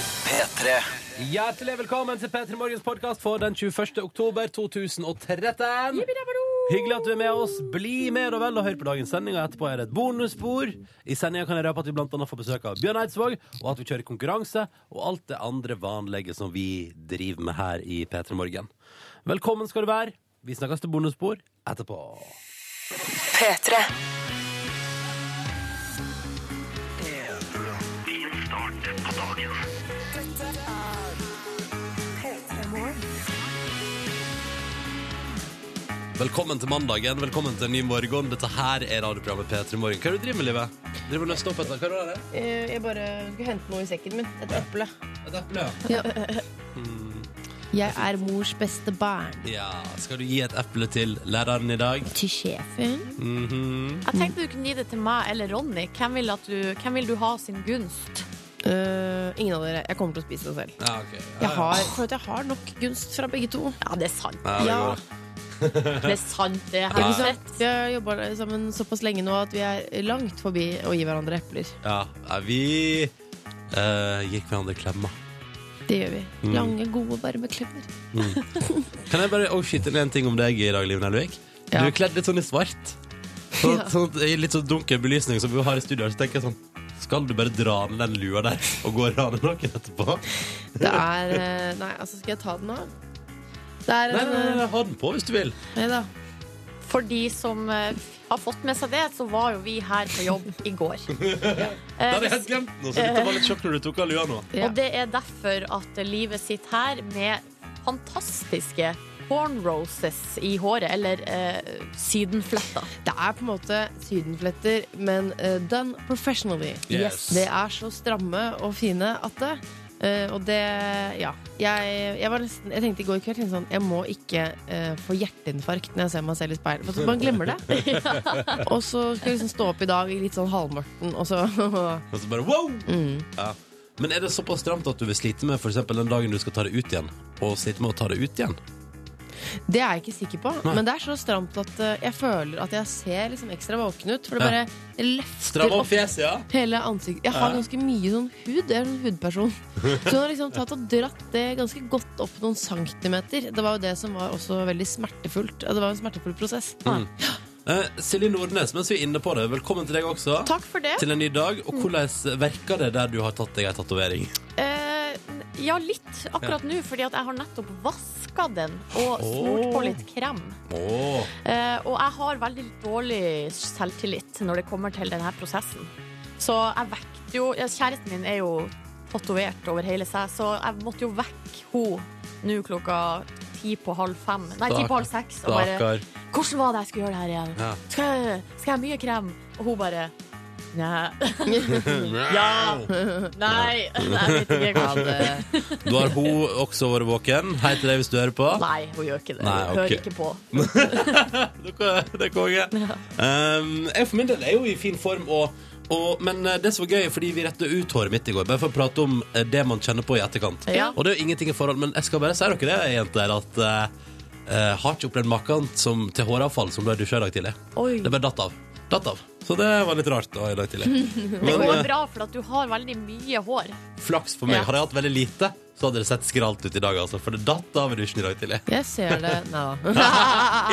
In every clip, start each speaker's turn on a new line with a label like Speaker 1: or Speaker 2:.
Speaker 1: P3.
Speaker 2: Hjertelig velkommen til P3 Morgens podkast for den 21. oktober 2013. Hyggelig at du er med oss. Bli med og vel og hør på dagens sending. Og etterpå er det et bonusspor. I sendinga kan jeg røpe at vi blant annet får besøk av Bjørn Eidsvåg, og at vi kjører konkurranse, og alt det andre vanlige som vi driver med her i P3 Morgen. Velkommen skal du være. Vi snakkes til bonusspor etterpå.
Speaker 3: P3.
Speaker 2: Velkommen til mandagen. Velkommen til en ny morgen. Dette her er radioprogrammet P3 Morgen. Hva er det du driver med, Livet? Driver du og nøster opp etter? Hva er det?
Speaker 4: Eh, Jeg bare skulle hente noe i sekken min. Et eple.
Speaker 2: Et eple? ja.
Speaker 5: Jeg er mors beste barn.
Speaker 2: Ja, skal du gi et eple til læreren i dag?
Speaker 5: Til sjefen.
Speaker 6: Jeg tenkte du kunne gi det til meg eller Ronny. Hvem vil, at du, hvem vil du ha sin gunst?
Speaker 4: Eh, ingen av dere. Jeg kommer til å spise det selv.
Speaker 2: Ja, ok. Ja,
Speaker 4: Jeg har, for at jeg har nok gunst fra begge to.
Speaker 6: Ja, det er sant.
Speaker 2: Ja, det
Speaker 4: Ja.
Speaker 2: går.
Speaker 6: Det er sant, det her.
Speaker 4: Ikke sant? Vi har jobba sammen såpass lenge nå at vi er langt forbi å gi hverandre epler.
Speaker 2: ja. ja vi eh, gikk hverandre klemmer.
Speaker 4: Det gjør vi.
Speaker 2: Mm.
Speaker 4: Lange, gode, varme klemmer.
Speaker 2: Kan jeg bare skyte inn en ting om deg i dag, Liv Nelvik?
Speaker 4: Ja.
Speaker 2: Du er kledd litt sånn i svart. Sånn,
Speaker 4: Ja.
Speaker 2: sånn, I litt sånn dunkel belysning som vi har i studio, her, så tenker jeg sånn Skal du bare dra ned den lua der og gå og rane noen etterpå?
Speaker 4: Det er eh, Nei, altså, skal jeg ta den av? Det er
Speaker 2: Nei,
Speaker 4: en
Speaker 2: nei, nei,
Speaker 4: eh,
Speaker 2: nei, ha den på hvis du vil.
Speaker 4: Nei da.
Speaker 6: For de som eh, har fått med seg det, så var jo vi her på jobb i går.
Speaker 2: Da
Speaker 6: Eh,
Speaker 2: hadde jeg helt glemt den, så dette var litt sjokk når du tok av lua nå.
Speaker 4: Ja.
Speaker 6: Og det er derfor at livet sitter her med fantastiske cornroses i håret, eller eh, sydenfletter.
Speaker 4: Det er på en måte sydenfletter, men eh, done professionally.
Speaker 2: Yes.
Speaker 4: Det er så stramme og fine at det eh, og det Ja. Jeg, jeg, var nesten, jeg tenkte i går kveld tenkte sånn, jeg må ikke eh, få hjerteinfarkt når jeg ser meg selv i speilet. For at man glemmer det. Og så skal jeg liksom stå opp i dag i litt sånn halvmorten, og så
Speaker 2: Og så bare wow!
Speaker 6: Mm.
Speaker 2: Ja. Men er det såpass stramt at du vil slite med f.eks. den dagen du skal ta det ut igjen? Og slite med å ta det ut igjen?
Speaker 4: Det er jeg ikke sikker på,
Speaker 2: Nei.
Speaker 4: men det er så stramt at eh, jeg føler at jeg ser liksom ekstra våken ut. For
Speaker 2: Ja.
Speaker 4: det bare det løfter
Speaker 2: Stram opp
Speaker 4: opp
Speaker 2: fjeset, ja.
Speaker 4: hele ansiktet. Jeg har
Speaker 2: Ja.
Speaker 4: ganske mye sånn hud. Jeg er en hudperson. Så hun har liksom tatt og dratt det ganske godt opp noen centimeter. Det var jo det som var også veldig smertefullt. Det var en smertefull prosess.
Speaker 2: Eh, Silje Nordnes, mens vi er inne på det, velkommen til deg også.
Speaker 6: Takk Mm. for det.
Speaker 2: Til en ny dag. Og hvordan verker det der du har tatt deg ei tatovering?
Speaker 6: Eh, ja, litt akkurat nå, fordi at jeg har nettopp vaska den og smurt på litt krem.
Speaker 2: Åh.
Speaker 6: Eh, og jeg har veldig dårlig selvtillit når det kommer til denne prosessen. Så jeg vekte jo ja, Kjæresten min er jo tatovert over hele seg, så jeg måtte jo vekke henne nå klokka ti på halv fem. Nei, ti på halv seks. Og bare
Speaker 2: Stakkar.
Speaker 6: 'Hvordan var det jeg skulle gjøre det her igjen?
Speaker 2: Ja.
Speaker 6: Skal jeg, skal jeg ha mye krem?' Og hun bare Nei.
Speaker 2: Ja.
Speaker 6: Nei, jeg vet ikke hva
Speaker 4: Ja, det,
Speaker 2: Da har hun også vært våken. Hei til deg hvis du hører på.
Speaker 6: Nei, hun gjør ikke det.
Speaker 2: Nei,
Speaker 6: Hun
Speaker 2: ok.
Speaker 6: Hører ikke på.
Speaker 2: Dere- Det er konge. Um, jeg for min del er jo i fin form, og, og, men eh, det som var gøy, fordi vi retta ut håret mitt i går, bare for å prate om eh, det man kjenner på i etterkant.
Speaker 6: Ja.
Speaker 2: Og det er jo ingenting i forhold, men jeg skal bare si dere det, jenter, at eh, eh, har ikke opplevd maken som, til håravfall som ble dusja i dag tidlig.
Speaker 6: Oi.
Speaker 2: Det bare datt av. Datt av. Så det var litt rart da, i dag tidlig.
Speaker 6: Det
Speaker 2: Men
Speaker 6: går
Speaker 2: eh,
Speaker 6: bra, for at du har veldig mye hår.
Speaker 2: flaks for meg.
Speaker 6: Ja.
Speaker 2: Hadde jeg hatt veldig lite, så hadde det sett skralt ut i dag, altså. For det datt av i dusjen i dag tidlig.
Speaker 4: jeg ser det Nei da.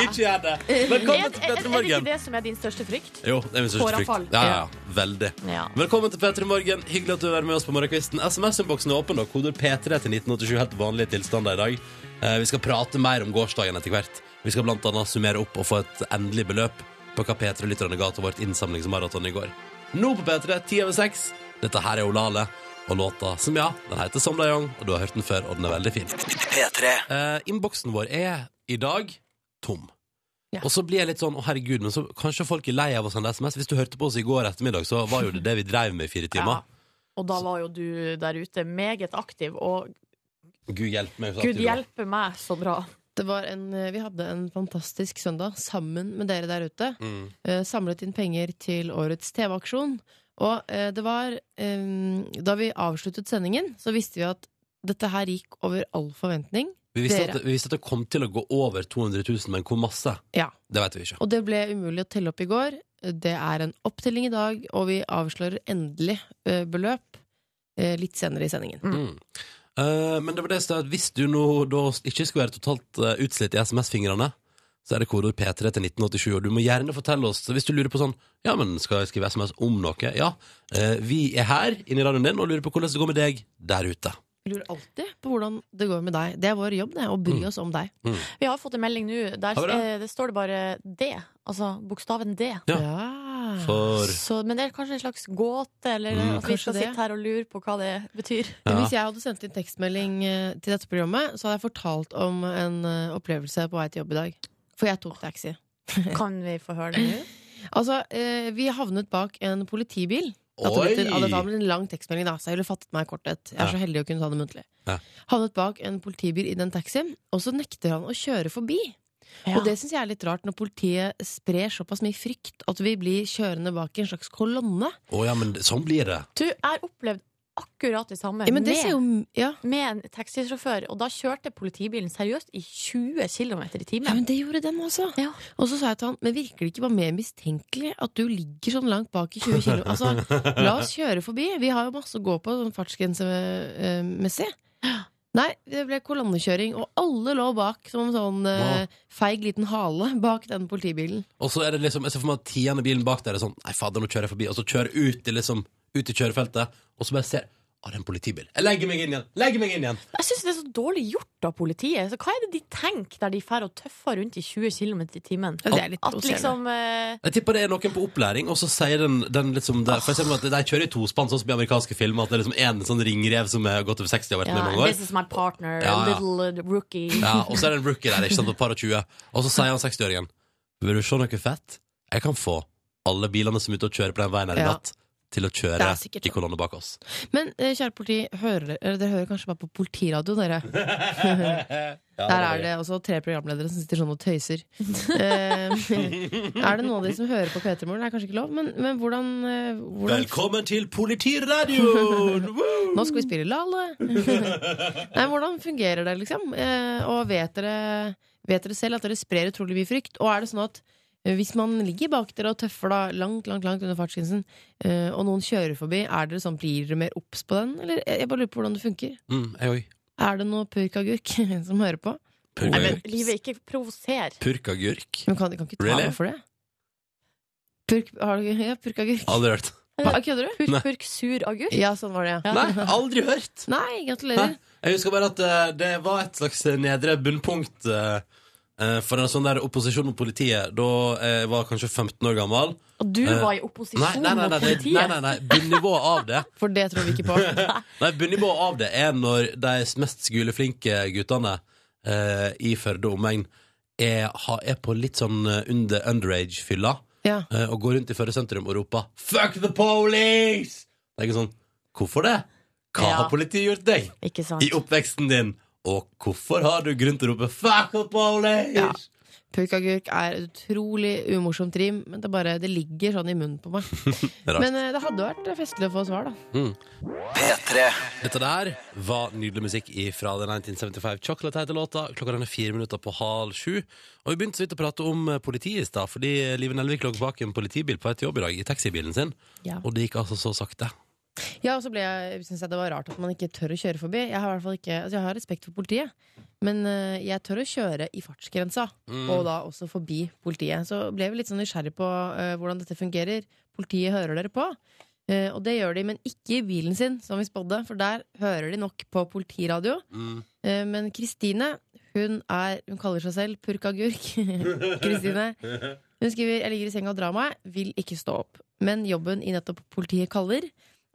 Speaker 2: Ikke gjør det!
Speaker 6: Er,
Speaker 2: Velkommen
Speaker 6: er,
Speaker 2: til
Speaker 6: er,
Speaker 2: Petter
Speaker 6: det ikke
Speaker 2: Morgen.
Speaker 6: det som er din største frykt?
Speaker 2: Jo, det er min største
Speaker 6: Håravfall.
Speaker 2: frykt. Ja, ja, ja. Veldig.
Speaker 6: Ja.
Speaker 2: Velkommen til P3 Morgen. Hyggelig at du er med oss på morgenkvisten. SMS-innboksen er åpen. da. Koder P3 til 1987. Helt vanlige tilstander i dag. Eh, Vi skal prate mer om gårsdagen etter hvert. Vi skal blant annet summere opp og få et endelig beløp på hva P3-lytterne ga til vårt innsamlingsmaraton i går. Nå på P3, ti over seks. Dette her er Olale og låta som, ja, den heter Som de Young, og du har hørt den før, og den er veldig fin.
Speaker 1: P3.
Speaker 2: Eh, Innboksen vår er i dag tom.
Speaker 4: Ja.
Speaker 2: Og så blir jeg litt sånn 'Å, herregud', men så kanskje folk er lei av å sende SMS. Hvis du hørte på oss i går ettermiddag, så var jo det det vi drev med i fire timer.
Speaker 6: Og da var jo du der ute meget aktiv, og
Speaker 2: Gud hjelpe meg. så
Speaker 6: gud
Speaker 2: aktiv du var.
Speaker 6: hjelpe meg så bra.
Speaker 4: Det var en, vi hadde en fantastisk søndag sammen med dere der ute.
Speaker 2: Mm.
Speaker 4: eh, samlet inn penger til årets TV-aksjon. Og eh, det var eh, Da vi avsluttet sendingen, så visste vi at dette her gikk over all forventning.
Speaker 2: Vi, visste
Speaker 4: Dere.
Speaker 2: at, vi visste at det kom til å gå over 200 000, men hvor masse?
Speaker 4: Ja.
Speaker 2: Det vet vi ikke.
Speaker 4: Og det ble umulig å telle opp i går. Det er en opptelling i dag, og vi avslører endelig eh, beløp eh, litt senere i sendingen.
Speaker 2: Mm. Eh, men det var det som at hvis du nå da ikke skulle være totalt eh, utslitt i SMS-fingrene, så er det kodeord P3 til 1987, og du må gjerne fortelle oss hvis du lurer på sånn Ja, men skal jeg skrive SMS om noe? Ja. eh, vi er her inne i radioen din og lurer på hvordan det går med deg der ute.
Speaker 4: Vi lurer alltid på hvordan det går med deg. Det er vår jobb, det, å bry
Speaker 2: Mm.
Speaker 4: oss om deg.
Speaker 6: Vi har fått en melding nå. Der
Speaker 2: Har vi det?
Speaker 6: eh, det står det bare D. Altså bokstaven D.
Speaker 2: Ja. For
Speaker 6: Så, men det er kanskje en slags gåte, eller
Speaker 2: Mm.
Speaker 6: at vi
Speaker 4: Kanskje
Speaker 6: skal
Speaker 4: det.
Speaker 6: sitte her og lure på hva det betyr.
Speaker 4: Men
Speaker 2: Ja.
Speaker 4: hvis jeg hadde sendt inn tekstmelding eh, til dette programmet, så hadde jeg fortalt om en eh, opplevelse på vei til jobb i dag. For jeg tok taxi.
Speaker 6: Kan vi få høre det nå?
Speaker 4: Altså, eh, vi havnet bak en politibil. Datt
Speaker 2: Oi!
Speaker 4: ut en- ja, Dette var vel en lang tekstmelding, da, så jeg ville fattet meg i korthet. Jeg er så heldig å kunne ta det muntlig.
Speaker 2: Ja.
Speaker 4: Havnet bak en politibil i den taxien, og så nekter han å kjøre forbi.
Speaker 6: Ja.
Speaker 4: Og det syns jeg er litt rart, når politiet sprer såpass mye frykt at vi blir kjørende bak i en slags kolonne.
Speaker 2: Å ja, men sånn blir det.
Speaker 6: Du, jeg har opplevd akkurat det samme
Speaker 4: Ja, men det
Speaker 6: med,
Speaker 4: ser jo ja.
Speaker 6: med en taxisjåfør, og da kjørte politibilen seriøst i 20 km i
Speaker 4: Ja,
Speaker 6: timen.
Speaker 4: men det gjorde den også.
Speaker 6: Ja.
Speaker 4: Og så sa jeg til han, men virker det ikke bare mer mistenkelig at du ligger sånn langt bak i 20 kilo? Altså, la oss kjøre forbi. Vi har jo masse å gå på sånn fartsgrensemessig. Nei, det ble kolonnekjøring, og alle lå bak som en sånn eh, feig liten hale bak den politibilen.
Speaker 2: Og så er det liksom, jeg ser for meg at tiende bilen bak der er sånn Nei, fader, nå kjører jeg forbi Og så kjører jeg ut i liksom, ut i kjørefeltet Og så bare ser, å, det er en politibil Jeg legger meg inn igjen, legger meg inn igjen
Speaker 6: Jeg syns det er så dårlig gjort av politiet. Så hva er det de tenker der de drar og tøffer rundt i 20 km i timen?
Speaker 4: Ja, det er litt
Speaker 6: At
Speaker 4: provoserende.
Speaker 6: liksom eh,
Speaker 2: Jeg tipper det er noen på opplæring Og så sier den, den liksom der, For jeg ser for meg at de kjører i tospann Sånn som i amerikanske filmer At det er liksom en sånn ringrev som har gått over 60 og vært
Speaker 6: ja,
Speaker 2: med i mange
Speaker 6: This
Speaker 2: år
Speaker 6: is my partner,
Speaker 2: Ja, ja.
Speaker 6: little uh, rookie.
Speaker 2: ja, Og så er det en rookie der, ikke sant, på par og 20 Og så sier han 60-åringen Vil du se noe fett? Jeg kan få alle bilene som er ute og kjører på den veien her i
Speaker 4: Ja.
Speaker 2: natt Til å kjøre
Speaker 4: Det er sikkert
Speaker 2: i kolonne bak oss
Speaker 4: Men eh, kjære politi, hører, eller dere hører kanskje bare på politiradio, dere. Der er det også tre programledere som sitter sånn og tøyser. Eh, er det noen av de som hører på P3 Morgen? Det er kanskje ikke lov, men, men hvordan, eh, hvordan
Speaker 2: Velkommen til politiradioen! Woo!
Speaker 4: Nå skal vi spille Lale. Nei, hvordan fungerer det, liksom? Eh, og vet dere, vet dere selv at dere sprer utrolig mye frykt? Og er det sånn at eh, hvis man ligger bak dere og tøffer da langt langt, langt under fartsgrensen, eh, og noen kjører forbi, er dere sånn, blir dere mer obs på den? Eller eh, jeg jeg bare lurer på hvordan det funker.
Speaker 2: Mm, jeg òg.
Speaker 4: Er det noe purkagurk som hører på?
Speaker 6: Nei, men
Speaker 2: Purkagurk.
Speaker 6: livet ikke provoser.
Speaker 2: Purkagurk.
Speaker 4: Men kan, kan ikke ta
Speaker 2: Really?
Speaker 4: meg for det? Purk, har du, ja, purkagurk.
Speaker 2: Aldri hørt.
Speaker 4: Hva, Kødder du?
Speaker 6: Purk,
Speaker 2: Nei.
Speaker 6: purk, sur agurk.
Speaker 4: Ja, sånn var det, ja.
Speaker 2: Nei, aldri hørt!
Speaker 4: Nei,
Speaker 2: Hæ?
Speaker 4: gratulerer.
Speaker 2: Jeg husker bare at eh, det var et slags nedre bunnpunkt eh, eh, for en sånn der opposisjon mot politiet da jeg var kanskje 15 år gammel.
Speaker 6: Og du
Speaker 2: Eh,
Speaker 6: var
Speaker 2: Nei,
Speaker 6: i opposisjon
Speaker 2: nei, nei,
Speaker 6: mot
Speaker 2: nei, det- nei,
Speaker 6: politiet.
Speaker 2: nei, nei. bunnivået av det
Speaker 4: For det tror vi ikke på.
Speaker 2: Nei, bunnivået av det er når de mest skoleflinke guttene eh, i Førde og omegn er, ha- er på litt sånn eh, under underage-fylla.
Speaker 4: Ja.
Speaker 2: eh, og går rundt i Førde sentrum og roper 'fuck the police'! Det er ikke sånn Hvorfor det? Hva
Speaker 6: Ja.
Speaker 2: har politiet gjort deg
Speaker 6: Ikke sant?
Speaker 2: i oppveksten din? Og hvorfor har du grunn til å rope 'fuck the police'?
Speaker 4: Ja. Purkagurk er et utrolig umorsomt rim, men det, bare, det ligger sånn i munnen på meg.
Speaker 2: Det er rart.
Speaker 4: Men eh, det hadde vært festlig å få svar, da.
Speaker 3: P3.
Speaker 2: Dette der var nydelig musikk fra The 1975 Chocolate heter låta. Klokka den er fire minutter på halv sju. Og vi begynte så vidt å prate om eh, politiet i stad, fordi Live Nelvik lå bak en politibil på vei til jobb i dag, i taxibilen sin.
Speaker 4: Ja.
Speaker 2: Og det gikk altså så sakte.
Speaker 4: Ja, og så ble jeg, synes jeg det var rart at man ikke tør å kjøre forbi. Jeg har, i hvert fall ikke, altså jeg har respekt for politiet, men eh, jeg tør å kjøre i fartsgrensa. Og da også forbi politiet. Så ble vi litt sånn nysgjerrig på eh, hvordan dette fungerer. Politiet hører dere på. eh, og det gjør de, men ikke i bilen sin, som vi spådde, for der hører de nok på politiradio.
Speaker 2: Mm.
Speaker 4: Eh, Men Kristine, hun er Hun kaller seg selv purkagurk. Kristine. Hun skriver 'Jeg ligger i senga og drar meg. Vil ikke stå opp'. Men jobben i nettopp politiet kaller.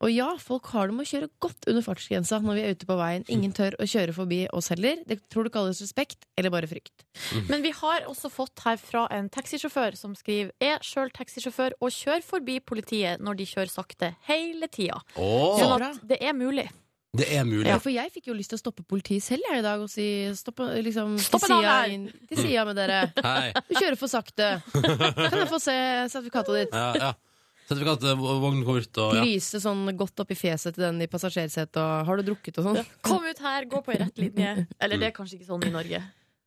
Speaker 4: Og ja, folk har det med å kjøre godt under fartsgrensa når vi er ute på veien. Ingen tør å kjøre forbi oss heller. Det tror du kalles respekt, eller bare frykt.
Speaker 6: Men vi har også fått her fra en taxisjåfør som skriver Er sjøl taxisjåfør og kjører forbi politiet når de kjører sakte hele tida.
Speaker 2: Åh,
Speaker 4: Ja.
Speaker 6: Sånn at det er mulig.
Speaker 2: det er mulig.
Speaker 4: Ja, for jeg fikk jo lyst til å stoppe politiet selv jeg, i dag og si stopp, liksom, til
Speaker 6: Stopp en annen
Speaker 4: sida
Speaker 6: vei.
Speaker 4: inn- til sida med dere.
Speaker 2: Hei.
Speaker 4: Du kjører for sakte. Kan jeg få se sertifikatet ditt?
Speaker 2: Ja, ja. Sertifikat, eh, vognkort og ja.
Speaker 4: Lyse sånn godt opp i fjeset til den i passasjersetet og 'har du drukket' og sånn.
Speaker 6: Kom ut her, gå på ei rett linje. Eller det er kanskje ikke sånn i Norge.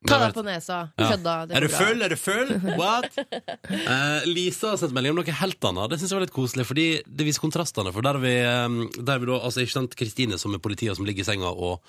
Speaker 4: Ta deg på nesa.
Speaker 2: Ja.
Speaker 4: Kødda. det
Speaker 2: Er du
Speaker 4: går bra.
Speaker 2: full? Er du full? What? Eh, Lisa har sendt melding om noe helt annet. Det synes jeg var litt koselig, fordi det viser kontrastene. For der har vi, eh, der har vi da, altså ikke sant, Kristine som er politi og som ligger i senga og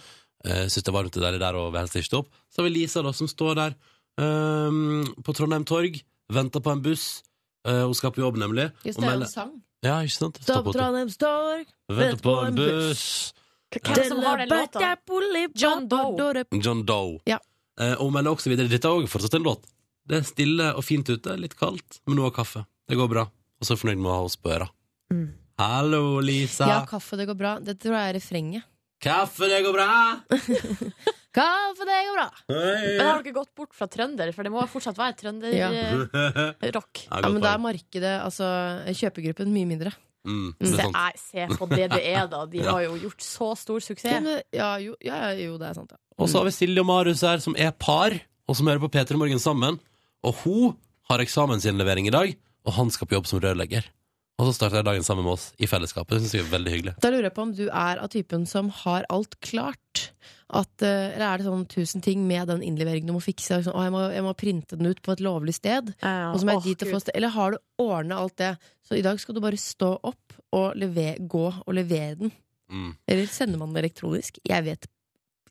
Speaker 2: uh, syns det er varmt og deilig der og vil helst ikke stå opp. Så har vi Lisa da, som står der eh, på Trondheim torg, venter på en buss. Eh, hun skal på jobb, nemlig.
Speaker 4: Just
Speaker 2: og
Speaker 4: det,
Speaker 2: melder-
Speaker 4: en sang.
Speaker 2: ja, ikke sant? Stå
Speaker 4: Stopp
Speaker 2: på hotel.
Speaker 4: Trondheims torg.
Speaker 2: Venter på en buss.
Speaker 6: Hvem er det som har den låta? John Doe.
Speaker 2: John Doe.
Speaker 4: Ja.
Speaker 2: Eh, og hun melder også videre Dette er også fortsatt en låt. Det er stille og fint ute, litt kaldt, men hun har kaffe. Det går bra. Og så er hun fornøyd med å ha oss på øra. Hallo, Lisa.
Speaker 4: Mm. Ja, kaffe, det går bra. Det tror jeg er refrenget.
Speaker 2: Kaffe, det går bra!
Speaker 4: Kaffe, det går bra!
Speaker 2: Hei.
Speaker 6: Men har dere gått bort fra trønder? For det må fortsatt være
Speaker 4: Ja.
Speaker 6: trønderrock. rock
Speaker 2: Ja,
Speaker 4: Ja,
Speaker 2: godt
Speaker 4: men da er
Speaker 2: poeng.
Speaker 4: markedet, altså kjøpegruppen, mye mindre.
Speaker 2: mm, det er
Speaker 6: Se,
Speaker 2: sant.
Speaker 6: nei, se på det det er, da. De
Speaker 2: Ja.
Speaker 6: har jo gjort så
Speaker 4: Ja,
Speaker 6: stor suksess.
Speaker 4: men- ja, jo, ja, jo, det er sant, ja.
Speaker 2: Og så har vi Silje og Marius her, som er par, og som hører på P3 Morgen sammen. Og hun har eksamensinnlevering i dag, og han skal på jobb som rørlegger. Og så starter jeg dagen sammen med oss i fellesskapet. Det synes jeg er veldig hyggelig.
Speaker 4: Da lurer jeg på om du er av typen som har alt klart. At, eh, eller er det sånn tusen ting med den innleveringen du må fikse? og Sånn, å, jeg, må, jeg må printe den ut på et lovlig sted.
Speaker 6: Ja,
Speaker 4: Og så må jeg
Speaker 6: åh,
Speaker 4: dit og
Speaker 6: Gud.
Speaker 4: få sted. Eller har du ordna alt det? Så i dag skal du bare stå opp og leve- gå og levere den.
Speaker 2: Mm.
Speaker 4: Eller sender man den elektronisk? Jeg vet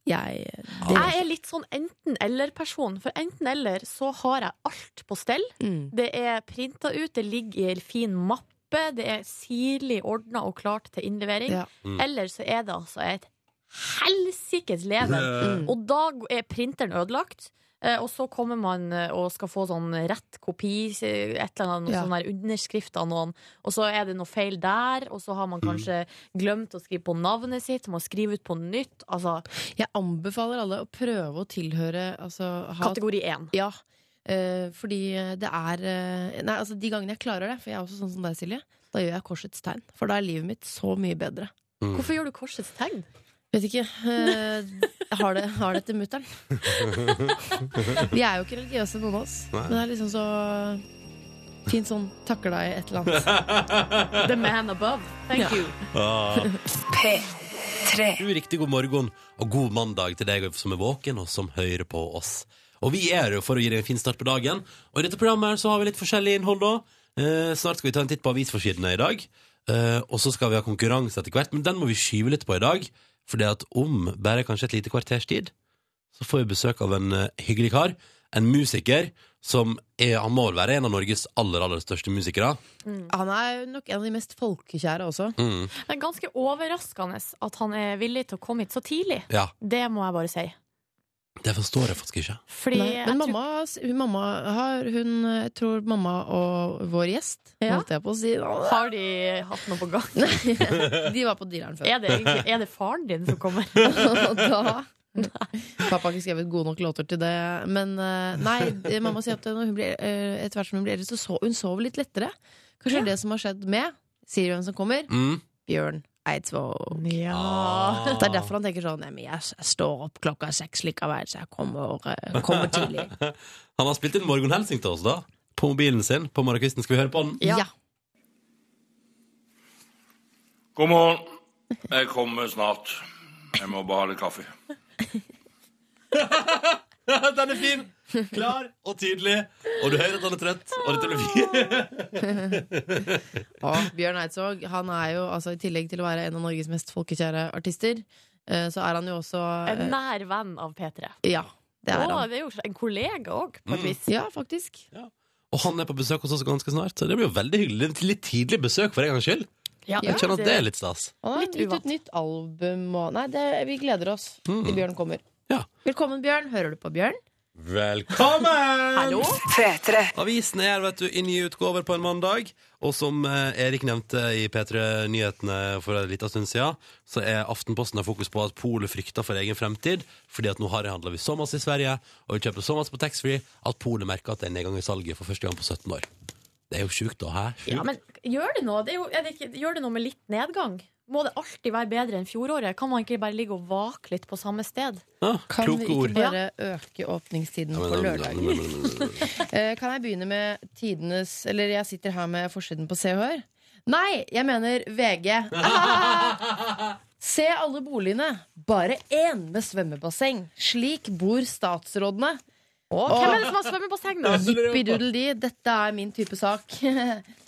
Speaker 4: jeg, det,
Speaker 6: Jeg er litt sånn enten-eller-person. For enten-eller så har jeg alt på stell.
Speaker 4: mm.
Speaker 6: Det er printa ut, det ligger i en fin mappe, det er sirlig ordna og klart til innlevering.
Speaker 4: Ja.
Speaker 2: Mm.
Speaker 6: Eller så er det altså et helsikes leven.
Speaker 4: mm.
Speaker 6: Og da er printeren ødelagt. eh, Og så kommer man eh, og skal få sånn rett kopi, eh, et eller annet,
Speaker 4: Ja.
Speaker 6: sånn der underskrift av noen, og så er det noe feil der, og så har man kanskje glemt å skrive på navnet sitt, må skrive ut på nytt. Altså
Speaker 4: jeg anbefaler alle å prøve å tilhøre altså, ha,
Speaker 6: kategori én.
Speaker 4: Ja. eh, fordi det er eh, Nei, altså de gangene jeg klarer det, for jeg er også sånn som deg, Silje, da gjør jeg korsets tegn. For da er livet mitt så mye bedre.
Speaker 2: Mm.
Speaker 6: Hvorfor gjør du korsets tegn?
Speaker 4: Vet ikke. eh, jeg har, det, har det til mutter'n. Vi er jo ikke religiøse, noen av oss. Men det er liksom så fint sånn takker deg et eller annet.
Speaker 6: The man above. Thank you.
Speaker 3: P3.
Speaker 2: Du, riktig god morgen og god mandag til deg som er våken og som hører på oss. Og vi er her for å gi deg en fin start på dagen. Og i dette programmet her så har vi litt forskjellig innhold da. Eh, snart skal vi ta en titt på avisforsidene i dag. Eh, og så skal vi ha konkurranse etter hvert, men den må vi skyve litt på i dag. Fordi at om bare kanskje et lite kvarters tid, så får vi besøk av en eh, hyggelig kar. En musiker som er, han må vel være en av Norges aller, aller største musikere.
Speaker 4: Han er nok en av de mest folkekjære også.
Speaker 2: Mm,
Speaker 6: Det er ganske overraskende at han er villig til å komme hit så tidlig.
Speaker 2: ja,
Speaker 6: Det må jeg bare si.
Speaker 2: det forstår jeg faktisk ikke.
Speaker 6: Fordi
Speaker 4: Nei,
Speaker 6: jeg
Speaker 4: men
Speaker 6: tror-
Speaker 4: mamma, hun, mamma har hun, Jeg tror mamma og vår gjest
Speaker 6: Ja.
Speaker 4: Holdt jeg på å si
Speaker 6: har de hatt noe på gang?
Speaker 4: De var på dyreren før
Speaker 6: Er det, egentlig, er det faren din som kommer?
Speaker 4: Og da Pappa har ikke skrevet gode nok låter til det Men eh, nei, det- mamma sier at når hun blir, eh, etter hvert som hun blir eldre Så so- hun sover litt lettere Kanskje det er det som har skjedd med Sier hun som kommer
Speaker 2: Mm.
Speaker 4: Bjørn Eidsvåg
Speaker 6: Ja.
Speaker 4: Det er derfor han tenker sånn «Nei, men jeg, jeg står opp klokka seks likevel Så jeg kommer, eh, kommer tidlig
Speaker 2: Han har spilt inn morgenhelsing til oss da På mobilen sin, på morgenkvisten Skal vi høre på den?
Speaker 6: Ja.
Speaker 4: ja.
Speaker 1: God morgen. Jeg kommer snart. Jeg må bare ha litt kaffe.
Speaker 2: den er fin! Klar og tydelig Og du hører at han er trøtt Og dette blir fint
Speaker 4: Og Bjørn Eidsvåg, han er jo altså, i tillegg til å være en av Norges mest folkekjære artister, eh, så er han jo også
Speaker 6: En
Speaker 4: eh,
Speaker 6: nær venn av P3.
Speaker 4: Ja, det er
Speaker 6: Og
Speaker 4: han.
Speaker 6: det er jo en kollega òg, på et vis.
Speaker 4: Ja, faktisk.
Speaker 2: Og han er på besøk hos oss ganske snart Så det blir jo veldig hyggelig Det er Litt tidlig besøk for en gang skyld
Speaker 6: Ja,
Speaker 2: Jeg kjenner at det er litt stas
Speaker 4: Han har
Speaker 6: Litt
Speaker 4: gitt
Speaker 6: uvant.
Speaker 4: ut nytt album og Nei, det, vi gleder oss til
Speaker 2: Mhm.
Speaker 4: Bjørn kommer.
Speaker 2: Ja.
Speaker 4: Velkommen, Bjørn. Hører du på Bjørn?
Speaker 2: Velkommen!
Speaker 6: Hallo?
Speaker 3: P3.
Speaker 2: Avisen er vet du, i nye utgaver på en mandag, og som eh, Erik nevnte i P3 Nyhetene for en liten stund siden, så er Aftenposten har fokus på at Polet frykter for egen fremtid, fordi at nå har jeg handlet vi så masse i Sverige, og vi kjøper så masse på taxfree, at Polet merker at det er nedgang i salget for første gang på 17 år. Det er jo sjukt da, hæ? Sjukt.
Speaker 6: Ja, men gjør det noe? Det er jo, er det ikke, gjør det noe med litt nedgang? Må det alltid være bedre enn fjoråret? Kan man ikke bare ligge og vake litt på samme sted?
Speaker 2: ah,
Speaker 4: Kan vi
Speaker 2: kloke
Speaker 4: ikke
Speaker 2: ord.
Speaker 4: bare øke åpningstiden på lørdager? Eh, Kan jeg begynne med tidenes Eller jeg sitter her med forsiden på Se og Hør. Nei, jeg mener VG. Ah! Se alle boligene, bare én med svømmebasseng. Slik bor statsrådene.
Speaker 6: Og hvem er det som har svømmebasseng, da?
Speaker 4: Jippidudeldee, dette er min type sak.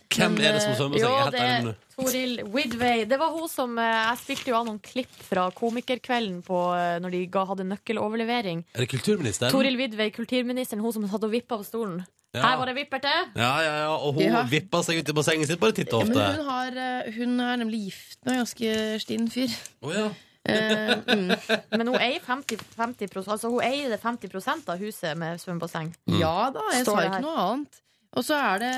Speaker 2: Hvem er det som svømmer seg?
Speaker 6: Jo,
Speaker 2: Jeg er
Speaker 6: det
Speaker 2: helt
Speaker 6: er
Speaker 2: enig.
Speaker 6: Toril Widway. Det var hun som eh, Jeg spilte jo av noen klipp fra Komikerkvelden på, eh, når de ga, hadde nøkkeloverlevering.
Speaker 2: Er det kulturministeren?
Speaker 6: Toril Widway, kulturministeren, hun som satt og vippa på stolen.
Speaker 2: Ja.
Speaker 6: Her var det vipperte!
Speaker 2: Ja, ja, ja, og hun
Speaker 4: Ja.
Speaker 2: vippa seg ut i bassenget sitt bare titt og
Speaker 4: Men
Speaker 2: ofte.
Speaker 4: hun, har, eh, hun er nemlig gift med en ganske stinn fyr.
Speaker 2: Å, ja.
Speaker 4: Eh, mm.
Speaker 6: Men hun eier 50, 50 altså hun eier det 50 av huset med svømmebasseng.
Speaker 2: Mm.
Speaker 4: Ja da, jeg
Speaker 6: Står
Speaker 4: sa
Speaker 6: det
Speaker 4: ikke
Speaker 6: her.
Speaker 4: noe annet. Og så er det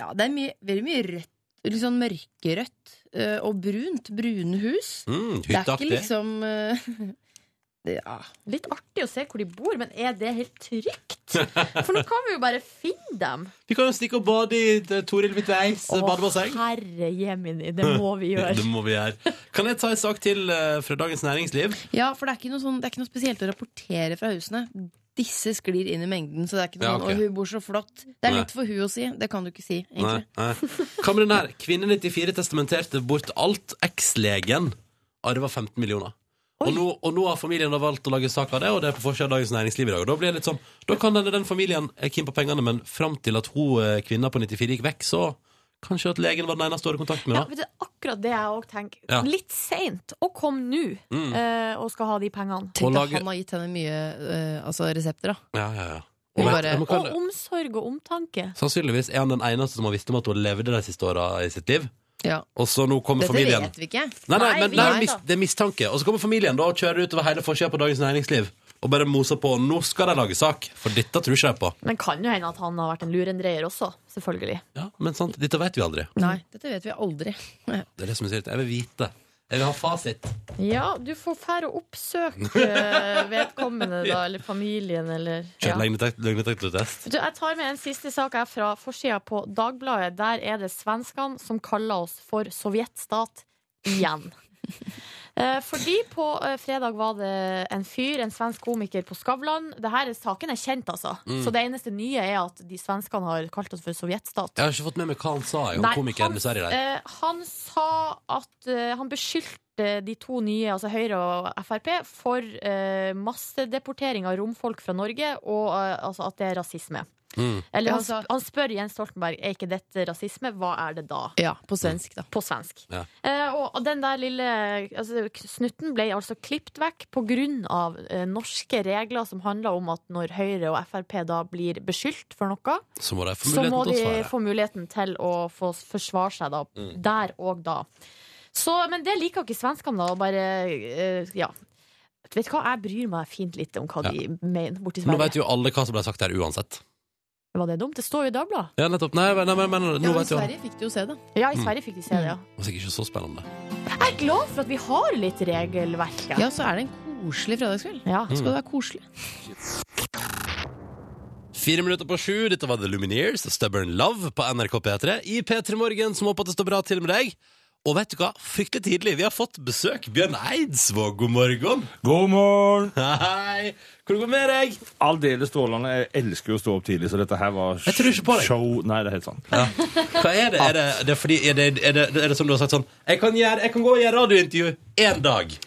Speaker 4: Ja, det er mye, veldig mye rødt. Litt sånn mørkerødt eh, og brunt. Brune hus.
Speaker 2: Mm,
Speaker 4: Det er
Speaker 2: Hytteaktig.
Speaker 4: ikke liksom eh, det, ja.
Speaker 6: Litt artig å se hvor de bor, men er det helt trygt? For nå kan vi jo bare finne dem.
Speaker 2: Vi kan jo stikke og bade i eh, Toril Midtveis
Speaker 6: Å,
Speaker 2: badebasseng.
Speaker 6: herre jemini, det må vi
Speaker 2: Det
Speaker 6: gjøre.
Speaker 2: må vi gjøre. Kan jeg ta en sak til eh, fra Dagens Næringsliv?
Speaker 4: ja, for det er, ikke noe sånn, det er ikke noe spesielt å rapportere fra husene. Disse sklir inn i mengden, så det er ikke noe
Speaker 2: Ja,
Speaker 4: sånn
Speaker 2: ok.
Speaker 4: 'Å, hun bor så flott'. Det er
Speaker 2: Nei.
Speaker 4: lett for hun å si. Det kan du ikke si,
Speaker 2: Nei,
Speaker 4: egentlig.
Speaker 2: nei. Hva med den her? Kvinne 94 testamenterte bort alt. Ekslegen arva 15 millioner. Og nå, og nå har familien da valgt å lage sak av det, og det er på forsida av Dagens Næringsliv i dag. Og Da blir det litt sånn, da kan denne den familien er keen på pengene, men fram til at hun eh, kvinna på 94 gikk vekk, så kanskje at legen var den eneste året kontakt med.
Speaker 6: Ja,
Speaker 2: da.
Speaker 6: vet du, akkurat det jeg òg tenker.
Speaker 2: Ja. Mm.
Speaker 6: Litt seint å komme nå eh, og skal ha de pengene.
Speaker 2: Og
Speaker 4: Tenk at
Speaker 2: lage-
Speaker 4: han har gitt henne mye eh, altså resepter, da.
Speaker 2: Ja, ja, ja.
Speaker 4: Hun
Speaker 2: Og,
Speaker 4: bare-
Speaker 2: vet, men
Speaker 6: Og
Speaker 2: hva-
Speaker 6: omsorg og omtanke.
Speaker 2: sannsynligvis er han den eneste som har visst om at hun levde de siste åra i sitt liv.
Speaker 4: Ja.
Speaker 2: Og så nå kommer
Speaker 4: Dette
Speaker 2: familien.
Speaker 4: vet vi ikke.
Speaker 2: Nei, nei,
Speaker 6: Nei,
Speaker 2: men det
Speaker 6: vi vet
Speaker 2: er,
Speaker 6: da.
Speaker 2: mis, det er mistanke. Og så kommer familien da og kjører utover hele forsida på Dagens Næringsliv og bare moser på. Nå skal de lage sak, for dette tror ikke de på.
Speaker 6: Men kan jo hende at han har vært en lurendreier også. Selvfølgelig.
Speaker 2: Ja, Men sant, dette vet vi aldri.
Speaker 4: Nei, dette vet vi aldri.
Speaker 2: Det er det som er sikkert. Jeg vil vite. Jeg vil ha fasit.
Speaker 6: Ja, du får fære å oppsøke eh, vedkommende, da, eller familien, eller
Speaker 2: Kjør
Speaker 6: ja.
Speaker 2: løgnetek- løgnetektortest.
Speaker 6: Du, Jeg tar med en siste sak her fra forsida på Dagbladet. Der er det svenskene som kaller oss for sovjetstat igjen. Eh, Fordi på eh, fredag var det en fyr, en svensk komiker på Skavlan. Dette, saken er kjent, altså. Så det eneste nye er at de svenskene har kalt oss for sovjetstat.
Speaker 2: Jeg har ikke fått med meg hva han sa. Jeg, om
Speaker 6: Nei,
Speaker 2: komikeren
Speaker 6: han-
Speaker 2: i Sverige der.
Speaker 6: eh, han sa at eh, han beskyldte de to nye, altså Høyre og Frp, for eh, massedeportering av romfolk fra Norge, og eh, altså at det er rasisme.
Speaker 2: Mm.
Speaker 6: Eller
Speaker 4: Ja,
Speaker 6: han,
Speaker 4: altså-
Speaker 6: sp- han spør Jens Stoltenberg er ikke dette rasisme, hva er det da?
Speaker 4: Ja, på svensk, da.
Speaker 6: På svensk.
Speaker 2: Ja.
Speaker 6: Eh, og den der lille altså, k- snutten ble altså klippet vekk pga. Eh, norske regler som handler om at når Høyre og Frp da blir beskyldt for noe,
Speaker 2: Så må de få
Speaker 6: så må
Speaker 2: muligheten
Speaker 6: de
Speaker 2: til å svare.
Speaker 6: få muligheten til å få s- forsvare seg da, der og da. Så, men det liker ikke svenskene, da. å Bare, eh, ja. Vet du hva, jeg bryr meg fint litt om hva
Speaker 2: Ja.
Speaker 6: de mener borti
Speaker 2: Men nå
Speaker 6: Sverige.
Speaker 2: vet jo alle hva som ble sagt der uansett.
Speaker 6: Var det dumt? Det står jo i Dagbladet.
Speaker 2: Ja, nettopp. Nei, nei, nei, nei, nei,
Speaker 4: Ja,
Speaker 2: nå
Speaker 4: men I
Speaker 2: vet jo han.
Speaker 4: Sverige fikk du jo se det.
Speaker 6: Ja, i Sverige fikk de se det, ja.
Speaker 2: Det var sikkert ikke så spennende.
Speaker 6: Jeg er glad for at vi har litt regelverk her.
Speaker 4: Ja, så er det en koselig fredagskveld.
Speaker 6: Ja.
Speaker 4: Skal det være koselig?
Speaker 2: Fire minutter på sju, dette var The Lumineers Stubborn Love på NRK P3 I P3 Morgen, som håper at det står bra til med deg Og vet du hva? Fryktelig tidlig, vi har fått besøk Bjørn Eidsvåg, god morgen
Speaker 7: God morgen!
Speaker 2: Hei, hvor går det med deg?
Speaker 7: Aldeles strålende. Jeg elsker jo å stå opp tidlig, så dette her var
Speaker 2: Jeg tror ikke på deg.
Speaker 7: show Nei, det er helt sant.
Speaker 2: Hva er det? Er det, er det, fordi, er det, er det, er det som du har sagt sånn Jeg kan, gjøre, jeg kan gå og gjøre radiointervju en dag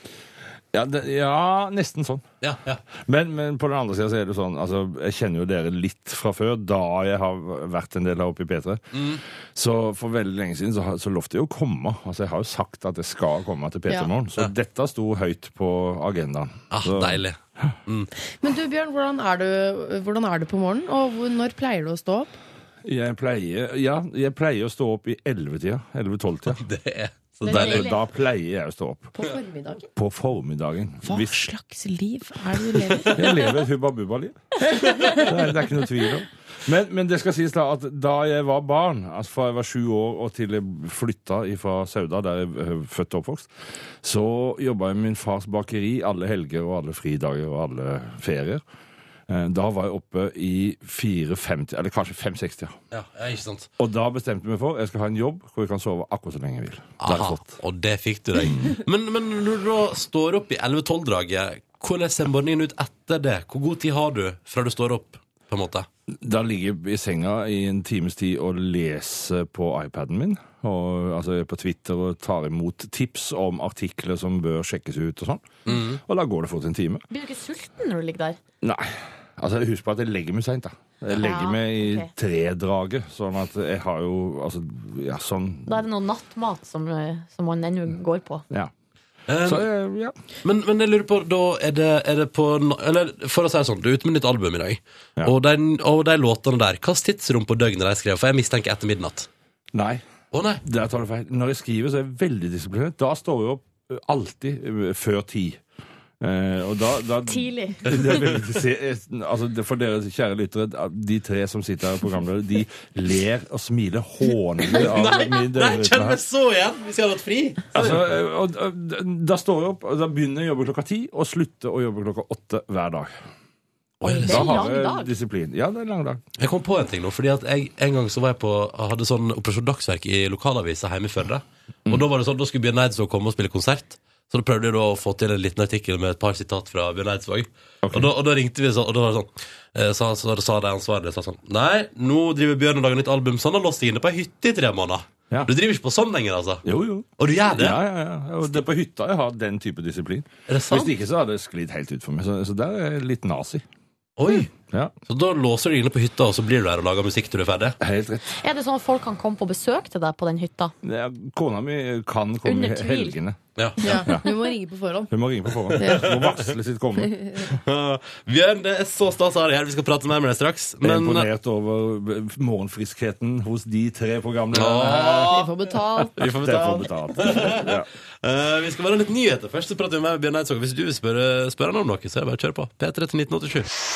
Speaker 7: Ja, det, ja nesten sånn.
Speaker 2: Ja, ja
Speaker 7: Men, men på den andre sida så er det sånn altså, Jeg kjenner jo dere litt fra før, da jeg har vært en del her oppe i P3.
Speaker 2: Mm.
Speaker 7: Så for veldig lenge siden så, har- så lovte jeg å komme. Altså, jeg har jo sagt at jeg skal komme til P3
Speaker 4: Ja.
Speaker 7: Morgen, så dette sto høyt på agendaen.
Speaker 2: Ah,
Speaker 7: så,
Speaker 2: deilig
Speaker 4: Men du Bjørn, hvordan er du, hvordan er du på morgenen? Og hvor- når pleier du å stå opp?
Speaker 7: Jeg pleier, ja, jeg pleier å stå opp i 11-tida. 11-12-tida.
Speaker 2: Det er så
Speaker 4: Det er
Speaker 2: deilig
Speaker 4: deilig.
Speaker 7: Da pleier jeg å stå opp.
Speaker 4: På formiddagen?
Speaker 7: På formiddagen.
Speaker 4: Hva
Speaker 7: Hvis-
Speaker 4: slags liv er det du lever?
Speaker 7: Jeg lever et Hubba Bubba-liv. Det, er- det er ikke noe tvil om. Men, men det skal sies da at da jeg var barn, altså fra jeg var sju år og til jeg flytta fra Sauda, der jeg er født og oppvokst, så jobba jeg i min fars bakeri alle helger og alle fridager og alle ferier. Eh, Da var jeg oppe i 4-50, eller kanskje 5-60. ja.
Speaker 2: Ja, ja, ikke sant
Speaker 7: Og da bestemte jeg meg for jeg skal ha en jobb hvor jeg kan sove akkurat så lenge jeg vil. Det har jeg
Speaker 2: Aha,
Speaker 7: fått.
Speaker 2: og det fikk du deg.
Speaker 6: Mm.
Speaker 2: Men, men når du da står opp i 11-12-draget, hvordan ser morgenen ut etter det? Hvor god tid har du fra du står opp? på en måte.
Speaker 7: Da ligger jeg i senga i en times tid og leser på iPaden min, og, altså på Twitter, og tar imot tips om artikler som bør sjekkes ut og sånn. Og da går det fort en time.
Speaker 6: Blir du ikke sulten når du ligger der?
Speaker 7: Nei. Altså, husk på at jeg legger meg seint, da. Jeg legger
Speaker 6: Ja,
Speaker 7: meg i
Speaker 6: ok.
Speaker 7: tredraget, sånn at jeg har jo Altså, ja, sånn
Speaker 6: Da er det noe nattmat som, eh, som man ennå går på.
Speaker 7: Ja.
Speaker 2: Eh,
Speaker 7: Så, eh, ja.
Speaker 2: men, men jeg lurer på, da er det, er det på na- Eller for å si det sånn, du er ute med nytt album i dag.
Speaker 7: Ja.
Speaker 2: Og, de, og de låtene der, hvilket tidsrom på døgnet de skrev? For jeg mistenker etter midnatt.
Speaker 7: Nei,
Speaker 2: Å nei.
Speaker 7: der tar du feil. Når jeg skriver, så er jeg veldig disiplinert. Da står jeg opp eh, alltid eh, før ti. Eh, og da, da
Speaker 6: Tidlig.
Speaker 7: Det er veldig, se- altså, det- for dere kjære lyttere, de tre som sitter her, programledere, de ler og smiler hånlig av min døgnrytme. her.
Speaker 2: så igjen! Hvis jeg hadde hatt fri.
Speaker 7: Altså, og, og, da står jeg opp, og da begynner jeg å jobbe klokka ti, og slutter å jobbe klokka åtte hver dag.
Speaker 6: Det er
Speaker 7: Da
Speaker 6: en
Speaker 7: har
Speaker 6: lang
Speaker 7: jeg
Speaker 6: dag.
Speaker 7: disiplin. Ja, det er en lang dag.
Speaker 2: Jeg kom på en ting nå, fordi at jeg en gang så var jeg på hadde sånn Operasjon Dagsverk i lokalavisa hjemme i Førde.
Speaker 7: Mm.
Speaker 2: Og da var det sånn, da skulle Bjørn Eidsvåg komme og spille konsert. Så da prøvde jeg da å få til en liten artikkel med et par sitat fra Bjørn Eidsvåg. Og, da, og da ringte vi sånn, og da var det sånn eh, sa, så, da sa de ansvarlige sa sånn Nei, nå driver Bjørn og lager nytt album, så han har låst seg inne på ei hytte i tre måneder.
Speaker 7: Ja.
Speaker 2: Du driver ikke på sånn lenger, altså.
Speaker 7: Jo, jo.
Speaker 2: Og du gjør det?
Speaker 7: Ja, ja, ja. Og det er på hytta jeg har den type disiplin.
Speaker 2: Er det
Speaker 6: Sånn.
Speaker 2: sant?
Speaker 7: Hvis ikke så hadde det sklidd helt ut for meg. Så, så der er jeg litt nazi.
Speaker 2: Oi!
Speaker 7: Ja,
Speaker 2: Så da låser du deg inne på hytta, og så blir du der og lager musikk til du er ferdig?
Speaker 7: helt rett.
Speaker 6: Er det sånn at folk kan komme på besøk til deg på den hytta?
Speaker 7: Det er- Kona mi kan komme i
Speaker 6: Under tvil.
Speaker 7: helgene.
Speaker 2: Ja.
Speaker 4: Ja, du må ringe på forhånd.
Speaker 7: Hun må ringe på forhånd. Hun må varsle sitt komme.
Speaker 2: Bjørn, det er så stas å ha deg her. Vi skal prate mer med deg straks.
Speaker 7: Jeg er
Speaker 2: Men
Speaker 7: imponert over morgenfriskheten hos de tre programlederne.
Speaker 2: Åh,
Speaker 4: Vi får betalt.
Speaker 2: vi får
Speaker 7: Det får
Speaker 2: betalt.
Speaker 7: betalt. Ja.
Speaker 2: Eh, vi skal være litt nyheter først, så prater vi med Bjørn Eidsvåg. Hvis du vil spørre, spørre han om noe, så er det bare å kjøre på. P3 til 1987.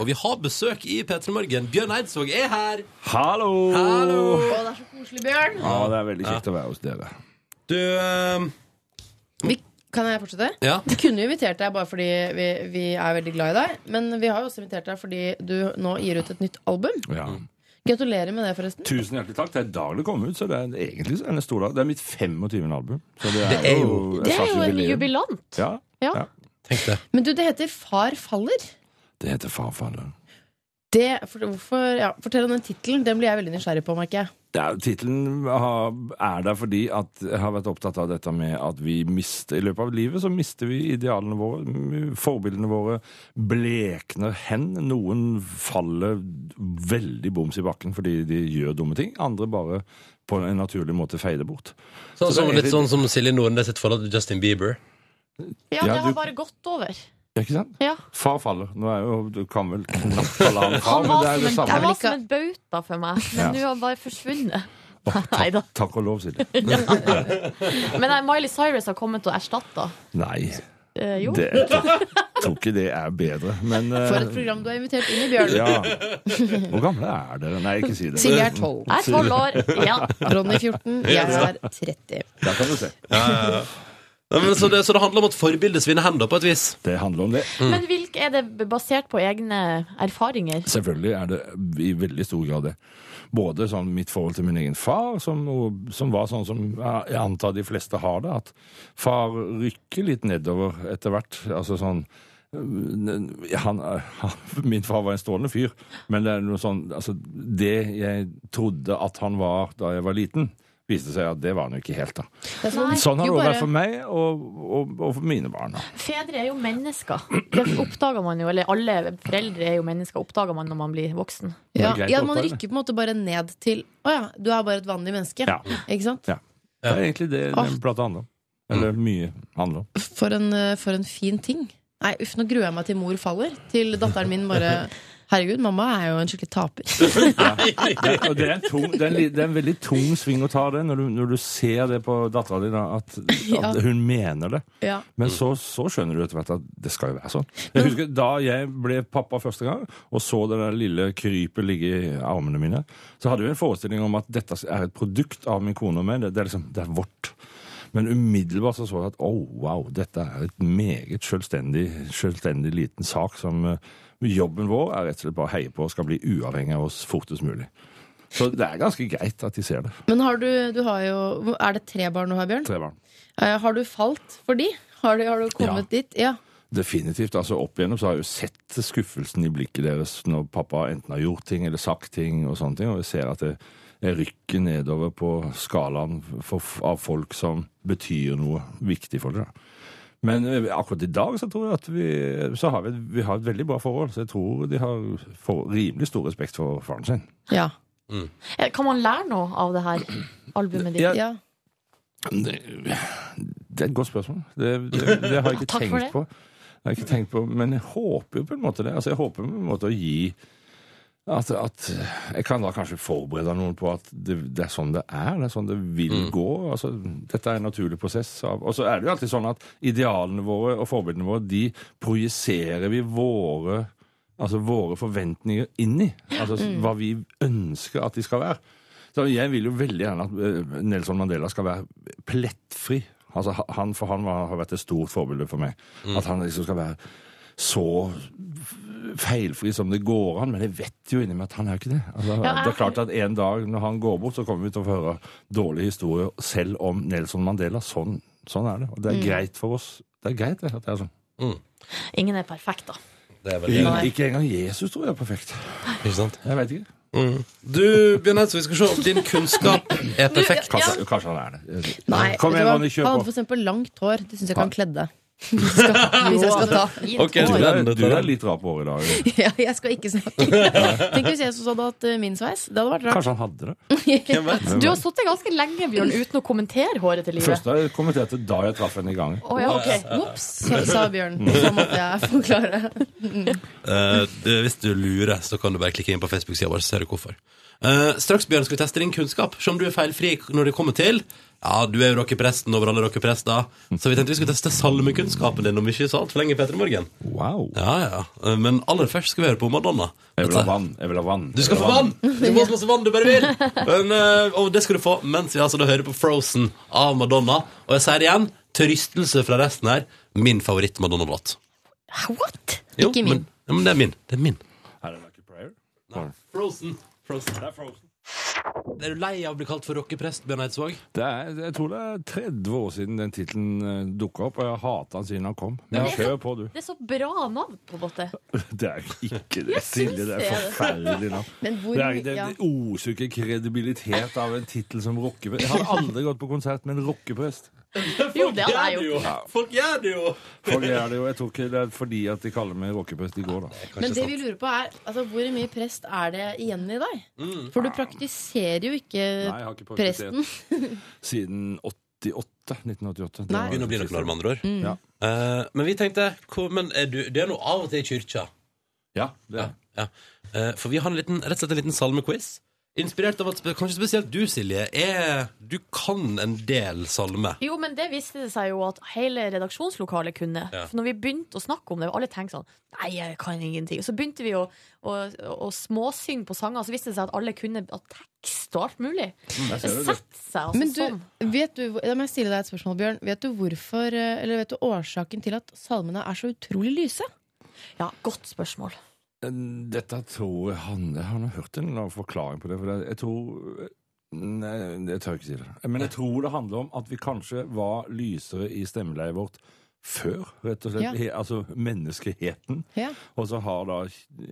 Speaker 2: Og vi har besøk i P3 Morgen. Bjørn Eidsvåg er her!
Speaker 7: Hallo!
Speaker 2: Hallo!
Speaker 4: Å, det er så koselig, Bjørn.
Speaker 7: Ja, det er veldig kjekt å være hos dere.
Speaker 2: Du eh,
Speaker 4: Vi, kan jeg fortsette?
Speaker 2: Ja.
Speaker 4: Vi kunne jo invitert deg bare fordi vi, vi er veldig glad i deg. Men vi har jo også invitert deg fordi du nå gir ut et nytt album.
Speaker 7: Ja.
Speaker 4: Gratulerer med det, forresten.
Speaker 7: Mm. Tusen hjertelig takk. Det er i dag det kom ut, så det er egentlig så er det en stor dag. Det er mitt 25. album. Så det er,
Speaker 2: Det er jo-
Speaker 7: et
Speaker 6: Det er
Speaker 7: slags
Speaker 6: jo en
Speaker 7: jubileum.
Speaker 6: jubilant.
Speaker 7: Ja.
Speaker 6: Ja.
Speaker 7: Ja.
Speaker 2: Tenk det.
Speaker 4: Men du, det heter Far faller.
Speaker 7: Det heter Farfaderen.
Speaker 4: Det, for, hvorfor, ja, fortell om den tittelen. Den blir jeg veldig nysgjerrig på, merker jeg.
Speaker 7: Ja, Tittelen har- er der fordi at jeg har vært opptatt av dette med at vi mister I løpet av livet så mister vi idealene våre. m- Forbildene våre blekner hen. Noen faller veldig boms i bakken fordi de gjør dumme ting. Andre bare på en naturlig måte feider bort.
Speaker 2: Sånn
Speaker 7: Så
Speaker 2: som,
Speaker 7: det er
Speaker 2: litt sånn som Silje Nordnes sitt forhold til Justin Bieber.
Speaker 6: Ja,
Speaker 7: Ja,
Speaker 6: det har
Speaker 7: du-
Speaker 6: bare gått over.
Speaker 7: Ja, ikke sant?
Speaker 6: Ja.
Speaker 7: Far faller. Nå er jo Du kan vel knapt kalle han far,
Speaker 6: Han
Speaker 7: men
Speaker 6: var
Speaker 7: det er
Speaker 6: som
Speaker 7: jo det
Speaker 6: en, han
Speaker 7: samme.
Speaker 6: var som en bauta for meg,
Speaker 7: Ja.
Speaker 6: men nå har han bare forsvunnet. Nei da.
Speaker 7: Takk, takk og lov, Silje.
Speaker 6: Men nei, Miley Cyrus har kommet og erstatta.
Speaker 7: Nei,
Speaker 6: Eh, jo.
Speaker 7: det jeg tror, tror ikke det er bedre, men eh,
Speaker 4: For et program du har invitert inn i, Bjørn.
Speaker 7: Ja. Hvor gamle er dere? Nei, ikke si det.
Speaker 4: Silje er 12.
Speaker 6: Jeg er tolv år. Ja.
Speaker 4: Ronny 14. Jeg er 30.
Speaker 7: Der kan du se.
Speaker 2: Nei, men, så, det, så det handler om at forbildet svinner hen, da, på et vis.
Speaker 7: Det handler om det.
Speaker 6: Men hvilke er det basert på egne erfaringer?
Speaker 7: Selvfølgelig er det i veldig stor grad det. Både sånn mitt forhold til min egen far, som, som var sånn som jeg antar de fleste har det, at far rykker litt nedover etter hvert. Altså sånn øh, han, han, Min far var en strålende fyr, men det er noe sånn altså, Det jeg trodde at han var da jeg var liten, viste seg at det var han jo ikke helt, da.
Speaker 4: Det er sånn,
Speaker 7: Sånn har det
Speaker 4: jo
Speaker 7: også
Speaker 4: bare-
Speaker 7: vært for meg og, og, og for mine barn. da.
Speaker 6: Fedre er jo mennesker. Det oppdager man jo, eller alle foreldre er jo mennesker, oppdager man når man blir voksen.
Speaker 7: Det er
Speaker 4: ja,
Speaker 7: greit
Speaker 4: ja,
Speaker 7: å
Speaker 4: man
Speaker 7: oppdage det.
Speaker 4: rykker på en måte bare ned til Å ja, du er bare et vanlig menneske.
Speaker 7: Ja.
Speaker 4: Ikke sant?
Speaker 7: Ja. Det er egentlig det
Speaker 4: Åh.
Speaker 7: den plata handler om. Eller mye handler om.
Speaker 4: For en, eh, for en fin ting. Nei, uff, nå gruer jeg meg til mor faller. Til datteren min bare Herregud, mamma er jo en skikkelig taper.
Speaker 7: Det, og det, er en tung, det, er en, li- det er en veldig tung sving å ta det, når du, når du ser det på dattera di, da, at, at
Speaker 4: Ja.
Speaker 7: hun mener det.
Speaker 4: Ja.
Speaker 7: Men så, så skjønner du etter hvert at det skal jo være sånn. Jeg husker Da jeg ble pappa første gang, og så det der lille krypet ligge i armene mine, så hadde vi en forestilling om at dette er et produkt av min kone og meg. Det, det er liksom, det er vårt. Men umiddelbart så så jeg at oh, wow, dette er et meget selvstendig, selvstendig liten sak som eh, jobben vår er rett og slett bare å heie på og skal bli uavhengig av oss fortest mulig. Så det er ganske greit at de ser det.
Speaker 4: Men har du, du har jo Er det tre barn du har, Bjørn?
Speaker 7: Tre barn.
Speaker 4: Eh, Har du falt for de? Har du, har du kommet dit? Ja.
Speaker 7: Definitivt. altså Opp igjennom så har jeg jo sett skuffelsen i blikket deres når pappa enten har gjort ting eller sagt ting, og sånne ting, og jeg ser at det jeg rykker nedover på skalaen for, av folk som betyr noe viktig for dere. da. Men eh, akkurat i dag så tror jeg at vi, så har vi, vi har et veldig bra forhold, så jeg tror de har for, rimelig stor respekt for faren sin.
Speaker 4: Ja.
Speaker 6: Eh, Kan man lære noe av det her albumet ditt?
Speaker 7: Ja,
Speaker 4: ja.
Speaker 7: Det, det er et godt spørsmål. Det, det, det har jeg ikke
Speaker 6: Takk for
Speaker 7: tenkt
Speaker 6: det.
Speaker 7: på. Det har jeg ikke tenkt på, Men jeg håper jo på en måte det. Altså, jeg håper på en måte å gi at, at Jeg kan da kanskje forberede noen på at det, det er sånn det er. Det er sånn det vil
Speaker 6: Mm.
Speaker 7: gå. Altså, dette er en naturlig prosess. Av, og så er det jo alltid sånn at idealene våre og forbildene våre, de projiserer vi våre Altså våre forventninger inn i. Altså hva vi ønsker at de skal være. Så jeg vil jo veldig gjerne at eh, Nelson Mandela skal være plettfri. Altså, ha- han, for han var, har vært et stort forbilde for meg.
Speaker 2: Mm.
Speaker 7: At han liksom skal være så f- feilfri som det går an. Men jeg vet jo inni meg at han er jo ikke det. Altså,
Speaker 6: Ja,
Speaker 7: Det er klart at en dag når han går bort, så kommer vi til å få høre dårlige historier selv om Nelson Mandela. Sånn, sånn er det. Og det er greit for oss. Det er greit det, at det er sånn.
Speaker 6: Ingen er perfekt, da.
Speaker 2: Det er veldig
Speaker 6: Nei.
Speaker 7: Ikke engang Jesus tror jeg er perfekt.
Speaker 2: Ikke sant?
Speaker 7: Jeg vet ikke.
Speaker 2: Du, Bjørn Eidsvåg, vi skal se om din kunnskap er perfekt.
Speaker 7: Kanskje, kanskje han er det.
Speaker 4: Nei,
Speaker 7: Kom
Speaker 4: vet du
Speaker 7: igjen,
Speaker 4: hva?
Speaker 7: Ronny,
Speaker 4: Han
Speaker 7: kjør
Speaker 4: hadde
Speaker 7: på.
Speaker 4: for eksempel langt hår. Det syns jeg ikke han kledde.
Speaker 6: Hvis
Speaker 4: jeg skal ta.
Speaker 2: Ok,
Speaker 7: Du
Speaker 2: du
Speaker 7: er,
Speaker 2: er-
Speaker 7: du er litt rar på håret i dag.
Speaker 4: Ja, jeg skal ikke snakke. Tenk hvis Jesus hadde hatt eh, min sveis. Det hadde vært rart.
Speaker 7: Kanskje han hadde det.
Speaker 2: Hvem vet?
Speaker 6: Du har sittet ganske lenge, Bjørn, uten å kommentere håret til livet.
Speaker 7: Først da jeg kommenterte da jeg traff henne i gangen.
Speaker 6: Å, ja, ok.
Speaker 4: Ops, sa- sa Bjørn. Så måtte jeg forklare.
Speaker 2: Eh, det- hvis du lurer, så kan du bare klikke inn på Facebook-sida vår, så ser du hvorfor. Eh, straks, Bjørn, skal vi teste din kunnskap. Se om du er feilfri når det kommer til Ja, du er jo rockepresten over alle rockeprester, så vi tenkte vi skulle teste salmekunnskapen din om ikke så altfor lenge, Peter Morgen.
Speaker 7: Wow.
Speaker 2: Ja, ja. Eh, Men aller først skal vi høre på Madonna.
Speaker 7: Jeg vil ha vann. Jeg vil ha vann.
Speaker 2: Du skal få vann! Du skal få så masse vann du bare vil! Men, eh, og det skal du få mens vi altså da hører på Frozen av Madonna. Og jeg sier det igjen, til rystelse fra resten her, min favoritt-Madonna-låt.
Speaker 6: What?
Speaker 2: Jo,
Speaker 4: Ikke min.
Speaker 2: Men, ja, men det er min. Det er min.
Speaker 7: Er det Lucky Prayer?
Speaker 2: Frozen. Frozen. Er du lei av å bli kalt for rockeprest, Bjørn Eidsvåg?
Speaker 7: Det er, jeg tror det er 30 år siden den tittelen dukka opp, og jeg har hata den siden han kom. Men kjør på, du.
Speaker 6: Det er så bra navn, på en måte.
Speaker 7: Det er ikke det, Silje. Det er forferdelig navn.
Speaker 4: Men hvor
Speaker 7: Det, er, det,
Speaker 4: ja.
Speaker 7: det oser jo ikke kredibilitet av en tittel som rockeprest. Jeg har aldri gått på konsert med en rockeprest.
Speaker 6: Jo, det hadde jeg gjort.
Speaker 2: Folk gjør det jo!
Speaker 7: Folk er det jo, jeg tror ikke det er fordi at de kaller meg rockeprest i går, da.
Speaker 4: Men det vi lurer på er altså, hvor mye prest er det igjen i deg?
Speaker 2: Mm.
Speaker 4: For du praktiserer jo ikke
Speaker 7: Nei, jeg har ikke
Speaker 4: Eh,
Speaker 7: praktisert
Speaker 4: presten.
Speaker 7: siden 88. 1988. Det
Speaker 4: Nei. Mm.
Speaker 7: var-
Speaker 2: Begynner å bli noen år, med andre ord.
Speaker 7: Ja.
Speaker 2: Eh, men vi tenkte hvor, Men er du, det er noe av og til i kyrkja.
Speaker 7: Ja, det er.
Speaker 2: Ja. Eh, for vi har en liten, rett og slett en liten salmequiz. Inspirert av at spe- kanskje spesielt du, Silje, er Du kan en del salme.
Speaker 6: Jo, men det viste det seg jo at hele redaksjonslokalet kunne.
Speaker 2: Ja.
Speaker 6: For når vi begynte å snakke om det, og alle tenkte sånn Nei, jeg kan ingenting. Og så begynte vi å, å, å småsynge på sanger, og så viste det seg at alle kunne av tekst og alt mulig. Det setter seg altså
Speaker 4: Men du,
Speaker 6: sånn.
Speaker 4: vet du, hvor- da må jeg stille deg et spørsmål, Bjørn. Vet du hvorfor, eh, eller vet du årsaken til at salmene er så utrolig lyse?
Speaker 6: Ja, godt spørsmål.
Speaker 7: Dette tror jeg han Jeg har nå hørt en eller annen forklaring på det. For det- jeg tror Nei, jeg tør ikke si det. Men jeg tror det handler om at vi kanskje var lysere i stemmeleiet vårt før, rett og slett.
Speaker 4: Ja.
Speaker 7: He, altså menneskeheten.
Speaker 4: Ja.
Speaker 7: Og så har da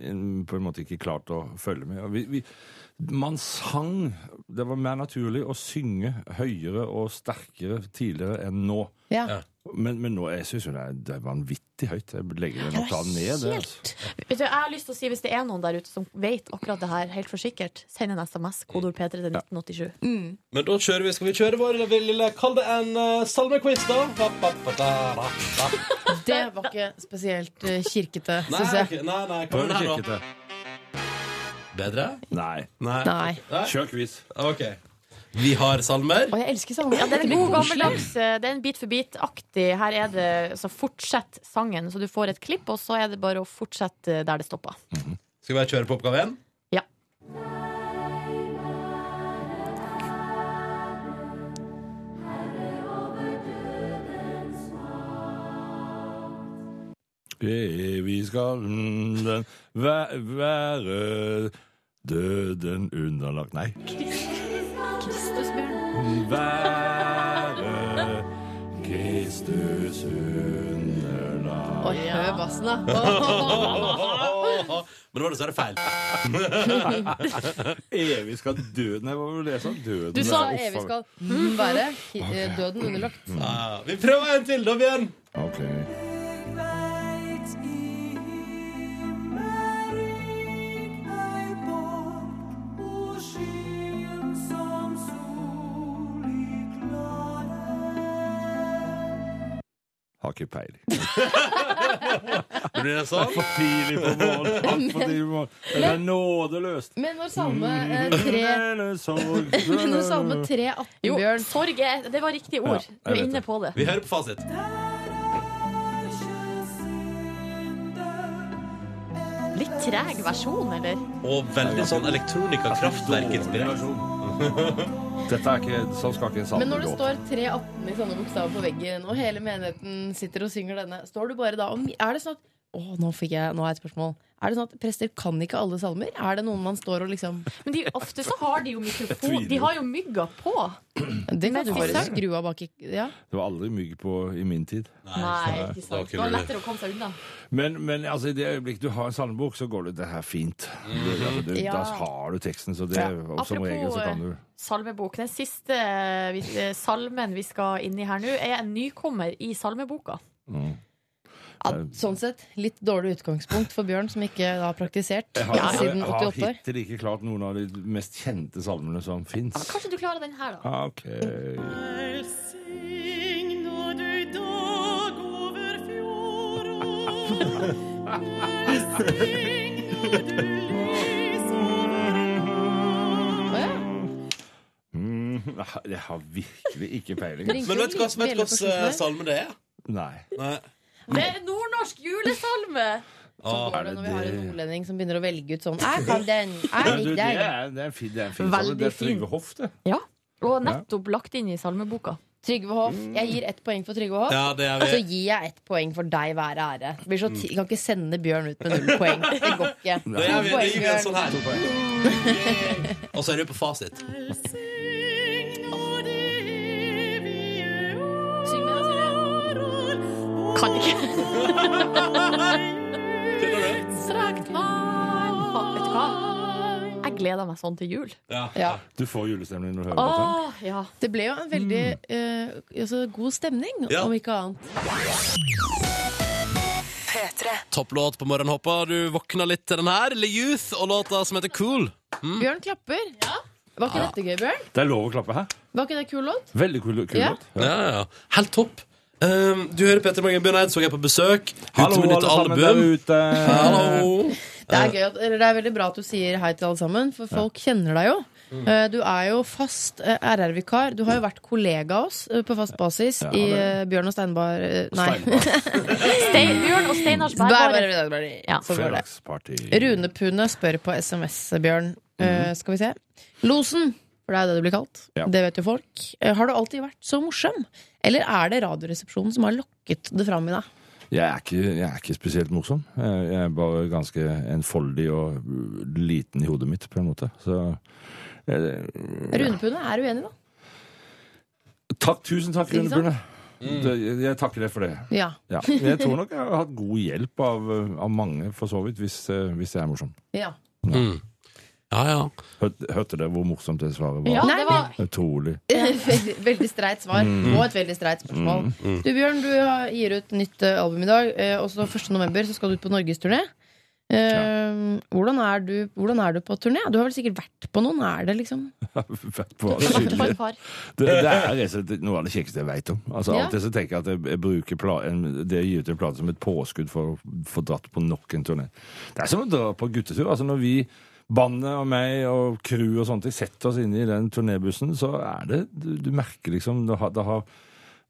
Speaker 7: en på en måte ikke klart å følge med. Og Vi, vi, man sang Det var mer naturlig å synge høyere og sterkere tidligere enn nå.
Speaker 4: Ja.
Speaker 2: Ja.
Speaker 7: Men, men nå, jeg syns jo det er, det er vanvittig høyt. Jeg legger den opptaven ned. Det, altså.
Speaker 6: Vet du, jeg har lyst til å si Hvis det er noen der ute som vet akkurat det her helt for sikkert, send en SMS, kodeord P3 til 1987.
Speaker 2: Men da kjører vi. Skal vi kjøre vår lille Kall det en eh, salmequiz, da. Ba, ba, ba, da, da, da.
Speaker 4: Det var ikke spesielt eh, kirkete,
Speaker 2: Nei,
Speaker 4: syns jeg.
Speaker 2: ok, nei, nei, kom
Speaker 7: Prøv å
Speaker 2: den her,
Speaker 7: kikke
Speaker 2: da.
Speaker 7: til.
Speaker 2: Bedre?
Speaker 7: Nei.
Speaker 2: Nei.
Speaker 4: Nei.
Speaker 7: Kjør quiz.
Speaker 2: OK. Vi har salmer.
Speaker 4: Og jeg elsker salmer.
Speaker 6: Ja, det er en
Speaker 4: litt
Speaker 6: god
Speaker 4: koselig.
Speaker 6: gammeldags eh, Det er en bit for bit-aktig. Her er det så fortsett sangen, så du får et klipp, og så er det bare å fortsette eh, der det stopper.
Speaker 2: Skal vi bare kjøre på oppgave én?
Speaker 6: Ja.
Speaker 7: Evig skal den væ- være døden underlagt Nei. Være Kristus underlag.
Speaker 4: Oi, hør bassen, da.
Speaker 2: Men det var dessverre feil.
Speaker 7: Evig skal døden Jeg må vel lese om døden.
Speaker 4: Du sa
Speaker 7: Uff,
Speaker 4: evig skal mm, være ki- eh, døden underlagt.
Speaker 2: Ja, Ah, vi prøver en til, da, Bjørn.
Speaker 7: Ok. Har ikke peiling.
Speaker 2: Blir det sånn?
Speaker 7: For tidlig på morgenen. Altfor tidlig på morgenen. Det er nådeløst.
Speaker 4: Men når salme
Speaker 7: Mm.
Speaker 4: eh, tre Men når salme 318,
Speaker 6: Jo,
Speaker 4: Bjørn
Speaker 6: sorg er Det var riktig ord.
Speaker 7: Ja, jeg
Speaker 6: du er
Speaker 7: vet
Speaker 6: inne
Speaker 7: det.
Speaker 6: på det.
Speaker 2: Vi hører på fasit.
Speaker 6: Litt treg versjon, eller?
Speaker 2: Og veldig sånn elektronika-kraftverkinspirert.
Speaker 7: Dette er ikke, sånn skal ikke en
Speaker 4: Men når det
Speaker 7: salmelåt.
Speaker 4: står 318 i sånne bokstaver på veggen, og hele menigheten sitter og synger denne, står du bare da om Er det sånn at Å, nå fikk jeg Nå har jeg et spørsmål. Er det sånn at prester kan ikke alle salmer? Er det noen man står og liksom
Speaker 6: Men de, ofte så har de jo mikrofon.
Speaker 7: tviler.
Speaker 6: De har jo mygga på.
Speaker 4: Det kan
Speaker 6: Men
Speaker 4: du bare
Speaker 6: Isak-
Speaker 4: skru av bak i Ja.
Speaker 7: Det var aldri mygg på i min tid.
Speaker 6: Nei, ikke
Speaker 2: var
Speaker 6: sant.
Speaker 2: ikke
Speaker 6: Det var
Speaker 2: mulig.
Speaker 6: lettere å komme seg unna.
Speaker 7: Men, men altså, i det øyeblikk du har en salmebok, så går det det her fint. Det- altså, det-
Speaker 4: Ja.
Speaker 7: Da har du teksten, så det, og som regel så
Speaker 6: Apropos
Speaker 7: kan du
Speaker 6: eh, salmebok. Den siste eh, vi- eh, salmen vi skal inn i her nå, er en nykommer i salmeboka.
Speaker 4: ja. Sånn sett litt dårlig utgangspunkt for Bjørn, som ikke da har praktisert siden
Speaker 7: Jeg har
Speaker 4: 88 år.
Speaker 7: hittil ikke klart noen av de mest kjente salmene som
Speaker 6: Ja,
Speaker 7: fins.
Speaker 6: kanskje du klarer den her, da.
Speaker 7: Ok.
Speaker 4: Å ja.
Speaker 7: Mm, jeg har virkelig ikke peiling. altså.
Speaker 2: Men vet du hva som vet du hvilken salme det er?
Speaker 7: Nei.
Speaker 2: Nei.
Speaker 6: Det er nordnorsk julesalme!
Speaker 4: Sånn går det når vi har en nordlending som begynner å velge ut sånn Jeg kan den, jeg
Speaker 7: Men du,
Speaker 4: liker
Speaker 7: det
Speaker 4: den.
Speaker 7: er, det er en fin, det er en fin
Speaker 6: Veldig
Speaker 7: salme. Det er
Speaker 6: fin.
Speaker 7: Trygve Hoff, det.
Speaker 6: Ja. Og nettopp lagt inn i salmeboka.
Speaker 4: Trygve Hoff. Jeg gir ett poeng for Trygve Hoff.
Speaker 2: Ja, det er
Speaker 4: Så
Speaker 2: vi.
Speaker 4: gir jeg ett poeng for deg hver ære. Det blir så ti- Jeg kan ikke sende Bjørn ut med null poeng. Det går ikke.
Speaker 2: Da gjør vi, da gir vi en
Speaker 4: Bjørn.
Speaker 2: sånn her. Og så er du på fasit.
Speaker 6: Syng med, da, Silje. Kan ikke. Strakt vann Fa- Vet du hva? Jeg gleder meg sånn til jul.
Speaker 4: Ja.
Speaker 7: Du får julestemning når du hører dette.
Speaker 6: Åh, ja.
Speaker 4: Det ble jo en veldig eh, altså, god stemning,
Speaker 2: Ja.
Speaker 4: om ikke annet.
Speaker 3: P3.
Speaker 2: Topplåt på morgenhoppa. Du våkna litt til den her. Le Youth og låta som heter Cool.
Speaker 4: Bjørn klapper. Var ikke dette gøy, Bjørn?
Speaker 7: Det er lov å klappe her.
Speaker 4: Var ikke det kul låt?
Speaker 7: Veldig kul, kul
Speaker 4: Ja.
Speaker 7: låt.
Speaker 2: Ja, ja, ja. Helt topp. Um, du hører Petter Morgen Bjørn Eidsvåg er på besøk. Ut
Speaker 7: Hallo,
Speaker 2: med nytt
Speaker 7: alle sammen der
Speaker 2: album.
Speaker 7: ute.
Speaker 2: Hallo.
Speaker 4: Det er, gøy at, eller det er veldig bra at du sier hei til alle sammen, for folk kjenner deg jo. Eh, Du er jo fast eh, RR-vikar. Du har jo vært kollega av oss eh, på fast basis
Speaker 7: Ja,
Speaker 4: i
Speaker 7: det-
Speaker 4: eh, Bjørn og Steinbar eh, Nei.
Speaker 7: Steinbar.
Speaker 6: Stein, Bjørn og Steinars bærbare. Ja.
Speaker 4: Så Sånn går det.
Speaker 7: Fredagsparty.
Speaker 4: Rune Pune spør på SMS, Bjørn. Eh, skal vi se. Losen, for det er jo det du blir kalt.
Speaker 7: Ja.
Speaker 4: Det vet jo folk. Eh, har du alltid vært så morsom? Eller er det Radioresepsjonen som har lokket det fram i deg?
Speaker 7: Jeg er, ikke, jeg er ikke spesielt morsom. Jeg jeg er bare ganske enfoldig og liten i hodet mitt, på en måte. Så eh,
Speaker 4: Rune Pune er uenig, da.
Speaker 7: Takk, tusen takk,
Speaker 4: Ikke
Speaker 7: Rune
Speaker 4: sant?
Speaker 7: Brune. Det- Jeg, jeg takker deg for det.
Speaker 4: Ja.
Speaker 7: Ja. Jeg tror nok jeg har hatt god hjelp av, eh, av mange, for så vidt, hvis, eh, hvis jeg er morsom.
Speaker 4: ja.
Speaker 2: Mm. Ja, ja.
Speaker 7: Hørte, hørte dere hvor morsomt det svaret var?
Speaker 6: Ja,
Speaker 4: Nei,
Speaker 6: det var
Speaker 7: Utrolig.
Speaker 4: veldig, veldig streit svar. Og et veldig streit spørsmål. Du Bjørn, du har- gir ut nytt eh, album i dag. eh, Og så 1. november så skal du ut på norgesturné. Uh, hvordan, er du- hvordan er du på turné? Du har vel sikkert vært på noen? Er det liksom
Speaker 7: Vært på
Speaker 6: det var ikke
Speaker 7: atskillige.
Speaker 6: et par.
Speaker 7: Det, det er rett og slett noe av det kjekkeste jeg veit om. Altså,
Speaker 4: Ja.
Speaker 7: Alltid så tenker jeg at jeg, jeg bruker pla en, det å gi ut en plate som et påskudd for å få dratt på nok en turné. Det er som å dra på guttetur. Altså, når vi, bandet og meg og crew og sånt, de setter oss inne i den turnébussen, så er det Du, du merker liksom det har, det har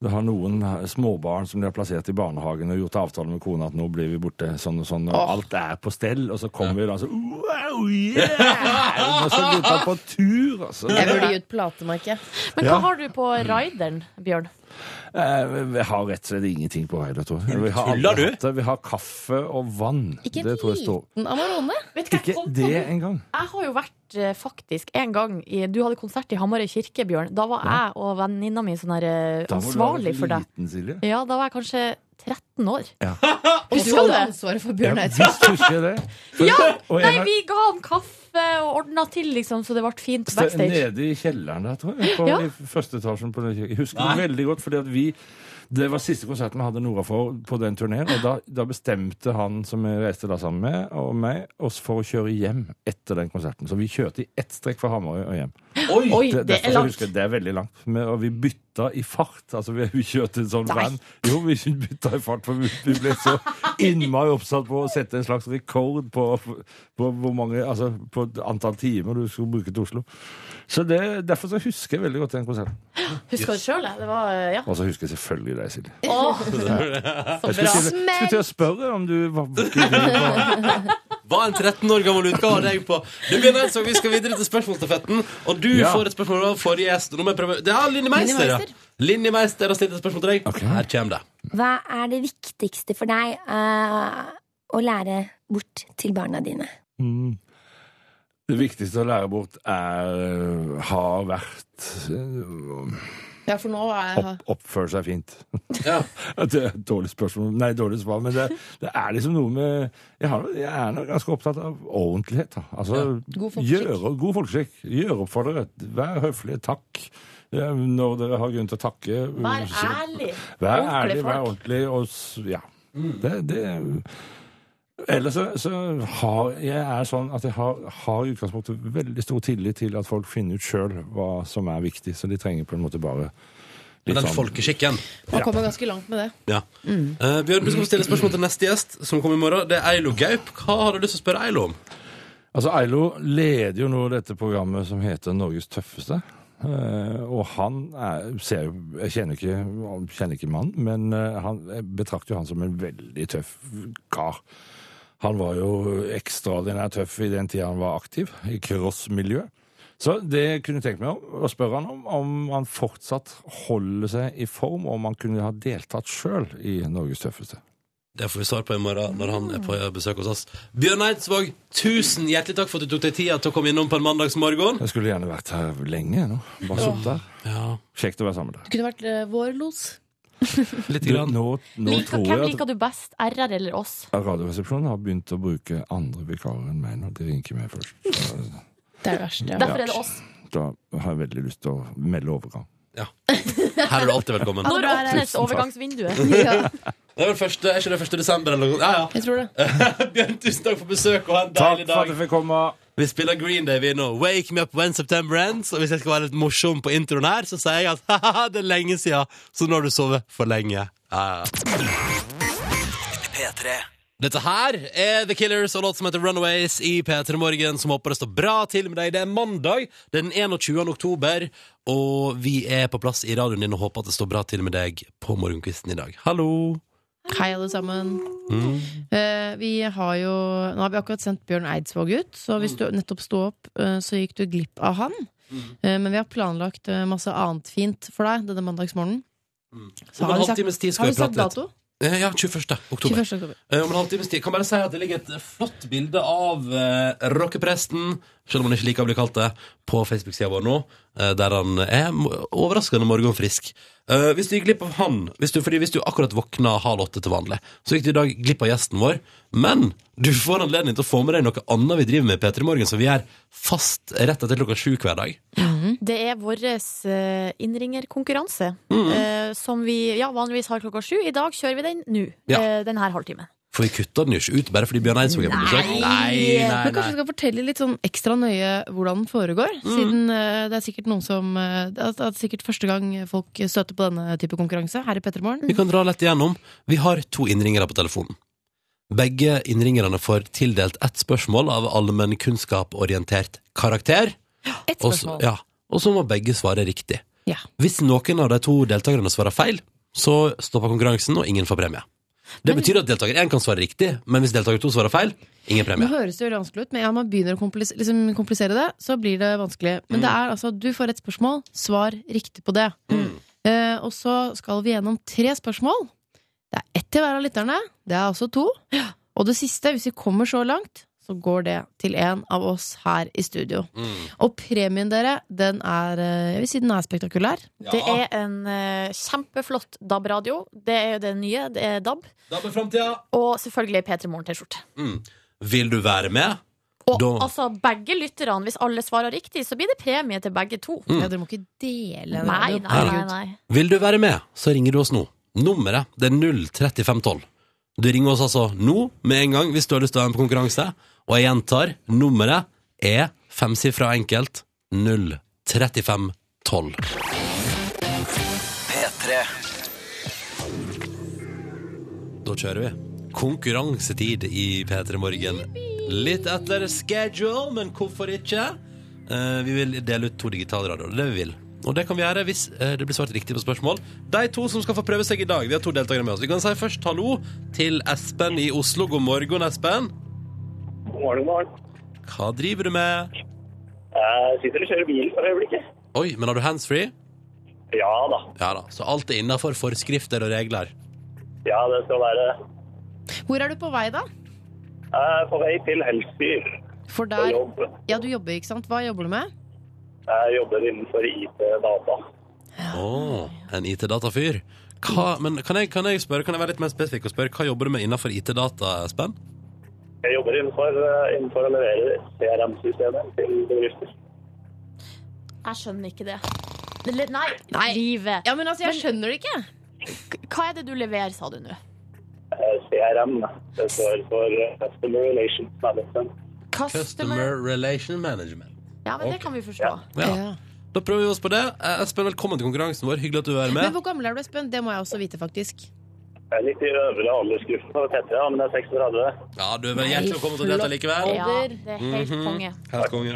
Speaker 7: det har noen småbarn som de har plassert i barnehagen og gjort avtale med kona at nå blir vi borte sånn og sånn, og alt er på stell, og så kommer vi da så Wow, yeah! Og så gutta på tur, altså.
Speaker 4: Jeg burde gi ut platemerke.
Speaker 6: Men hva
Speaker 7: Ja.
Speaker 6: har du på rideren, Bjørn?
Speaker 7: Eh, Vi har rett og slett ingenting på hele, tror jeg. Vi har,
Speaker 2: Tuller
Speaker 7: aldri
Speaker 2: du?
Speaker 7: hatt det. vi har kaffe og vann.
Speaker 5: Ikke en
Speaker 7: det tror jeg står.
Speaker 5: liten Amarone?
Speaker 6: Vet du hva jeg
Speaker 7: Ikke
Speaker 6: kom på?
Speaker 7: det engang.
Speaker 6: Jeg har jo vært eh, faktisk en gang i, Du hadde konsert i Hamarøy kirke, Bjørn. Da var jeg og venninna mi sånn her eh,
Speaker 7: Da må du ha
Speaker 6: ansvarlig
Speaker 7: vært
Speaker 6: for deg.
Speaker 7: Liten, Silje.
Speaker 6: Ja, da var jeg kanskje 13 år.
Speaker 7: Ja.
Speaker 4: Og du
Speaker 6: Husker du
Speaker 4: hadde
Speaker 6: det?
Speaker 4: ansvaret for
Speaker 7: Ja,
Speaker 4: Bjørn Eidsvåg.
Speaker 7: visst husker jeg det. For- og en
Speaker 6: Nei,
Speaker 7: av-
Speaker 6: vi ga han kaffe og ordna til, liksom, så det ble fint
Speaker 7: Ste-
Speaker 6: backstage.
Speaker 7: Nede i kjelleren der, tror jeg. På,
Speaker 6: Ja.
Speaker 7: I første etasjen på den kirken. Jeg husker det veldig godt, fordi at vi det var siste konserten vi hadde Nora for på den turneen. Og da, da bestemte han som jeg reiste da sammen med, og meg, oss for å kjøre hjem etter den konserten. Så vi kjørte i ett strekk fra Hamarøy og hjem.
Speaker 6: Oi,
Speaker 7: Det,
Speaker 6: det
Speaker 7: derfor
Speaker 6: er
Speaker 7: så
Speaker 6: langt.
Speaker 7: husker jeg det er veldig langt. Men, og vi bytta i fart. Altså, vi, vi kjørte en sånn
Speaker 6: Nei.
Speaker 7: van. Jo, vi bytta i fart, for vi, vi ble så innmari oppsatt på å sette en slags rekord på, på hvor mange Altså på antall timer du skulle bruke til Oslo. Så det, derfor så husker jeg veldig godt den konserten.
Speaker 6: Husker du sjøl, jeg? Det var eh, ja.
Speaker 7: Og så husker jeg selvfølgelig deg, Silje.
Speaker 6: Åh, så
Speaker 7: Jeg skulle,
Speaker 6: bra.
Speaker 7: til- skulle til å spørre om du var
Speaker 2: Hva en 13 år gammel utgave av deg på Det blir en annen sak, Vi skal videre til spørsmålstafetten. Og du
Speaker 7: Ja.
Speaker 2: får et spørsmål av forrige gjest. Nå må jeg prøve Det er Linni Meister. ja. Linni Meister har stilt et spørsmål til deg.
Speaker 7: Ok.
Speaker 2: Her kommer det.
Speaker 8: Hva er det viktigste for deg eh, å lære bort til barna dine?
Speaker 7: Mm. Det viktigste å lære bort er eh, har vært eh,
Speaker 4: Ja, for nå er
Speaker 7: opp, oppføre seg fint.
Speaker 2: Ja.
Speaker 7: Det er et dårlig spørsmål. Nei, dårlig svar, men det, det er liksom noe med Jeg, har, jeg er nok ganske opptatt av ordentlighet. Da. Altså,
Speaker 4: god folkeskikk.
Speaker 7: gjøre, god folkeskikk. Gjør opp for dere. Vær høflige. Takk eh, når dere har grunn til å takke.
Speaker 6: Vær ærlig.
Speaker 7: Vær
Speaker 6: ordentlige
Speaker 7: ærlig, vær
Speaker 6: folk.
Speaker 7: ordentlig. Og, s- ja. Det, det Ellers så, så har jeg er sånn at jeg har, har i utgangspunktet veldig stor tillit til at folk finner ut sjøl hva som er viktig, så de trenger på en måte bare litt
Speaker 2: Den
Speaker 7: sånn-
Speaker 2: folkeskikken.
Speaker 4: Man kommer ganske langt med det.
Speaker 2: Ja. Eh, Bjørn, du skal få stille spørsmål til neste gjest, som kommer i morgen. Det er Eilo Gaup. Hva har du lyst til å spørre Eilo om?
Speaker 7: Altså, Eilo leder jo nå dette programmet som heter Norges tøffeste. Eh, og han er, ser jo Jeg kjenner ikke, han kjenner ikke mannen, men eh, han, jeg betrakter jo han som en veldig tøff kar. Han var jo ekstraordinært tøff i den tida han var aktiv, i crossmiljø. Så det jeg kunne tenkt meg om, å spørre han om, om han fortsatt holder seg i form, og om han kunne ha deltatt sjøl i Norges tøffeste.
Speaker 2: Det får vi svar på i morgen når han er på besøk hos oss. Bjørn Eidsvåg, tusen hjertelig takk for at du tok deg tida til å komme innom på en mandagsmorgen.
Speaker 7: Jeg skulle gjerne vært her lenge nå. Bare sittet der.
Speaker 2: Ja,
Speaker 7: Kjekt å være sammen med deg.
Speaker 4: Du kunne vært eh, vår los.
Speaker 2: litt
Speaker 7: Du,
Speaker 2: grann.
Speaker 7: nå nå
Speaker 6: Liker,
Speaker 7: tror
Speaker 6: hvem
Speaker 7: jeg at
Speaker 6: liker du best, RR eller oss?
Speaker 7: Radioresepsjonen har begynt å bruke andre vikarer enn meg nå. De ringer ikke meg først. Så
Speaker 4: Det er det verste. Ja.
Speaker 6: Derfor er det oss.
Speaker 7: Da har jeg veldig lyst til å melde overgang.
Speaker 2: Her er du alltid velkommen.
Speaker 6: Når
Speaker 4: bra, RR.
Speaker 6: åpnes overgangsvinduet?
Speaker 7: Mhm.
Speaker 4: Ja,
Speaker 2: Det er vel første, er ikke det første desember eller noe? Ja,
Speaker 4: jeg tror det.
Speaker 2: ja. Bjørn, tusen takk for besøk og ha en
Speaker 7: Takk
Speaker 2: deilig
Speaker 7: for at
Speaker 2: dag.
Speaker 7: du fikk komme.
Speaker 2: Vi spiller Green Day vi nå. Wake me up when September ends. Og hvis jeg skal være litt morsom på introen her, så sier jeg at haha, det er lenge siden, så nå har du sovet for lenge. Ja, ja. Dette her er The Killers og låt som heter Runaways i P3 Morgen, som håper det står bra til med deg. Det er mandag, det er den 21. oktober, og vi er på plass i radioen din og håper at det står bra til med deg på morgenkvisten i dag. Hallo!
Speaker 4: Hei, alle sammen.
Speaker 2: Mm.
Speaker 4: Eh, vi har jo Nå har vi akkurat sendt Bjørn Eidsvåg ut, så hvis du nettopp sto opp, eh, så gikk du glipp av han. Eh, men vi har planlagt eh, masse annet fint for deg denne mandagsmorgenen.
Speaker 2: Om en
Speaker 4: Så har vi sagt,
Speaker 2: halvtimes tid
Speaker 4: har
Speaker 2: skal
Speaker 4: vi
Speaker 2: vi
Speaker 4: sagt
Speaker 2: prate litt.
Speaker 4: dato?
Speaker 2: Eh, Ja, 21. oktober.
Speaker 4: 21. oktober.
Speaker 2: Eh, Om en halvtimes tid. Kan bare si at det ligger et flott bilde av eh, rockepresten, selv om han ikke liker å bli kalt det, på Facebook-sida vår nå, eh, der han er mo- overraskende morgenfrisk. Eh, hvis du gikk glipp av han, hvis du, fordi hvis du akkurat våkna halv åtte til vanlig, så gikk du i dag glipp av gjesten vår, men du får anledning til å få med deg noe annet vi driver med i P3 Morgen, som vi gjør fast rett etter klokka sju hver dag.
Speaker 6: Det er vår eh, innringerkonkurranse,
Speaker 7: Mhm.
Speaker 6: eh, som vi ja, vanligvis har klokka sju. I dag kjører vi den nå.
Speaker 2: Ja.
Speaker 6: eh, Den her halvtimen.
Speaker 2: For vi kutta den jo ikke ut bare fordi Bjørn Eidsvåg er på besøk. Nei, Mm.
Speaker 4: Men kanskje vi skal fortelle litt sånn ekstra nøye hvordan den foregår. Siden eh, det er sikkert noen som eh, Det er- det er sikkert første gang folk støter på denne type konkurranse her i Pettermorgen.
Speaker 2: Vi kan dra lett igjennom. Vi har to innringere på telefonen. Begge innringerne får tildelt ett spørsmål av allmennkunnskaporientert karakter.
Speaker 4: Ett
Speaker 2: Og så-
Speaker 4: spørsmål.
Speaker 2: ja. Og så må begge svare riktig.
Speaker 4: Ja.
Speaker 2: Hvis noen av de to deltakerne svarer feil, så stopper konkurransen, og ingen får premie. Det betyr at deltaker én kan svare riktig, men hvis deltaker to svarer feil, ingen
Speaker 4: Nå
Speaker 2: premie.
Speaker 4: høres det veldig vanskelig ut, men ja, man begynner å komplis liksom
Speaker 2: Mm. Mm.
Speaker 4: komplisere det, så blir det vanskelig. Men det er altså, du får et spørsmål, svar riktig på det. Eh, og så skal vi gjennom tre spørsmål. Det er ett til hver av lytterne. Det er altså to. Og det siste, hvis vi kommer så langt, så går det til en av oss her i studio.
Speaker 2: Mm.
Speaker 4: Og premien, dere, den er eh, Jeg vil si den er spektakulær.
Speaker 6: Det er en eh, kjempeflott DAB-radio. Det er jo det nye. Det er DAB.
Speaker 2: Da blir framtida.
Speaker 6: Og selvfølgelig P3 Morgen-T-skjorte.
Speaker 2: Mm. Vil du være med?
Speaker 6: Og
Speaker 2: Da-
Speaker 6: altså, begge lytterne, hvis alle svarer riktig, så blir det premie til begge to.
Speaker 7: Mm.
Speaker 4: Ja, dere må ikke dele den.
Speaker 6: Nei, nei, nei. nei.
Speaker 2: Vil du være med, så ringer du oss nå. Nummeret det er 03512. Du ringer oss altså nå med en gang hvis du har lyst til å være med på konkurranse. Og jeg gjentar, nummeret er femsifra enkelt 03512. Da kjører vi. Konkurransetid i P3 Morgen. Litt etter schedule, men hvorfor ikke? Eh, vi vil dele ut to digitalradioer. Det er det vi vil. Og det kan vi gjøre hvis eh, det blir svart riktig på spørsmål. De to som skal få prøve seg i dag, vi har to deltakere med oss. Vi kan si først hallo til Espen i Oslo. God morgen, Espen.
Speaker 9: God morgen, god morgen.
Speaker 2: Hva driver du med?
Speaker 9: Jeg Eh, sitter og kjører bil for øyeblikket.
Speaker 2: Oi, men har du handsfree?
Speaker 9: Ja da.
Speaker 2: Ja da. Så alt er innafor forskrifter og regler.
Speaker 9: Ja, det skal være
Speaker 4: Hvor er du på vei, da?
Speaker 9: Jeg er på vei til Helsby
Speaker 4: For
Speaker 9: på
Speaker 4: der
Speaker 9: jobb.
Speaker 4: Ja, du jobber, ikke sant? Hva jobber du med?
Speaker 9: Jeg jobber innenfor IT-data.
Speaker 2: Å, en IT-datafyr. Hva, men kan jeg, kan jeg spørre, kan jeg være litt mer spesifikk og spørre, hva jobber du med innenfor IT-data, Espen?
Speaker 9: Jeg jobber innenfor, eh, innenfor å levere CRM-systemet til bedrifter.
Speaker 6: Jeg skjønner ikke det. Le nei,
Speaker 4: Nei.
Speaker 6: livet.
Speaker 4: Ja, men altså, jeg skjønner det ikke.
Speaker 6: Hva er det du leverer, sa du nå?
Speaker 9: Eh, CRM det står for eh, Customer Relations Management.
Speaker 2: Customer Relation Management.
Speaker 6: Ja, men det kan vi forstå.
Speaker 2: Ja. Da prøver vi oss på det. Eh, Espen, velkommen til konkurransen vår. Hyggelig at du er
Speaker 4: Men
Speaker 2: med.
Speaker 4: hvor gammel er du, Espen? Det må jeg også vite, faktisk.
Speaker 9: Jeg er litt i øvre aldersgruppen for Petra, ja, men jeg er 36.
Speaker 2: Ja, du er vel hjertelig velkommen til å delta likevel.
Speaker 6: Ja, det er helt
Speaker 2: Mhm.
Speaker 6: konge.
Speaker 2: Helt konge.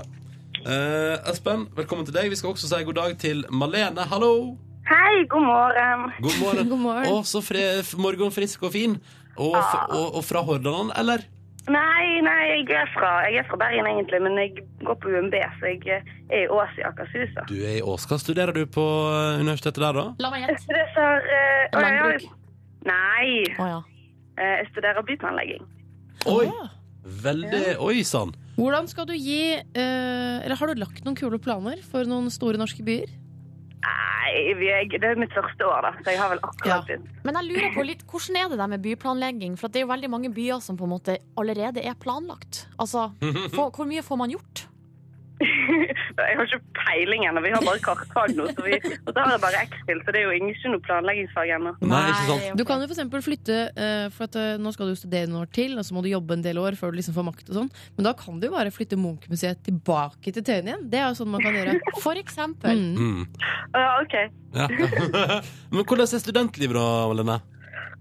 Speaker 2: Eh, Espen, velkommen til deg. Vi skal også si god dag til Malene. Hallo!
Speaker 10: Hei, god morgen.
Speaker 2: God morgen.
Speaker 4: God morgen.
Speaker 2: Å, så fre morgen frisk og fin. Og, f- og, og fra Hordaland, eller?
Speaker 10: Nei, nei, jeg er fra, jeg er fra Bergen egentlig, men jeg går på UMB, så jeg eh, er i Ås i Akershus. da.
Speaker 2: Du er i Ås. Hva studerer du på eh, universitetet der, da?
Speaker 6: La meg gjette.
Speaker 10: Så det er uh,
Speaker 6: Landbruk.
Speaker 10: Nei,
Speaker 6: Å ja.
Speaker 10: eh, jeg studerer byplanlegging.
Speaker 2: Oi! Veldig Oi sann!
Speaker 4: Hvordan skal du gi eh, Eller har du lagt noen kule planer for noen store norske byer?
Speaker 10: Nei, vi er, det er mitt første år, da, så jeg har vel
Speaker 4: Ja.
Speaker 10: akkurat begynt.
Speaker 6: Men jeg lurer på litt, hvordan er det der med byplanlegging? For at det er jo veldig mange byer som på en måte allerede er planlagt. Altså, få- hvor mye får man gjort?
Speaker 10: jeg har ikke peiling ennå, vi har bare kartfag nå, så vi, og så har jeg bare X-Fill, så det er jo ingen- ikke noe planleggingsfag ennå.
Speaker 2: Nei, ikke sant?
Speaker 4: Du kan jo for eksempel flytte eh, For at, eh, nå skal du jo studere noen år til, og så må du jobbe en del år før du liksom får makt og sånn. Men da kan du jo bare flytte Munch-museet tilbake til Tøyen igjen. Det er jo sånn man kan gjøre.
Speaker 6: For eksempel.
Speaker 4: Mm.
Speaker 2: Mm.
Speaker 10: Ja, OK.
Speaker 2: Ja. Men hvordan er studentlivet, da, Malene?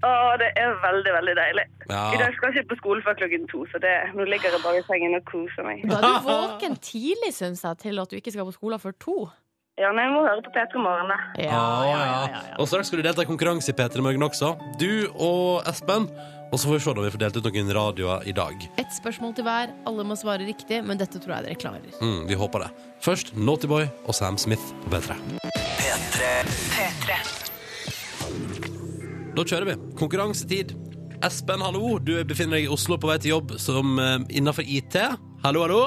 Speaker 10: Å, det er veldig, veldig deilig. I
Speaker 2: Ja.
Speaker 10: dag skal jeg ikke på skole før klokken to, så det, nå ligger jeg bare i sengen og koser meg.
Speaker 6: Da er du våken tidlig, syns jeg, til at du ikke skal på skolen før to.
Speaker 10: Ja, nei, jeg må høre på P3 Morgen, da.
Speaker 6: Ja,
Speaker 2: Ah,
Speaker 6: ja, ja, ja, ja.
Speaker 2: Og straks skal du delta i konkurranse i P3 Morgen også. Du og Espen. Og så får vi se om vi får delt ut noen radioer i dag.
Speaker 4: Ett spørsmål til hver. Alle må svare riktig, men dette tror jeg dere klarer.
Speaker 2: Mm, vi håper det. Først Naughty Boy og Sam Smith på P3. Da kjører vi. Konkurransetid. Espen, hallo. Du befinner deg i Oslo på vei til jobb som eh, innenfor IT. Hallo, hallo.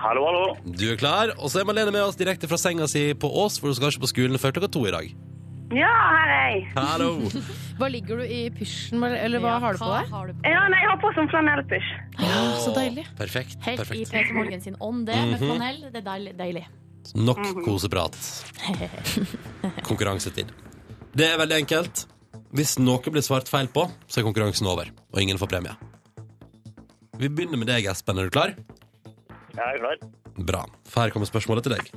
Speaker 9: Hallo, hallo.
Speaker 2: Du er klar. Og så er Malene med oss direkte fra senga si på Ås, for hun skal ikke på skolen før klokka to i dag.
Speaker 10: Ja, her er jeg.
Speaker 2: Hallo.
Speaker 4: Hva ligger du i pysjen, eller, eller hva
Speaker 6: Ja,
Speaker 4: har du på
Speaker 6: hva
Speaker 4: deg?
Speaker 6: har du på
Speaker 10: Ja, nei, jeg har på sånn flanellpysj.
Speaker 4: Å, så deilig.
Speaker 2: Perfekt.
Speaker 6: Helt i
Speaker 2: perfekt. Mhm.
Speaker 6: Peter Morgen sin ånd, det med flanell. Det er deilig. deilig.
Speaker 2: Nok
Speaker 6: Mhm.
Speaker 2: koseprat. Konkurransetid. Det er veldig enkelt. Hvis noe blir svart feil på, så er konkurransen over, og ingen får premie. Vi begynner med deg, Espen. Er du klar?
Speaker 9: Jeg er klar.
Speaker 2: Bra. For her kommer spørsmålet til deg.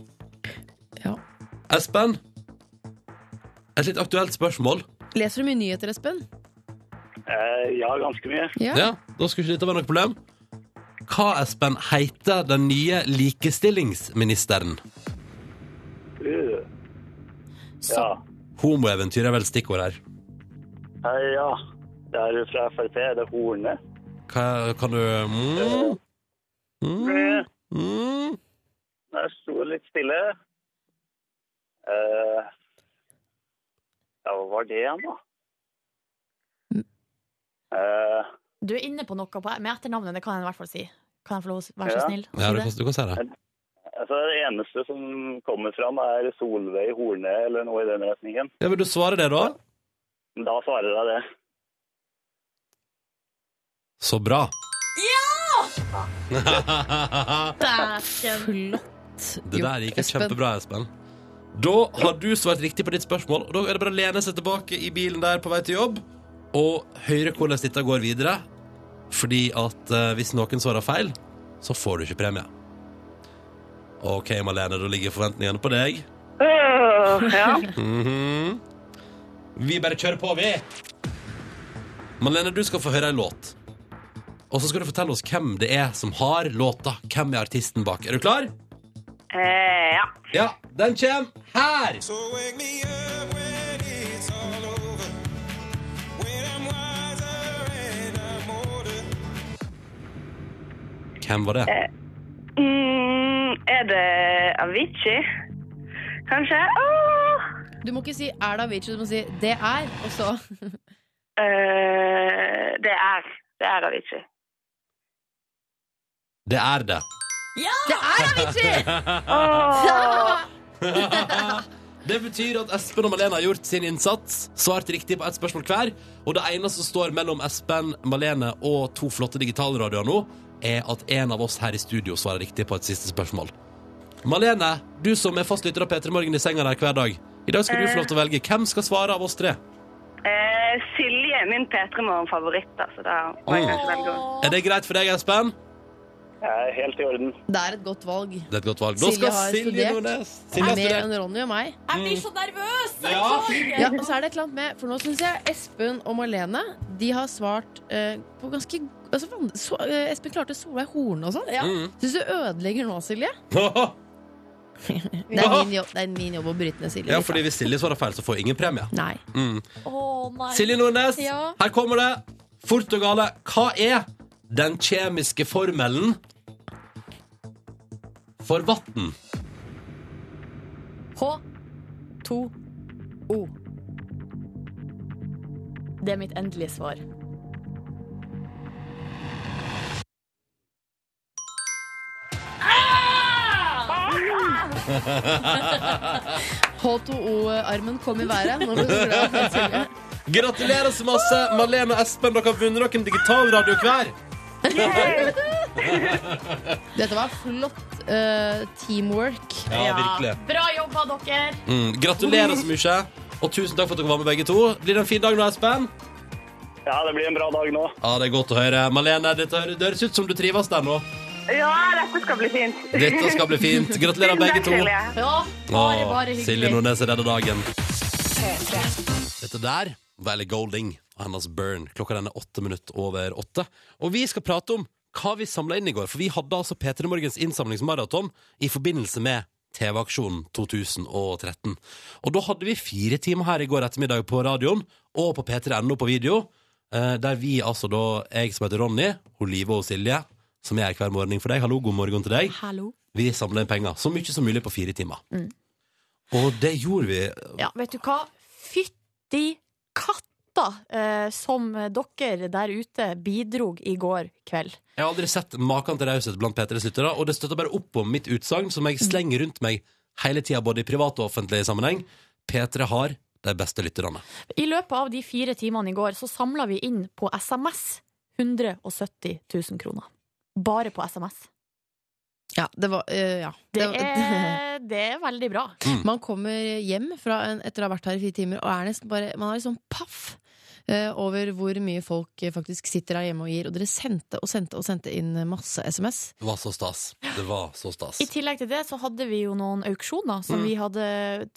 Speaker 4: Ja.
Speaker 2: Espen, et litt aktuelt spørsmål.
Speaker 4: Leser du mye nyheter, Espen?
Speaker 9: Eh, Ja, ganske mye.
Speaker 4: Ja.
Speaker 2: Ja, Da skulle ikke dette være noe problem. Hva, Espen, heter den nye likestillingsministeren?
Speaker 9: Uh,
Speaker 6: Så
Speaker 9: ja.
Speaker 2: Homoeventyr er vel stikkord her.
Speaker 9: Eh, ja. Det er fra Frp. Det er Horne.
Speaker 2: Hva, kan du mm, mm, mm.
Speaker 9: Jeg sto litt stille. Eh, Ja, hva var det igjen, da? Eh,
Speaker 6: Du er inne på noe på, med etternavnet, det kan jeg i hvert fall si. Kan jeg få lov å s- være så
Speaker 9: Ja.
Speaker 6: snill?
Speaker 2: Ja, du kan, du kan si det.
Speaker 9: altså, det eneste som kommer fram, er Solveig Horne eller noe i den retningen.
Speaker 2: Ja, Vil du svare det, da?
Speaker 9: Men Da svarer jeg det.
Speaker 2: Så bra.
Speaker 6: Ja!
Speaker 2: det
Speaker 6: Dæken.
Speaker 2: der gikk jo kjempebra, Espen. Da har du svart riktig på ditt spørsmål, og da er det bare å lene seg tilbake i bilen der på vei til jobb og høre hvordan dette går videre. Fordi at eh, hvis noen svarer feil, så får du ikke premie. OK, Malene, da ligger forventningene på deg.
Speaker 10: Øh, ja.
Speaker 2: Mhm. Vi bare kjører på, vi. Malene, du skal få høre en låt. Og så skal du fortelle oss hvem det er som har låta. Hvem er artisten bak? Er du klar?
Speaker 10: Eh, ja.
Speaker 2: Ja, den kommer her! Hvem var det?
Speaker 10: Eh, Mm, er det Avicii? Kanskje? Åh!
Speaker 4: Du må ikke si 'er det Avicii', du må si 'det er', og så
Speaker 10: Eh, det er Det er Avicii.
Speaker 2: Det er det.
Speaker 4: Det er Avicii!
Speaker 2: Det betyr at Espen og Malene har gjort sin innsats, svart riktig på ett spørsmål hver. Og det ene som står mellom Espen, Malene og to flotte digitalradioer nå, er at en av oss her i studio svarer riktig på et siste spørsmål. Malene, du som er fast lytter av P3 Morgen i senga der hver dag. I dag skal du få lov til å velge. Hvem skal svare av oss tre?
Speaker 10: Eh, Silje er min P3 Morgen-favoritt, da, så da må jeg kanskje velge henne.
Speaker 2: Er det greit for deg, Espen?
Speaker 9: Eh, helt i orden.
Speaker 4: Det er et godt valg.
Speaker 2: Det er et godt valg. Da skal Silje Nordnes Silje har
Speaker 4: mer
Speaker 2: studert.
Speaker 4: enn Ronny og meg.
Speaker 6: Jeg blir så nervøs!
Speaker 2: Mm.
Speaker 6: Jeg
Speaker 2: Ja.
Speaker 6: klarer ikke.
Speaker 4: Ja, og så er det et eller annet med For nå syns jeg Espen og Marlene De har svart eh, på ganske altså, van- så, eh, Espen klarte Solveig Horne og sånn.
Speaker 6: Ja.
Speaker 2: Mm.
Speaker 4: Syns du ødelegger nå, Silje? Det er
Speaker 2: Ja.
Speaker 4: min jobb, det er min jobb å bryte ned Silje.
Speaker 2: Ja,
Speaker 4: litt,
Speaker 2: fordi
Speaker 4: da.
Speaker 2: hvis Silje svarer feil, så får ingen premie.
Speaker 4: Nei.
Speaker 2: Mm.
Speaker 6: Å, nei.
Speaker 2: Silje Nordnes,
Speaker 6: Ja.
Speaker 2: her kommer det. Fort og gale. Hva er den kjemiske formelen for vann?
Speaker 6: H2O. Det er mitt endelige svar.
Speaker 4: H2O-armen kom i været. Når du skulle ha Silje.
Speaker 2: Gratulerer så masse, Malene og Espen. Dere har vunnet dere en digitalradio hver.
Speaker 4: Dette var flott eh, teamwork.
Speaker 2: Ja, virkelig.
Speaker 6: Bra jobba, dere!
Speaker 2: Mm. Gratulerer så mye. Og tusen takk for at dere var med, begge to. Blir det en fin dag nå, Espen?
Speaker 9: Ja, det blir en bra dag nå.
Speaker 2: Ja, Det er godt å høre. Malene, dette hø- det høres ut som du trives der nå.
Speaker 10: Ja, dette skal bli fint.
Speaker 2: Dette skal bli fint. Gratulerer,
Speaker 10: Tusen
Speaker 2: begge
Speaker 10: takk,
Speaker 2: to.
Speaker 10: Silje.
Speaker 6: Ja, bare,
Speaker 2: Åh,
Speaker 6: bare
Speaker 2: Silje
Speaker 6: hyggelig.
Speaker 2: Nordnes redder dagen. Dette der var Ellie Golding og hennes Burn. Klokka den er åtte minutter over åtte. Og vi skal prate om hva vi samla inn i går. For vi hadde altså P3 Morgens innsamlingsmaraton i forbindelse med TV-aksjonen 2013. Og da hadde vi fire timer her i går ettermiddag på radioen og på p3.no på video. eh, Der vi altså da, jeg som heter Ronny, Olive og Silje, som er her hver morgen for deg. Hallo, god morgen til deg.
Speaker 6: Hallo.
Speaker 2: Vi samla inn penger så mye som mulig på fire timer. Og det gjorde vi.
Speaker 6: Ja, vet du hva? Fytti katta eh, som dere der ute bidrog i går kveld.
Speaker 2: Jeg har aldri sett maken til raushet blant P3s lyttere, og det støtter bare opp om mitt utsagn, som jeg slenger rundt meg hele tida, både i privat og offentlig sammenheng. P3 har de beste lytterne.
Speaker 6: I løpet av de fire timene i går så samla vi inn på SMS 170 000 kroner. Bare på SMS.
Speaker 4: Ja, det var eh, Ja.
Speaker 6: Det
Speaker 4: var-
Speaker 6: er, det er veldig bra.
Speaker 4: Man kommer hjem fra en, etter å ha vært her i fire timer og er nesten bare Man er liksom paff eh, over hvor mye folk eh, faktisk sitter her hjemme og gir. Og dere sendte og sendte og sendte inn masse SMS.
Speaker 2: Det var så stas. Det var så stas.
Speaker 6: I tillegg til det så hadde vi jo noen auksjoner som
Speaker 2: Mm.
Speaker 6: vi hadde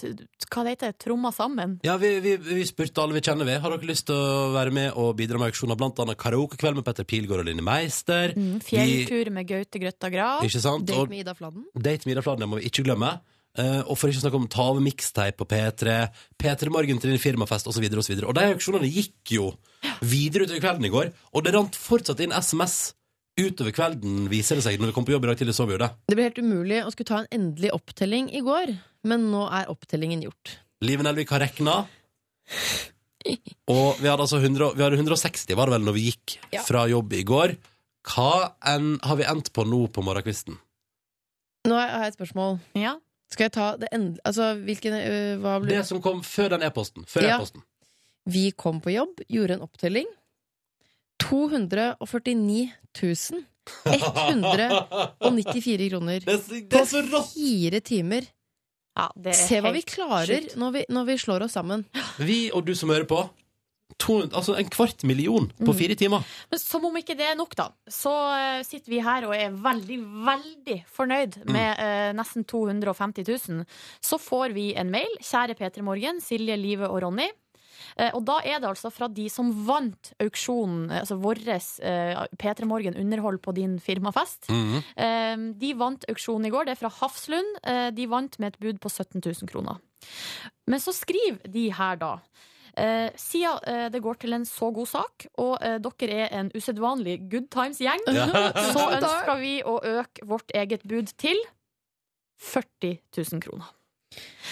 Speaker 6: t- t- Hva det heter det? Tromma sammen.
Speaker 2: Ja, vi, vi, vi spurte alle vi kjenner ved. Har dere lyst til å være med og bidra med auksjoner? Blant annet karaokekveld med Petter Pilgaard og Linni Meister. Vi,
Speaker 6: Mm, Fjelltur med Gaute Grøtta Grav.
Speaker 2: ikke sant?
Speaker 4: Date
Speaker 2: Og
Speaker 4: med Ida Fladden.
Speaker 2: Date med Ida Fladen, det må vi ikke glemme. Eh, og for ikke å snakke om ta over mixtape på P3, P3 Morgen til din firmafest osv. Og, så videre. og de auksjonene gikk jo videre utover kvelden i går, og det rant fortsatt inn SMS utover kvelden, viser det seg. Når vi kom på jobb i dag tidlig, så vi jo det.
Speaker 4: Det ble helt umulig å skulle ta en endelig opptelling i går, men nå er opptellingen gjort.
Speaker 2: Liven Elvik har regna. Og vi hadde altså 100, vi hadde 160, var det vel, når vi gikk
Speaker 11: Ja.
Speaker 2: fra jobb i går. Hva enn har vi endt på nå på morgenkvisten?
Speaker 4: Nå har jeg et spørsmål. Skal jeg ta det endelig Altså, hvilken øh, Hva ble
Speaker 2: Det som kom før den e-posten. Før
Speaker 4: Ja.
Speaker 2: e-posten.
Speaker 4: Vi kom på jobb, gjorde en opptelling. 249 194 kroner.
Speaker 2: Det
Speaker 4: er så rått! På fire timer.
Speaker 6: er
Speaker 4: Se hva vi
Speaker 6: helt
Speaker 4: klarer
Speaker 6: sjukt.
Speaker 4: når vi, når vi slår oss sammen.
Speaker 2: Vi og du som hører på. To, altså en kvart million på
Speaker 6: Mm.
Speaker 2: fire timer.
Speaker 6: Men som om ikke det er nok, da, så eh, sitter vi her og er veldig, veldig fornøyd med eh, nesten 250 000. Så får vi en mail. Kjære P3 Morgen, Silje, Live og Ronny. Eh, Og da er det altså fra de som vant auksjonen, eh, altså vår P3 Morgen underhold på din firmafest.
Speaker 12: Mhm.
Speaker 6: Eh, De vant auksjonen i går. Det er fra Hafslund. Eh, De vant med et bud på 17 000 kroner. Men så skriver de her da eh, Siden eh, det går til en så god sak Og eh, dere er en usedvanlig good times gjeng
Speaker 12: Ja.
Speaker 6: Så ønsker vi å øke vårt eget bud til 40 000 kroner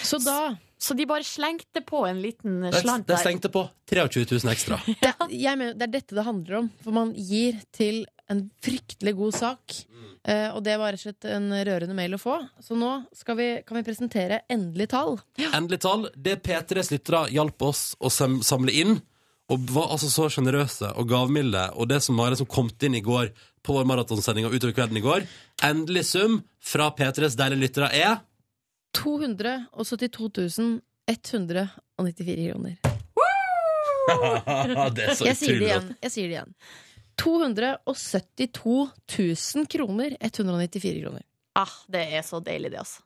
Speaker 4: Så da
Speaker 6: Så de bare slengte på en liten
Speaker 2: Det,
Speaker 6: slant
Speaker 2: det
Speaker 6: der
Speaker 2: stengte på 23 000 ekstra.
Speaker 4: Det, jeg mener, det er dette det handler om. For man gir til en fryktelig god sak. Eh, og det var rett og slett en rørende mail å få. Så nå skal vi, kan vi presentere endelig tall.
Speaker 2: Endelig tall. Det P3s lyttere hjalp oss å sam samle inn, og var altså så sjenerøse og gavmilde, og det som var det som kom inn i går på vår maratonsending og utover kvelden i går Endelig sum fra P3s deilige lyttere er
Speaker 4: 272 194 kroner.
Speaker 2: Det er så
Speaker 4: jeg sier det
Speaker 2: utrolig
Speaker 4: igjen.
Speaker 2: rått.
Speaker 4: Jeg sier det igjen. 272 000 kroner 194 kroner.
Speaker 6: Ah, det er så deilig det altså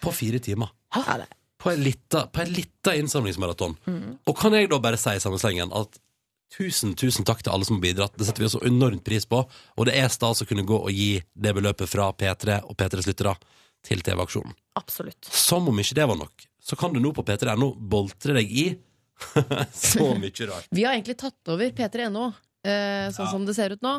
Speaker 2: På fire timer.
Speaker 4: Ja, det-
Speaker 2: På en lita, på en lita innsamlingsmaraton. Og kan jeg da bare si i samme slengen at tusen, tusen takk til alle som har bidratt. Det setter vi så enormt pris på. Og det er stas å kunne gå og gi det beløpet fra P3 og P3s lyttere til TV-aksjonen.
Speaker 6: Absolutt
Speaker 2: Som om ikke det var nok, så kan du nå på p3.no boltre deg i så mye rart.
Speaker 4: Vi har egentlig tatt over p3.no, eh, sånn som det ser ut nå.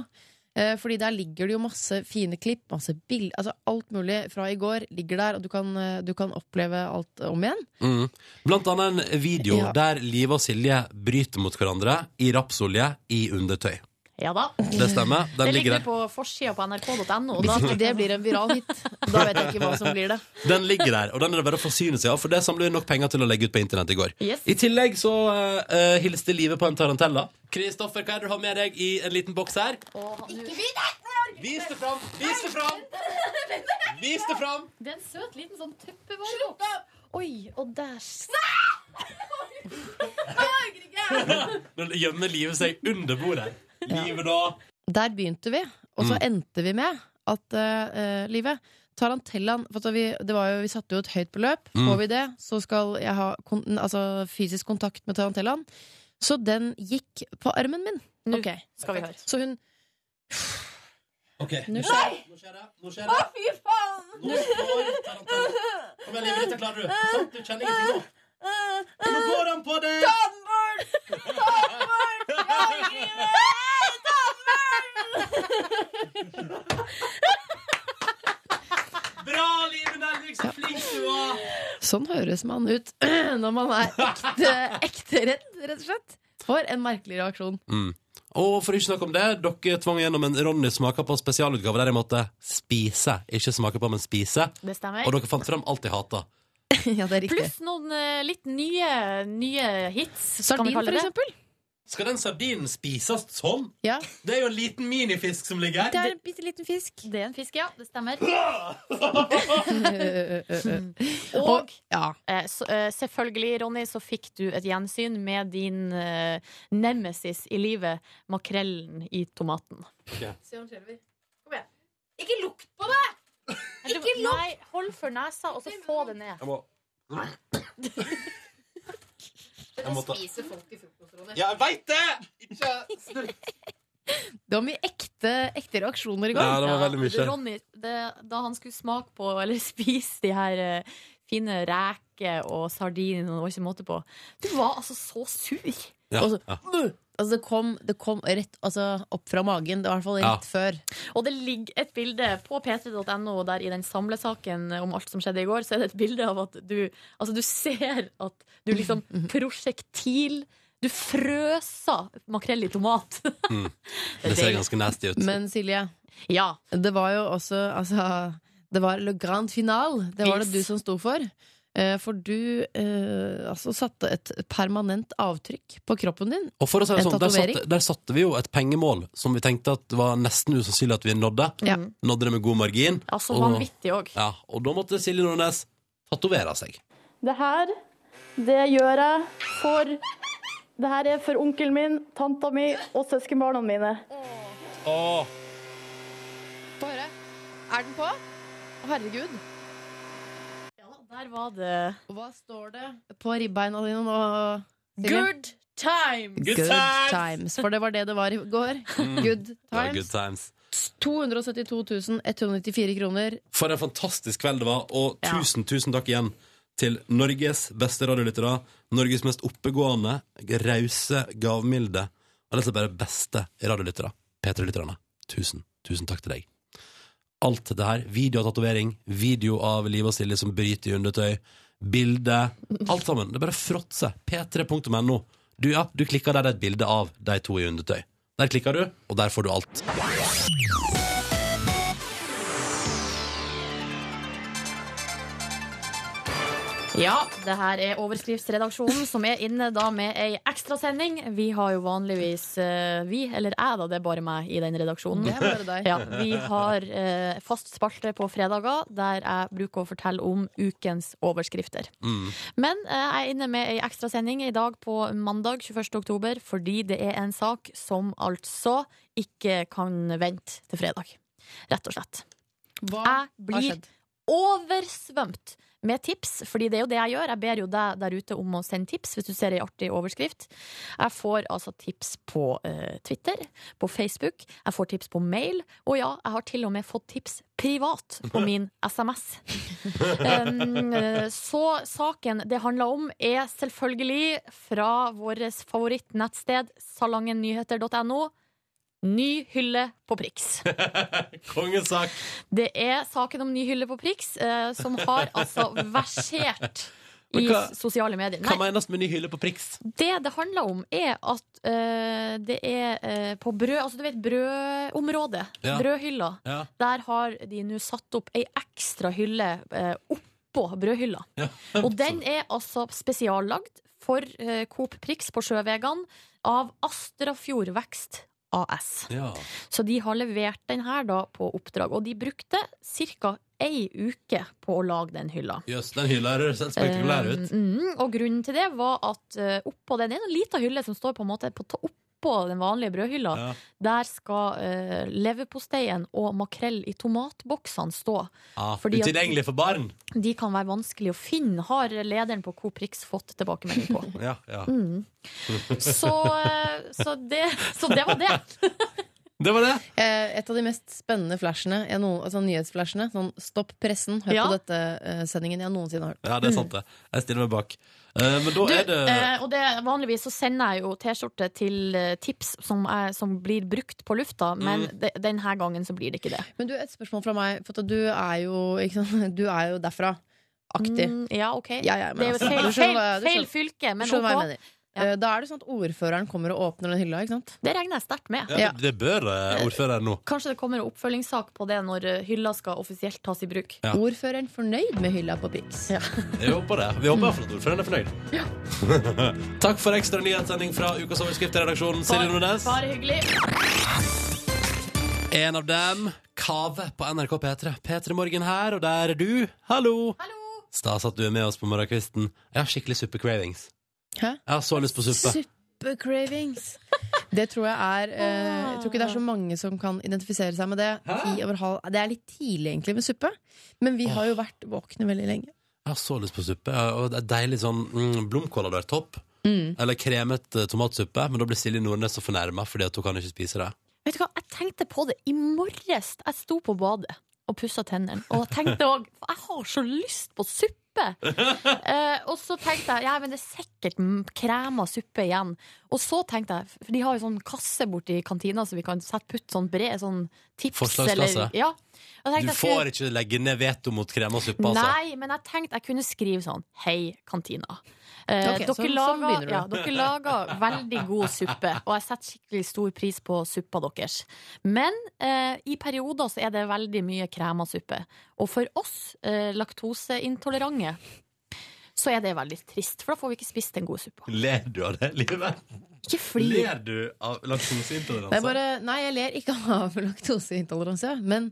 Speaker 4: Eh, fordi der ligger det jo masse fine klipp, masse bilder altså Alt mulig fra i går ligger der, og du kan, eh, du kan oppleve alt om igjen.
Speaker 2: Mm. Blant annet en video
Speaker 4: Ja.
Speaker 2: der Live og Silje bryter mot hverandre i rapsolje i undertøy.
Speaker 6: Ja da
Speaker 2: Det stemmer. Den ligger
Speaker 6: Det ligger
Speaker 2: der.
Speaker 6: på forsiden på nrk.no og da-
Speaker 4: Hvis ikke det blir en viral hit, da vet jeg ikke hva som blir det.
Speaker 2: Den ligger der, og den er det bare å forsyne seg av, for det samler vi nok penger til å legge ut på internett i går.
Speaker 6: Yes.
Speaker 2: I tillegg så eh, eh, hilste livet på en tarantella. Kristoffer, hva er det du har med deg i en liten boks her? Vis det fram! Vis det fram! Vis det fram!
Speaker 6: Det er en søt liten sånn tuppevareboks. Oi, og der
Speaker 2: Nå gjemmer livet seg under bordet. Livet da
Speaker 4: Der begynte vi, og så
Speaker 2: Mm.
Speaker 4: endte vi med at eh, eh, Livet Tarantellaen for at vi, det var jo, vi satte jo et høyt beløp.
Speaker 5: Mm.
Speaker 4: Får vi det, så skal jeg ha kon, altså, fysisk kontakt med tarantellaen. Så den gikk på armen min. Ok.
Speaker 6: skal vi høre.
Speaker 4: Så hun
Speaker 2: Ok.
Speaker 4: Nå skjer
Speaker 2: Nå skjer det. Nå skjer det. Å,
Speaker 12: fy faen!
Speaker 2: Nå står tarantella. Kom igjen, livet. Dette klarer du. Sant? Du kjenner ingenting nå. Nå går han på det!
Speaker 12: Ta den bort! Ta den bort! Jeg angrer! Ta den bort!
Speaker 2: Bra, Live Nelvik, så flink du var!
Speaker 4: Sånn høres man ut når man er ekte, ekte redd, rett og slett. For en merkelig reaksjon.
Speaker 2: Mm. Og for å ikke snakke om det, dere tvang gjennom en Ronny smaker på spesialutgave der jeg måtte spise. Ikke smake på, men spise.
Speaker 6: Det stemmer.
Speaker 2: Og dere fant frem alt jeg hata.
Speaker 4: ja, det er
Speaker 6: riktig. Pluss noen eh, litt nye, nye hits.
Speaker 2: Sardin, for eksempel? Skal den sardinen spises sånn?
Speaker 4: Ja.
Speaker 2: Det er jo en liten minifisk som ligger her.
Speaker 4: en bitte liten fisk.
Speaker 6: Det er en fisk, ja. Det stemmer.
Speaker 4: eh.
Speaker 6: Mm.
Speaker 4: Og-
Speaker 6: Og eh, så, eh, selvfølgelig, Ronny, så fikk du et gjensyn med din eh, nemesis i livet, makrellen i tomaten.
Speaker 12: Ikke lukt på det! Ikke lukt!
Speaker 6: Nei, hold for nesa, og så få det ned.
Speaker 2: Jeg må Jeg må ta-
Speaker 6: folk i frokostrommet.
Speaker 2: Ja, jeg veit det! Ikke snurp.
Speaker 4: Det var mye ekte, ekte reaksjoner i går.
Speaker 2: Ja, det var veldig mye.
Speaker 6: Ja, Ronny, det, da han skulle smake på eller spise de her eh, fine reker og sardiner og det var ikke måte på Du var altså så sur!
Speaker 2: Ja,
Speaker 6: Og så,
Speaker 2: ja.
Speaker 6: «Bøh!»
Speaker 4: Altså, det kom, det kom rett altså, opp fra magen. Det var i hvert fall
Speaker 2: Ja.
Speaker 4: rett før.
Speaker 6: Og det ligger et bilde på p3.no der i den samlesaken om alt som skjedde i går, så er det et bilde av at du Altså, du ser at du liksom prosjektil Du frøsa makrell i tomat.
Speaker 4: Det
Speaker 2: Det ser ganske nasty ut.
Speaker 4: Men Silje,
Speaker 6: ja.
Speaker 4: det var jo også altså, Det var le grand final. Det var det
Speaker 6: Yes.
Speaker 4: du som sto for. Eh, For du eh, altså satte et permanent avtrykk på kroppen din.
Speaker 2: Og for å si det
Speaker 4: En
Speaker 2: sånn, der
Speaker 4: tatovering.
Speaker 2: satte, der satte vi jo et pengemål som vi tenkte at var nesten usannsynlig at vi nådde.
Speaker 4: Ja.
Speaker 2: Nådde det med god margin.
Speaker 6: Altså
Speaker 2: og-
Speaker 6: vanvittig òg.
Speaker 2: Ja, og da måtte Silje Nordnes tatovere seg.
Speaker 13: Det her, det gjør jeg for Det her er for onkelen min, tanta mi og søskenbarna mine.
Speaker 2: Åh.
Speaker 4: Få høre. Er den på? Å, Herregud.
Speaker 6: Der var det
Speaker 4: Hva står det? På ribbeina dine nå. Silje?
Speaker 6: Good times!
Speaker 4: Good, times. For det var det det var i går.
Speaker 2: Mm.
Speaker 4: Good
Speaker 2: Det var
Speaker 4: times.
Speaker 2: Good times.
Speaker 4: 272 194 kroner.
Speaker 2: For en fantastisk kveld det var, og tusen, tusen takk igjen til Norges beste radiolyttere, Norges mest oppegående, rause, gavmilde, og disse bare beste radiolyttere, P3-lytterne. Tusen, tusen takk til deg. Alt det her, video av tatovering, video av Liv og Silje som bryter i undertøy, bilde, alt sammen, det bare fråtser. p3.no. Du, ja, du klikker der det er et bilde av de to i undertøy. Der klikker du, og der får du alt.
Speaker 6: Ja, det her er Overskriftsredaksjonen, som er inne da med ei ekstrasending. Vi har jo vanligvis eh, Vi, eller jeg, da, det er bare meg i den redaksjonen.
Speaker 4: Det er bare deg.
Speaker 6: Ja, vi har eh, fast spalte på fredager der jeg bruker å fortelle om ukens overskrifter.
Speaker 2: Mm.
Speaker 6: Men eh, jeg er inne med ei ekstrasending i dag på mandag 21. oktober, fordi det er en sak som altså ikke kan vente til fredag. Rett og slett. jeg blir oversvømt med tips, fordi det er jo det jeg gjør. Jeg ber jo deg der ute om å sende tips hvis du ser ei artig overskrift. Jeg får altså tips på eh, Twitter, på Facebook, jeg får tips på mail, og ja, jeg har til og med fått tips privat på min SMS. Um, eh, så saken det handler om, er selvfølgelig fra vårt favorittnettsted salangennyheter.no. Ny hylle på Prix.
Speaker 2: Kongesak!
Speaker 6: Det er saken om ny hylle på Prix, eh, som har altså versert
Speaker 2: Men
Speaker 6: i
Speaker 2: hva-
Speaker 6: sosiale medier.
Speaker 2: Hva
Speaker 6: Nei,
Speaker 2: menes med ny hylle på Prix?
Speaker 6: det det handler om, er at eh, det er eh, på brød Altså, du vet brødområdet.
Speaker 2: Ja.
Speaker 6: Brødhylla.
Speaker 2: Ja.
Speaker 6: Der har de nå satt opp ei ekstra hylle eh, oppå brødhylla. Og den er altså spesiallagd for eh, Coop Prix på Sjøvegan av Astrafjord Vekst AS.
Speaker 2: Ja.
Speaker 6: Så de har levert den her da på oppdrag, og de brukte ca. ei uke på å lage den hylla.
Speaker 2: Jøss, den hylla her ser spektakulær ut.
Speaker 6: Eh, mm, og grunnen til det var at eh, oppå den det er en liten hylle som står på en måte på to- oppå den vanlige brødhylla.
Speaker 2: Ja.
Speaker 6: Der skal uh, leverposteien og makrell i tomatboksene stå.
Speaker 2: Ja,
Speaker 6: Fordi at-
Speaker 2: utilgjengelig for barn.
Speaker 6: De kan være vanskelig å finne, har lederen på Coop Rix fått tilbakemelding på.
Speaker 2: Ja, ja.
Speaker 6: Mm. Så, eh, så, det, så det var det.
Speaker 2: Det var det.
Speaker 4: Eh, et av de mest spennende flashene, jeg noen, altså nyhetsflashene. Sånn stopp pressen, hør
Speaker 6: Ja.
Speaker 4: på dette eh, sendingen jeg noensinne har hørt.
Speaker 2: Ja, det er sant, det. Jeg stiller meg bak. Eh, men da
Speaker 6: Du,
Speaker 2: er det
Speaker 6: eh, og det, vanligvis så sender jeg jo T-skjorte til eh, tips som, er, som blir brukt på lufta, men
Speaker 4: Mm.
Speaker 6: de, denne gangen så blir det ikke det.
Speaker 4: Men du, et spørsmål fra meg, for at du er jo, ikke sant? Du er jo derfra. Aktig.
Speaker 6: Mm, ja, ok.
Speaker 4: Ja, ja, men
Speaker 6: det er jo
Speaker 4: altså,
Speaker 6: feil,
Speaker 4: du skjønner
Speaker 6: feil,
Speaker 4: hva jeg- du
Speaker 6: feil
Speaker 4: skjønner-
Speaker 6: fylke,
Speaker 4: Du
Speaker 6: men
Speaker 4: skjønner hva jeg
Speaker 6: ok.
Speaker 4: mener. Eh, Da er det sånn at ordføreren kommer og åpner den hylla, ikke sant?
Speaker 6: Det regner jeg sterkt med.
Speaker 2: ja, Det, det bør eh, ordføreren nå.
Speaker 6: Kanskje det kommer en oppfølgingssak på det når eh, hylla skal offisielt tas i bruk.
Speaker 2: Ja.
Speaker 4: Ordføreren fornøyd med hylla på Prix.
Speaker 2: Jeg håper det. Vi håper i hvert fall at ordføreren er fornøyd. Takk for ekstra nyhetssending fra Ukas overskrift til redaksjonen. Silje Nordnes.
Speaker 6: Bare hyggelig.
Speaker 2: En av dem, Kave på NRK P3. P3 Morgen her, og der er du. Hallo! Stas at du er med oss på morgenkvisten. Jeg har skikkelig suppecravings.
Speaker 4: Hæ?
Speaker 2: Jeg har så lyst på suppe.
Speaker 4: Suppecravings. Det tror jeg er eh, Jeg tror ikke det er så mange som kan identifisere seg med det. Ti over halv, det er litt tidlig egentlig med suppe, men vi har jo vært våkne veldig lenge.
Speaker 2: Jeg har så lyst på suppe. Og det er deilig sånn mm, blomkål hadde vært topp.
Speaker 6: Mm.
Speaker 2: Eller kremet eh, tomatsuppe. Men da blir Silje Nordnes så fornærma fordi at hun kan ikke spise det.
Speaker 6: Vet du hva, jeg tenkte på det i morges. Jeg sto på badet og pussa tennene. Og jeg tenkte òg, jeg har så lyst på suppe. suppe. Eh, og så tenkte jeg ja, men det er sikkert mm, krem og suppe igjen. Og så tenkte jeg, for de har jo sånn kasse borti kantina, så vi kan sette putt sånn bred sånn tips.
Speaker 2: Forslagskasse.
Speaker 6: ja. Og jeg tenkte
Speaker 2: Du
Speaker 6: jeg skulle-
Speaker 2: får ikke legge ned veto mot krem og suppe, altså.
Speaker 6: Nei, men jeg tenkte jeg kunne skrive sånn Hei, kantina. Eh,
Speaker 4: Ok,
Speaker 6: dere,
Speaker 4: sånn- sånn
Speaker 6: lager,
Speaker 4: begynner du.
Speaker 6: ja, dere lager veldig god suppe, og jeg setter skikkelig stor pris på suppa deres. Men eh, i perioder så er det veldig mye krem og suppe. Og for oss eh, laktoseintolerante så er det veldig trist, for da får vi ikke spist en god suppe.
Speaker 2: Ler du av det livet?
Speaker 6: Ikke fly.
Speaker 2: Ler du av
Speaker 4: Det er
Speaker 2: laktoseintoleranse?
Speaker 4: bare, nei, jeg ler ikke av laktoseintoleranse, men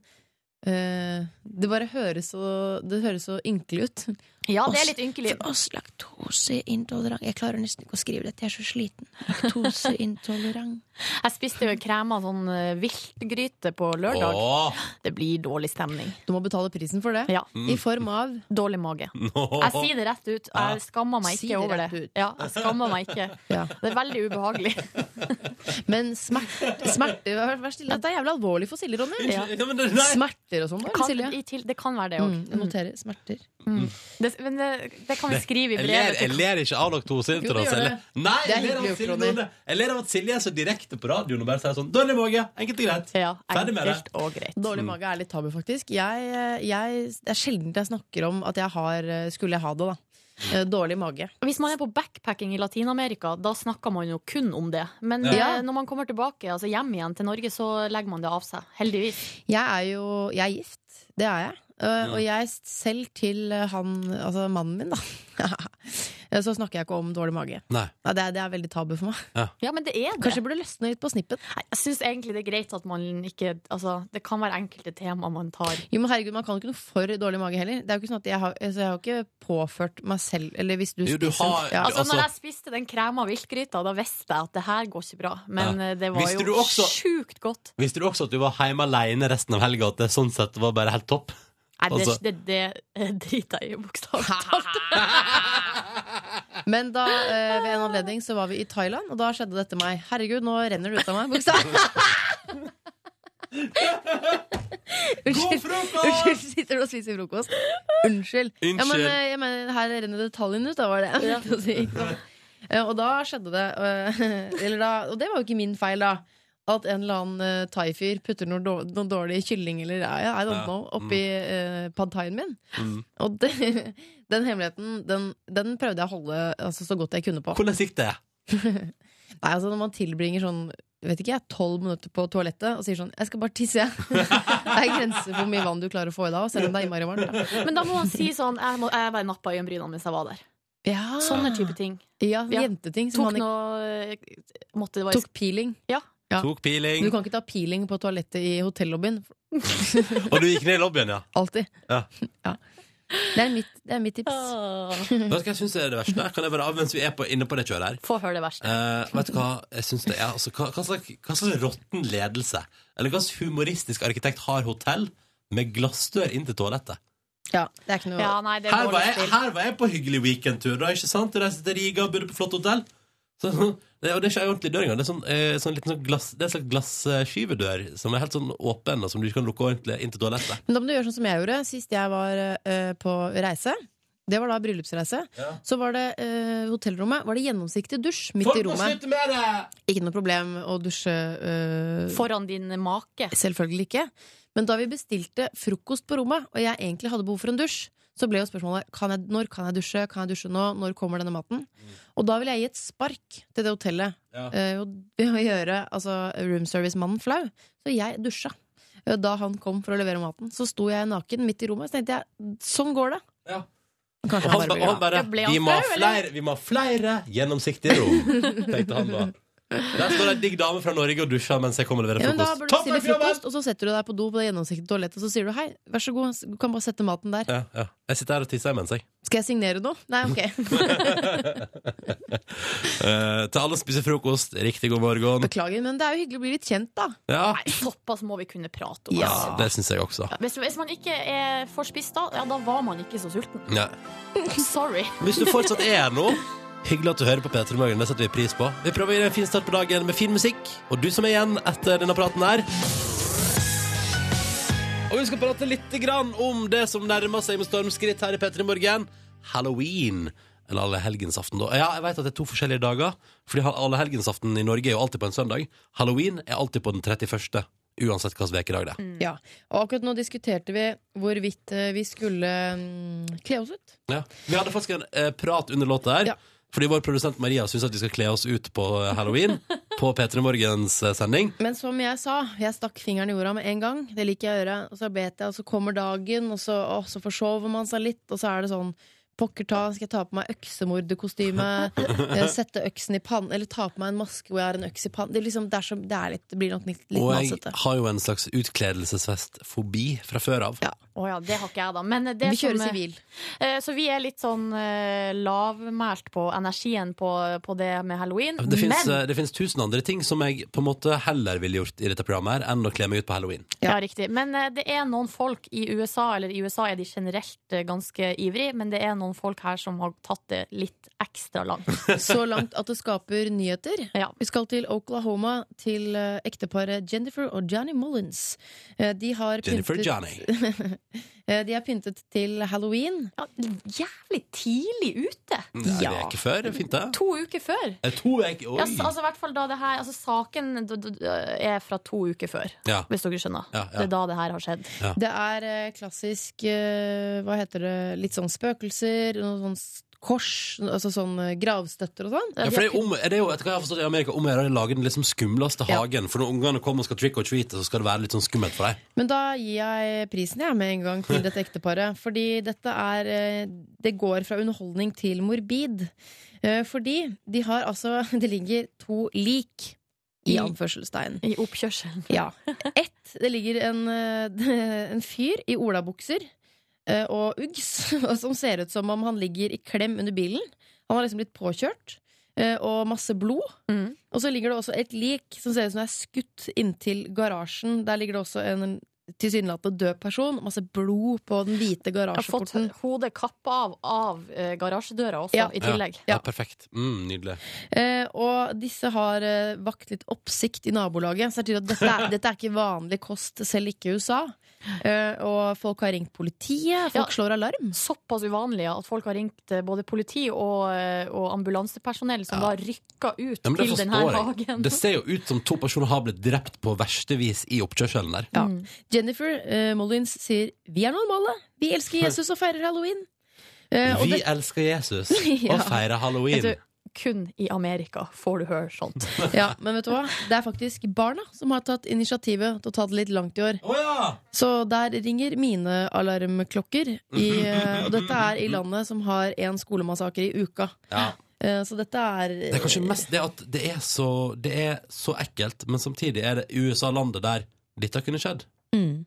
Speaker 4: eh, det bare høres så, det høres så ynkelig ut.
Speaker 6: Ja,
Speaker 12: det er litt
Speaker 6: ynkelig.
Speaker 12: For oss laktoseintolerant Jeg klarer nesten ikke å skrive dette, jeg er så sliten. Laktoseintolerant.
Speaker 6: Jeg spiste jo en krem av sånn eh, viltgryte på lørdag.
Speaker 12: Åh.
Speaker 6: Det blir dårlig stemning.
Speaker 4: Du må betale prisen for det.
Speaker 6: Ja. Mm.
Speaker 4: I form av
Speaker 6: Dårlig mage. Jeg sier det rett ut, og jeg skammer meg
Speaker 4: Si
Speaker 6: ikke
Speaker 4: det
Speaker 6: over
Speaker 4: rett
Speaker 6: det. Ja, jeg skammer meg ikke.
Speaker 4: Ja.
Speaker 6: Det er veldig ubehagelig.
Speaker 4: Men smerte, smerte vær, vær stille. Dette er jævlig alvorlig for Silje, Ronny.
Speaker 6: Ja. Ja, men det- nei.
Speaker 4: Smerter og sånn, bare,
Speaker 6: Kan,
Speaker 4: Silje.
Speaker 6: i til, det kan være det òg.
Speaker 4: Mm, jeg noterer smerter.
Speaker 6: Det, men det, det kan vi skrive i
Speaker 2: Jeg ler,
Speaker 6: brevet.
Speaker 2: jeg
Speaker 6: til-
Speaker 2: ler ikke av laktoseintoleranse.
Speaker 6: Jo, du gjør
Speaker 2: Jeg
Speaker 6: det.
Speaker 2: ler- Nei,
Speaker 6: Det er
Speaker 2: jeg ler av
Speaker 6: hyggelig
Speaker 2: Silje
Speaker 6: gjort, Ronny.
Speaker 2: Nordnes. Jeg ler av at Silje er så direkte på radioen og bare sier sånn Dårlig mage! Enkelt og greit. Ferdig med det.
Speaker 4: Dårlig
Speaker 2: Mm.
Speaker 4: mage er litt tabu, faktisk. Jeg, eh, jeg, det er sjelden jeg snakker om at jeg har Skulle jeg ha det, da. Eh, Dårlig mage.
Speaker 6: Hvis man er på backpacking i Latin-Amerika, da snakker man jo kun om det. Men
Speaker 4: Ja.
Speaker 6: eh, når man kommer tilbake, altså hjem igjen til Norge, så legger man det av seg. Heldigvis.
Speaker 4: Jeg er jo Jeg er gift. Det er jeg. Eh, Og jeg selv til han Altså mannen min, da. Eh, Så snakker jeg ikke om dårlig mage.
Speaker 2: Nei.
Speaker 4: Nei, det, er, det er veldig tabu for meg.
Speaker 6: Ja, men det er det.
Speaker 4: Kanskje jeg burde løsne litt på snippen.
Speaker 6: Jeg syns egentlig det er greit at man ikke Altså, det kan være enkelte tema man tar.
Speaker 4: Jo, men herregud, Man kan jo ikke noe for dårlig mage heller. Det er jo ikke sånn at Jeg har, altså, jeg har jo ikke påført meg selv Eller hvis du
Speaker 2: Jo, du
Speaker 4: spiser
Speaker 2: har-
Speaker 4: ja.
Speaker 6: Altså, når jeg spiste den krema viltgryta, da visste jeg at det her går ikke bra. Men
Speaker 2: Ja.
Speaker 6: eh, det var
Speaker 2: Visste du
Speaker 6: jo
Speaker 2: også-
Speaker 6: sjukt godt.
Speaker 2: Visste du også at du var hjemme alene resten av helga, at det sånn sett var bare helt topp?
Speaker 6: Nei, det,
Speaker 2: Altså-
Speaker 6: det, det eh, driter jeg i, bokstavelig talt.
Speaker 4: Men da, eh, ved en anledning så var vi i Thailand, og da skjedde dette meg. Herregud, nå renner det ut av meg. Bokstavelig. Unnskyld. Unnskyld, sitter du og spiser frokost? Unnskyld. Ja, men,
Speaker 14: Unnskyld.
Speaker 4: eh, jeg mener, her renner detaljene ut, da var det. jeg
Speaker 14: Ja.
Speaker 4: mente å si. Eh, Og da skjedde det, eh, eller da, og det var jo ikke min feil da, at en eller annen eh, thai-fyr putter noe, dår- noe dårlig kylling eller ja, I don't
Speaker 14: Ja. Mm.
Speaker 4: know, oppi eh, pad thaien min.
Speaker 2: Mm.
Speaker 4: Og det, den hemmeligheten, den, den prøvde jeg å holde altså, så godt jeg kunne på.
Speaker 2: Hvordan gikk det?
Speaker 4: Nei, altså Når man tilbringer sånn Vet ikke jeg, tolv minutter på toalettet og sier sånn 'Jeg skal bare tisse', jeg. det er grenser for hvor mye vann du klarer å få i deg, selv om det er innmari varmt. da.
Speaker 6: Men da må man si sånn Jeg, må, jeg bare nappa øyenbrynene mens jeg var der.
Speaker 4: Ja.
Speaker 6: Sånne type ting.
Speaker 4: Ja, jenteting Ah. som
Speaker 6: Tok
Speaker 4: han ikke-
Speaker 6: noe eh, måtte det være-
Speaker 4: Tok peeling.
Speaker 6: Ja.
Speaker 4: Ja.
Speaker 2: Tok
Speaker 4: Men Du
Speaker 2: peeling,
Speaker 4: kan ikke ta peeling på toalettet i hotellobbyen.
Speaker 2: og du gikk ned i lobbyen, ja?
Speaker 4: Alltid.
Speaker 2: ja.
Speaker 4: Det er mitt, det er mitt tips. Ah. Mm-hmm.
Speaker 2: Vet du hva jeg syns er det verste? Kan jeg bare, mens vi er på, inne på det kjøret her
Speaker 6: Få høre det verste.
Speaker 2: Eh, vet du hva jeg synes det er? Altså, hva, hva slags, hva slags råtten ledelse Eller hva slags humoristisk arkitekt har hotell Med glassdør inn til toalettet?
Speaker 4: Ja, det er ikke noe
Speaker 6: Ja, nei, det er
Speaker 2: Her var
Speaker 6: dårlig
Speaker 2: jeg,
Speaker 6: stil.
Speaker 2: her var jeg på hyggelig weekendtur da, ikke sant? Du reiste til Riga og bodde på flott hotell så, det, Og det er ikke en ordentlig dør engang Det er, sånn, eh, sånn liten sånn glass, det er en slags glasskyvedør Som er helt sånn åpen Og som du ikke kan lukke ordentlig inn til toalettet
Speaker 4: Men da må du gjøre sånn som jeg gjorde sist jeg var eh, på reise. Det var da bryllupsreise. Så var det eh, hotellrommet Var det gjennomsiktig dusj midt
Speaker 6: Folk
Speaker 4: i
Speaker 6: må
Speaker 4: rommet.
Speaker 6: slutte med det!
Speaker 4: Ikke noe problem å dusje eh,
Speaker 6: Foran din make.
Speaker 4: Selvfølgelig ikke. Men da vi bestilte frokost på rommet, og jeg egentlig hadde behov for en dusj, så ble jo spørsmålet kan jeg, når kan jeg dusje, kan jeg dusje nå, når kommer denne maten?
Speaker 2: Mm.
Speaker 4: Og da ville jeg gi et spark til det hotellet
Speaker 14: Ja.
Speaker 4: eh, og ved å gjøre altså, roomservice-mannen flau. Så jeg dusja. Eh, Da han kom for å levere maten, så sto jeg naken midt i rommet. Så tenkte jeg sånn går det.
Speaker 2: Og
Speaker 4: Kanskje
Speaker 2: han,
Speaker 4: han
Speaker 2: ba-
Speaker 4: bare
Speaker 2: han bare
Speaker 4: blir glad.
Speaker 2: vi må, ha flere, vi må ha flere gjennomsiktige rom Tenkte han da Der står det en digg dame fra Norge og dusjer Mens jeg kommer og leverer
Speaker 4: Ja, men da
Speaker 2: frokost
Speaker 4: bør du bestille frokost, og så setter du deg på do på det gjennomsiktige toalettet, og så sier du hei, vær så god, du kan bare sette maten der.
Speaker 2: Ja, ja. Jeg sitter her og tisser imens, jeg.
Speaker 4: Skal jeg signere noe? Nei, ok.
Speaker 2: Eh, til alle som spiser frokost, riktig god morgen.
Speaker 4: Beklager, men det er jo hyggelig å bli litt kjent, da.
Speaker 2: Ja,
Speaker 6: Nei, såpass må vi kunne prate om.
Speaker 2: ja.
Speaker 6: altså.
Speaker 2: det syns jeg også.
Speaker 6: Hvis, hvis man ikke er får spist da, ja, da var man ikke så sulten.
Speaker 2: Ja.
Speaker 6: Sorry.
Speaker 2: Hvis du fortsatt er her nå, hyggelig at du hører på P3 Morgen. Det setter vi pris på. Vi prøver å gi deg en fin start på dagen med fin musikk. Og du som er igjen etter denne praten her Og vi skal prate litt grann om det som nærmer seg med stormskritt her i P3 Morgen. halloween eller allehelgensaften. da. Ja, jeg vet at det er to forskjellige dager, fordi allehelgensaften i Norge er jo alltid på en søndag. Halloween er alltid på den 31., uansett hvilken ukedag det er.
Speaker 4: Ja, og akkurat nå diskuterte vi hvorvidt eh, vi skulle mm, kle oss ut.
Speaker 2: Ja. Vi hadde faktisk en eh, prat under låta her. Fordi vår produsent Maria syns at vi skal kle oss ut på eh, halloween. på P3 Morgens eh, sending.
Speaker 4: Men som jeg sa, jeg stakk fingeren i jorda med en gang. Det liker jeg å gjøre. Og så bet jeg, og så kommer dagen, og så, å, så forsover man seg litt, og så er det sånn Pokker ta, skal jeg ta på meg øksemorderkostyme? eh, Sette øksen i pannen? Eller ta på meg en maske hvor jeg har en øks i pannen? Det, er liksom, det, er så, det, er litt, det blir nok litt, litt
Speaker 2: Og jeg
Speaker 4: masete.
Speaker 2: har jo en slags utkledelsesfest-fobi fra før av.
Speaker 6: Å ja, det har ikke jeg, da. Men det
Speaker 4: Vi kjører
Speaker 6: som, eh,
Speaker 4: sivil.
Speaker 6: eh, Så vi er litt sånn eh, lavmælt på energien på, på det med halloween.
Speaker 2: Det fins,
Speaker 6: Men
Speaker 2: eh, det fins tusen andre ting som jeg på en måte heller ville gjort i dette programmet her, enn å kle meg ut på halloween.
Speaker 6: Ja, riktig. Men eh, det er noen folk i USA, eller i USA er de generelt eh, ganske ivrig, men det er noen folk her som har tatt det litt ekstra langt.
Speaker 4: Så langt at det skaper nyheter. Vi skal til Oklahoma, til eh, ekteparet Jennifer og Johnny Mullins. Eh, De har
Speaker 2: Jennifer
Speaker 4: pyntet,
Speaker 2: Johnny.
Speaker 4: Eh, de er pyntet til halloween.
Speaker 6: jævlig tidlig ute!
Speaker 2: Nei, det er ikke før. Det er fint, det.
Speaker 6: To uker før.
Speaker 2: Eh, To jeg, oi.
Speaker 6: Ja, s- altså, i hvert fall da det her, altså, saken d- d- d- er fra to uker før,
Speaker 2: Ja.
Speaker 6: hvis dere skjønner.
Speaker 2: Ja, ja.
Speaker 6: Det er da det her har skjedd.
Speaker 4: Det er eh, klassisk eh, Hva heter det? Litt sånn spøkelser, noen sånn s- kors, altså sånn eh, gravstøtter og sånn.
Speaker 2: Ja, for det er, jo om, er det jo, etter hva jeg har forstått i Amerika, om å gjøre å lage den liksom skumleste hagen. For når ungene kommer og skal trick or treat, så skal det være litt sånn skummelt for dem.
Speaker 4: Men da gir jeg prisen jeg med en gang til dette ekteparet. Fordi dette er eh, Det går fra underholdning til morbid. Eh, Fordi de har altså Det ligger to lik i anførselstegn.
Speaker 6: I oppkjørselen.
Speaker 4: Ja. Ett, det ligger en, eh, en fyr i olabukser eh, og Uggs som ser ut som om han ligger i klem under bilen. Han har liksom blitt påkjørt. eh, Og masse blod.
Speaker 2: Mm.
Speaker 4: Og så ligger det også et lik som ser ut som det er skutt inntil garasjen. Der ligger det også en tilsynelatende død person. Masse blod på den hvite
Speaker 6: Jeg har fått
Speaker 4: garasjeporten.
Speaker 6: hodet kappa av av eh, garasjedøra også, i tillegg.
Speaker 2: Ja, ja perfekt. Mm, nydelig.
Speaker 4: Eh, og disse har eh, vakt litt oppsikt i nabolaget. Så det er tydelig at dette er, dette er ikke vanlig kost, selv ikke i USA. Eh, og folk har ringt politiet. Folk slår alarm.
Speaker 6: Såpass uvanlig ja, at folk har ringt eh, både politi og, eh, og ambulansepersonell, som da rykka ut
Speaker 2: Ja, men det
Speaker 6: til denne
Speaker 2: forstår jeg.
Speaker 6: hagen.
Speaker 2: Det ser jo ut som to personer har blitt drept på verste vis i oppkjørselen der.
Speaker 4: Ja. Jennifer eh, Mullins sier 'Vi er normale. Vi elsker Jesus og feirer halloween'. Eh, og
Speaker 2: Vi
Speaker 4: det-
Speaker 2: elsker Jesus
Speaker 4: Ja.
Speaker 2: og feirer halloween.
Speaker 4: Jeg tror-
Speaker 6: Kun i Amerika får du høre sånt.
Speaker 2: Oh.
Speaker 4: Ja, men vet du hva? Det er faktisk barna som har tatt initiativet til å ta det litt langt i år. Så der ringer mine alarmklokker. I,
Speaker 2: Mhm.
Speaker 4: eh, og dette er i landet som har én skolemassaker i uka.
Speaker 2: Ja.
Speaker 4: Eh, Så dette er
Speaker 2: Det er kanskje mest det at det er så, det er så ekkelt, men samtidig er det USA-landet der dette kunne skjedd.
Speaker 4: Mm.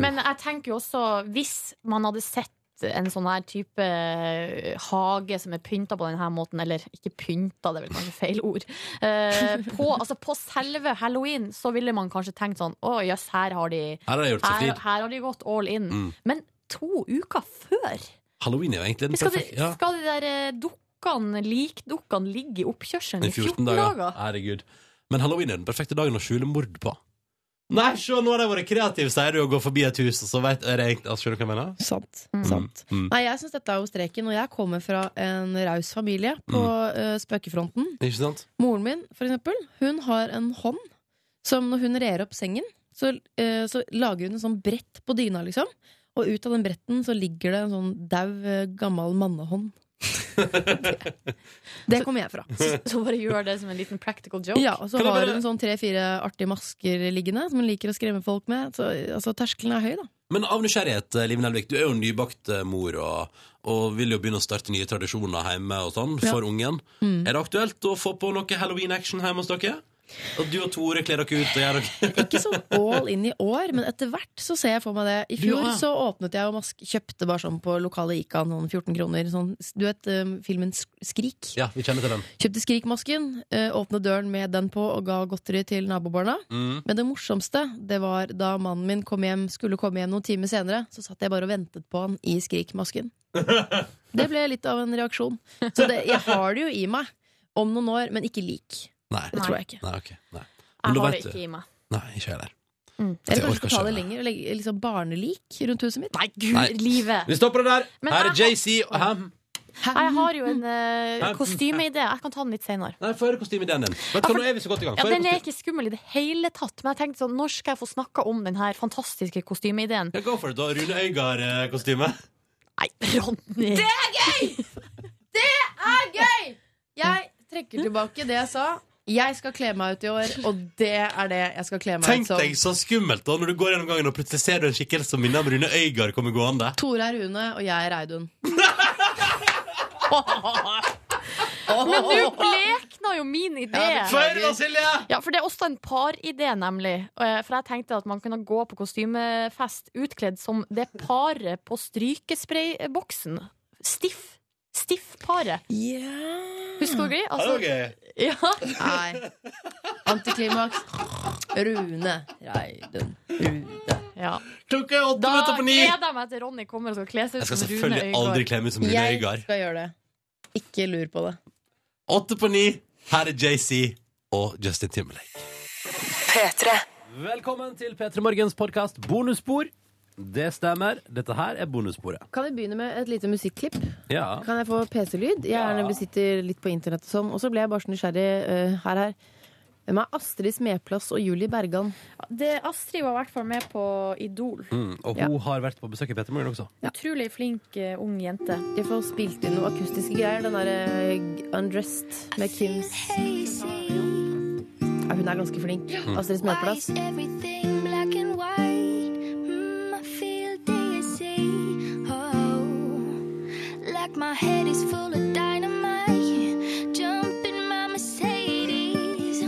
Speaker 6: Men jeg tenker jo også, hvis man hadde sett en sånn her type eh, hage som er pynta på denne måten, eller ikke pynta, det er vel kanskje feil ord, eh, på, altså på selve halloween, så ville man kanskje tenkt sånn Å jøss, her har de
Speaker 2: Her har de gjort seg flid.
Speaker 6: her, her har de gått all in.
Speaker 2: Mm.
Speaker 6: Men to uker før
Speaker 2: Halloween er jo egentlig den
Speaker 6: skal de,
Speaker 2: perfekte ja.
Speaker 6: skal de der eh, dukkene, likdukkene, ligge i oppkjørselen
Speaker 2: I 14 dager.
Speaker 6: dager?
Speaker 2: Herregud. Men halloween er den perfekte dagen å skjule mord på. Nei, se, nå har de vært kreative, sier du, og går forbi et hus, og så vet er det egentlig altså, Skjønner du hva jeg mener?
Speaker 4: Sant.
Speaker 2: Mm.
Speaker 4: Sant.
Speaker 2: Mm.
Speaker 4: Nei, jeg syns dette er jo streken, og jeg kommer fra en raus familie på
Speaker 2: Mm.
Speaker 4: eh, spøkefronten.
Speaker 2: Ikke sant?
Speaker 4: Moren min, for eksempel, hun har en hånd som når hun rer opp sengen, så, eh, så lager hun en sånn brett på dyna, liksom. Og ut av den bretten så ligger det en sånn dau, eh, gammel mannehånd. det, det kommer jeg fra.
Speaker 6: Så, så bare gjør det som en liten practical joke.
Speaker 4: Ja, og så har hun sånn tre-fire artige masker liggende som hun liker å skremme folk med. Så altså, terskelen er høy, da.
Speaker 2: Men av nysgjerrighet, eh, Liv Nelvik, du er jo nybakt eh, mor og, og vil jo begynne å starte nye tradisjoner hjemme og sånn
Speaker 4: Ja.
Speaker 2: for ungen.
Speaker 4: Mm.
Speaker 2: Er det aktuelt å få på noe halloween-action hjemme hos dere? Og du og Tore kler dere ut og gjør dere
Speaker 4: Ikke sånn all in i år, men etter hvert så ser jeg for meg det. I
Speaker 2: Du,
Speaker 4: fjor
Speaker 2: ja.
Speaker 4: så åpnet jeg og mask, kjøpte bare sånn på lokale Ica noen 14 kroner. Sånn, du vet eh, filmen Sk- Skrik?
Speaker 2: Ja, vi kjenner til den.
Speaker 4: Kjøpte Skrik-masken, eh, åpnet døren med den på og ga godteri til nabobarna.
Speaker 2: Mm.
Speaker 4: Men det morsomste det var da mannen min kom hjem, skulle komme hjem noen timer senere, så satt jeg bare og ventet på han i Skrik-masken. Det ble litt av en reaksjon. Så det, jeg har det jo i meg om noen år, men ikke lik.
Speaker 2: Nei.
Speaker 4: Det tror jeg ikke.
Speaker 2: Nei, ok. Nei. Men
Speaker 6: Jeg
Speaker 2: da
Speaker 6: har
Speaker 2: vet
Speaker 6: det
Speaker 2: du-
Speaker 6: ikke i meg.
Speaker 2: Nei, ikke jeg heller. Det
Speaker 4: Eller kanskje
Speaker 2: orker
Speaker 4: skal ta
Speaker 2: ikke
Speaker 4: det
Speaker 2: jeg.
Speaker 4: lenger og legge liksom barnelik rundt huset mitt.
Speaker 6: Nei, gud,
Speaker 2: Nei. Vi stopper det der.
Speaker 4: Men
Speaker 2: Her er
Speaker 4: jeg har-
Speaker 2: JC og Ham.
Speaker 6: Nei, Jeg har jo en uh,
Speaker 2: Hæ?
Speaker 6: kostymeidé. Jeg kan ta den litt senere.
Speaker 2: Nei, Få høre kostymeideen din. Vet
Speaker 4: Ah,
Speaker 2: du hva, Nå er vi så godt i gang.
Speaker 6: Ja,
Speaker 2: Få høre
Speaker 6: den er
Speaker 2: kostyme-
Speaker 6: ikke skummel i det hele tatt, men jeg tenkte sånn, når skal jeg få snakka om den her fantastiske kostymeideen?
Speaker 2: Ja, Go for it, da. Rune Øygard-kostyme.
Speaker 6: Ronny!
Speaker 4: Det er gøy! Det er gøy! Jeg trekker tilbake det jeg sa. Jeg skal kle meg ut i år, og det er det jeg skal kle meg
Speaker 11: Tenk
Speaker 4: ut som.
Speaker 11: deg så skummelt da når du går gjennom gangen og plutselig ser du en skikkelse som minner om Rune Øygard kommer gående.
Speaker 4: Tore er Rune, og jeg er Reidun.
Speaker 6: Men nå blekna jo min idé.
Speaker 12: Ja, beklager. Få høre da, Silje!
Speaker 6: Ja, for det er også en paridé, nemlig. Eh, For jeg tenkte at man kunne gå på kostymefest utkledd som det paret på strykesprayboksen. Stiff. Stiff-paret. Husker dere? Altså- Ja.
Speaker 4: Nei. Antiklimaks. Rune. Reidun. Rune.
Speaker 6: Ja.
Speaker 11: Klokka er
Speaker 6: Da
Speaker 4: minutter på ni.
Speaker 6: gleder jeg meg til Ronny kommer og skal kle seg
Speaker 11: Jeg
Speaker 6: ut
Speaker 11: skal
Speaker 6: som Rune
Speaker 11: selvfølgelig aldri kle meg ut som Rune
Speaker 4: Jeg
Speaker 11: Øygard.
Speaker 4: skal gjøre det. Ikke lur på det.
Speaker 11: Åtte på ni. Her er JC og Justin Timberlake.
Speaker 2: P3. Velkommen til P3 Morgens podkast Bonusspor. Det stemmer. Dette her er bonussporet.
Speaker 4: Kan vi begynne med et lite musikklipp?
Speaker 2: Ja.
Speaker 4: Kan jeg få PC-lyd? Jeg gjerne besitter litt på internett og sånn. Og så ble jeg bare så nysgjerrig eh, her, her. Hvem er Astrid Smeplass og Julie Bergan?
Speaker 15: Det, Astrid var i hvert fall med på Idol.
Speaker 2: Mm, og hun har vært på besøk i P3 Morgen også.
Speaker 15: Utrolig flink eh, ung jente.
Speaker 4: De får spilt inn noe akustiske greier. Den derre Undressed med Kims ja, Hun er ganske flink.
Speaker 12: Mm.
Speaker 4: Astrid Smeplass.
Speaker 12: Hmm, Oh, Like my head is full of dynamite. Jump in my Mercedes. Oh.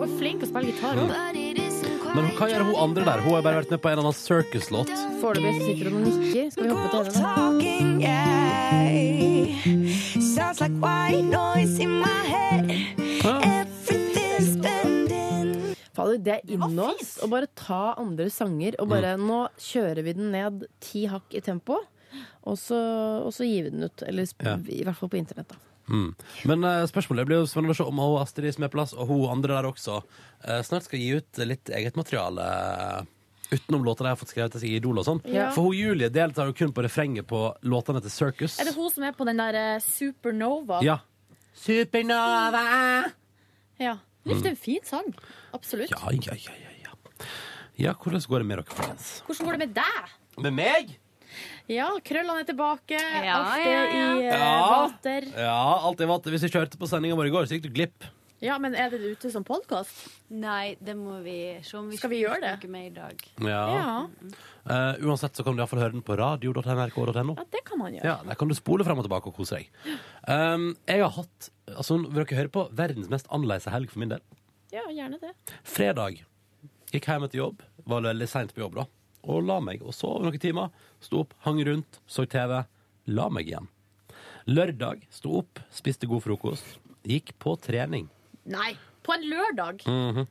Speaker 15: Hun er flink til å spille gitar.
Speaker 2: Mm.
Speaker 12: But it isn't quite
Speaker 2: Men hva gjør hun andre der? Hun har bare vært med på en eller annen circus-låt.
Speaker 4: Foreløpig så sitter hun og nikker. Skal vi hoppe til henne?
Speaker 12: talking, yeah. Sounds like white noise in my head. Everything's bending.
Speaker 4: Ah. Fader, det er inne oss å bare ta andre sanger og bare
Speaker 2: Mm.
Speaker 4: Nå kjører vi den ned ti hakk i tempo, og så, og så gir vi den ut. Eller sp-
Speaker 2: Ja.
Speaker 4: i hvert fall på internett, da.
Speaker 2: Mm. Men eh, spørsmålet blir jo spennende å se om hun Astrid Smeplass og hun andre der også eh, snart skal gi ut litt eget materiale eh, utenom låter de har fått skrevet til seg i Idol og sånn.
Speaker 15: Ja.
Speaker 2: For hun Julie deltar jo kun på refrenget på låtene til Circus.
Speaker 15: Er det hun som er på den der eh, Supernova?
Speaker 2: Ja.
Speaker 15: Supernova! Ja. Litt
Speaker 2: Mm.
Speaker 15: en fin sang. Absolutt.
Speaker 2: Ja, ja, ja, ja, ja. ja, hvordan går det med dere, folkens?
Speaker 15: Hvordan går det med deg?
Speaker 2: Med meg?
Speaker 15: Ja, krøllene er tilbake.
Speaker 12: Ja,
Speaker 15: alt
Speaker 12: ja,
Speaker 15: er i eh,
Speaker 2: Ja.
Speaker 15: vater.
Speaker 2: Ja, alt jeg vant. Hvis jeg ikke hørte på sendinga vår i går, så gikk du glipp.
Speaker 15: Ja, men er det ute som podkast?
Speaker 16: Nei, det må vi se om vi
Speaker 15: Skal vi gjøre det?
Speaker 16: snakke med i dag.
Speaker 2: Ja. Eh, uansett så kan du iallfall høre den på radio.nrk.no. Ja,
Speaker 15: det kan man gjøre.
Speaker 2: der kan du spole frem og tilbake og kose deg. Um, jeg har hatt altså, Vil dere høre på verdens mest annerledes helg for min del?
Speaker 15: Ja, gjerne det.
Speaker 2: Fredag gikk hjem etter jobb. Var veldig seint på jobb, da. Og la meg. Og sov noen timer. Sto opp, hang rundt, så TV. La meg igjen. Lørdag sto opp, spiste god frokost. Gikk på trening.
Speaker 15: Nei, på en lørdag.
Speaker 2: Mhm.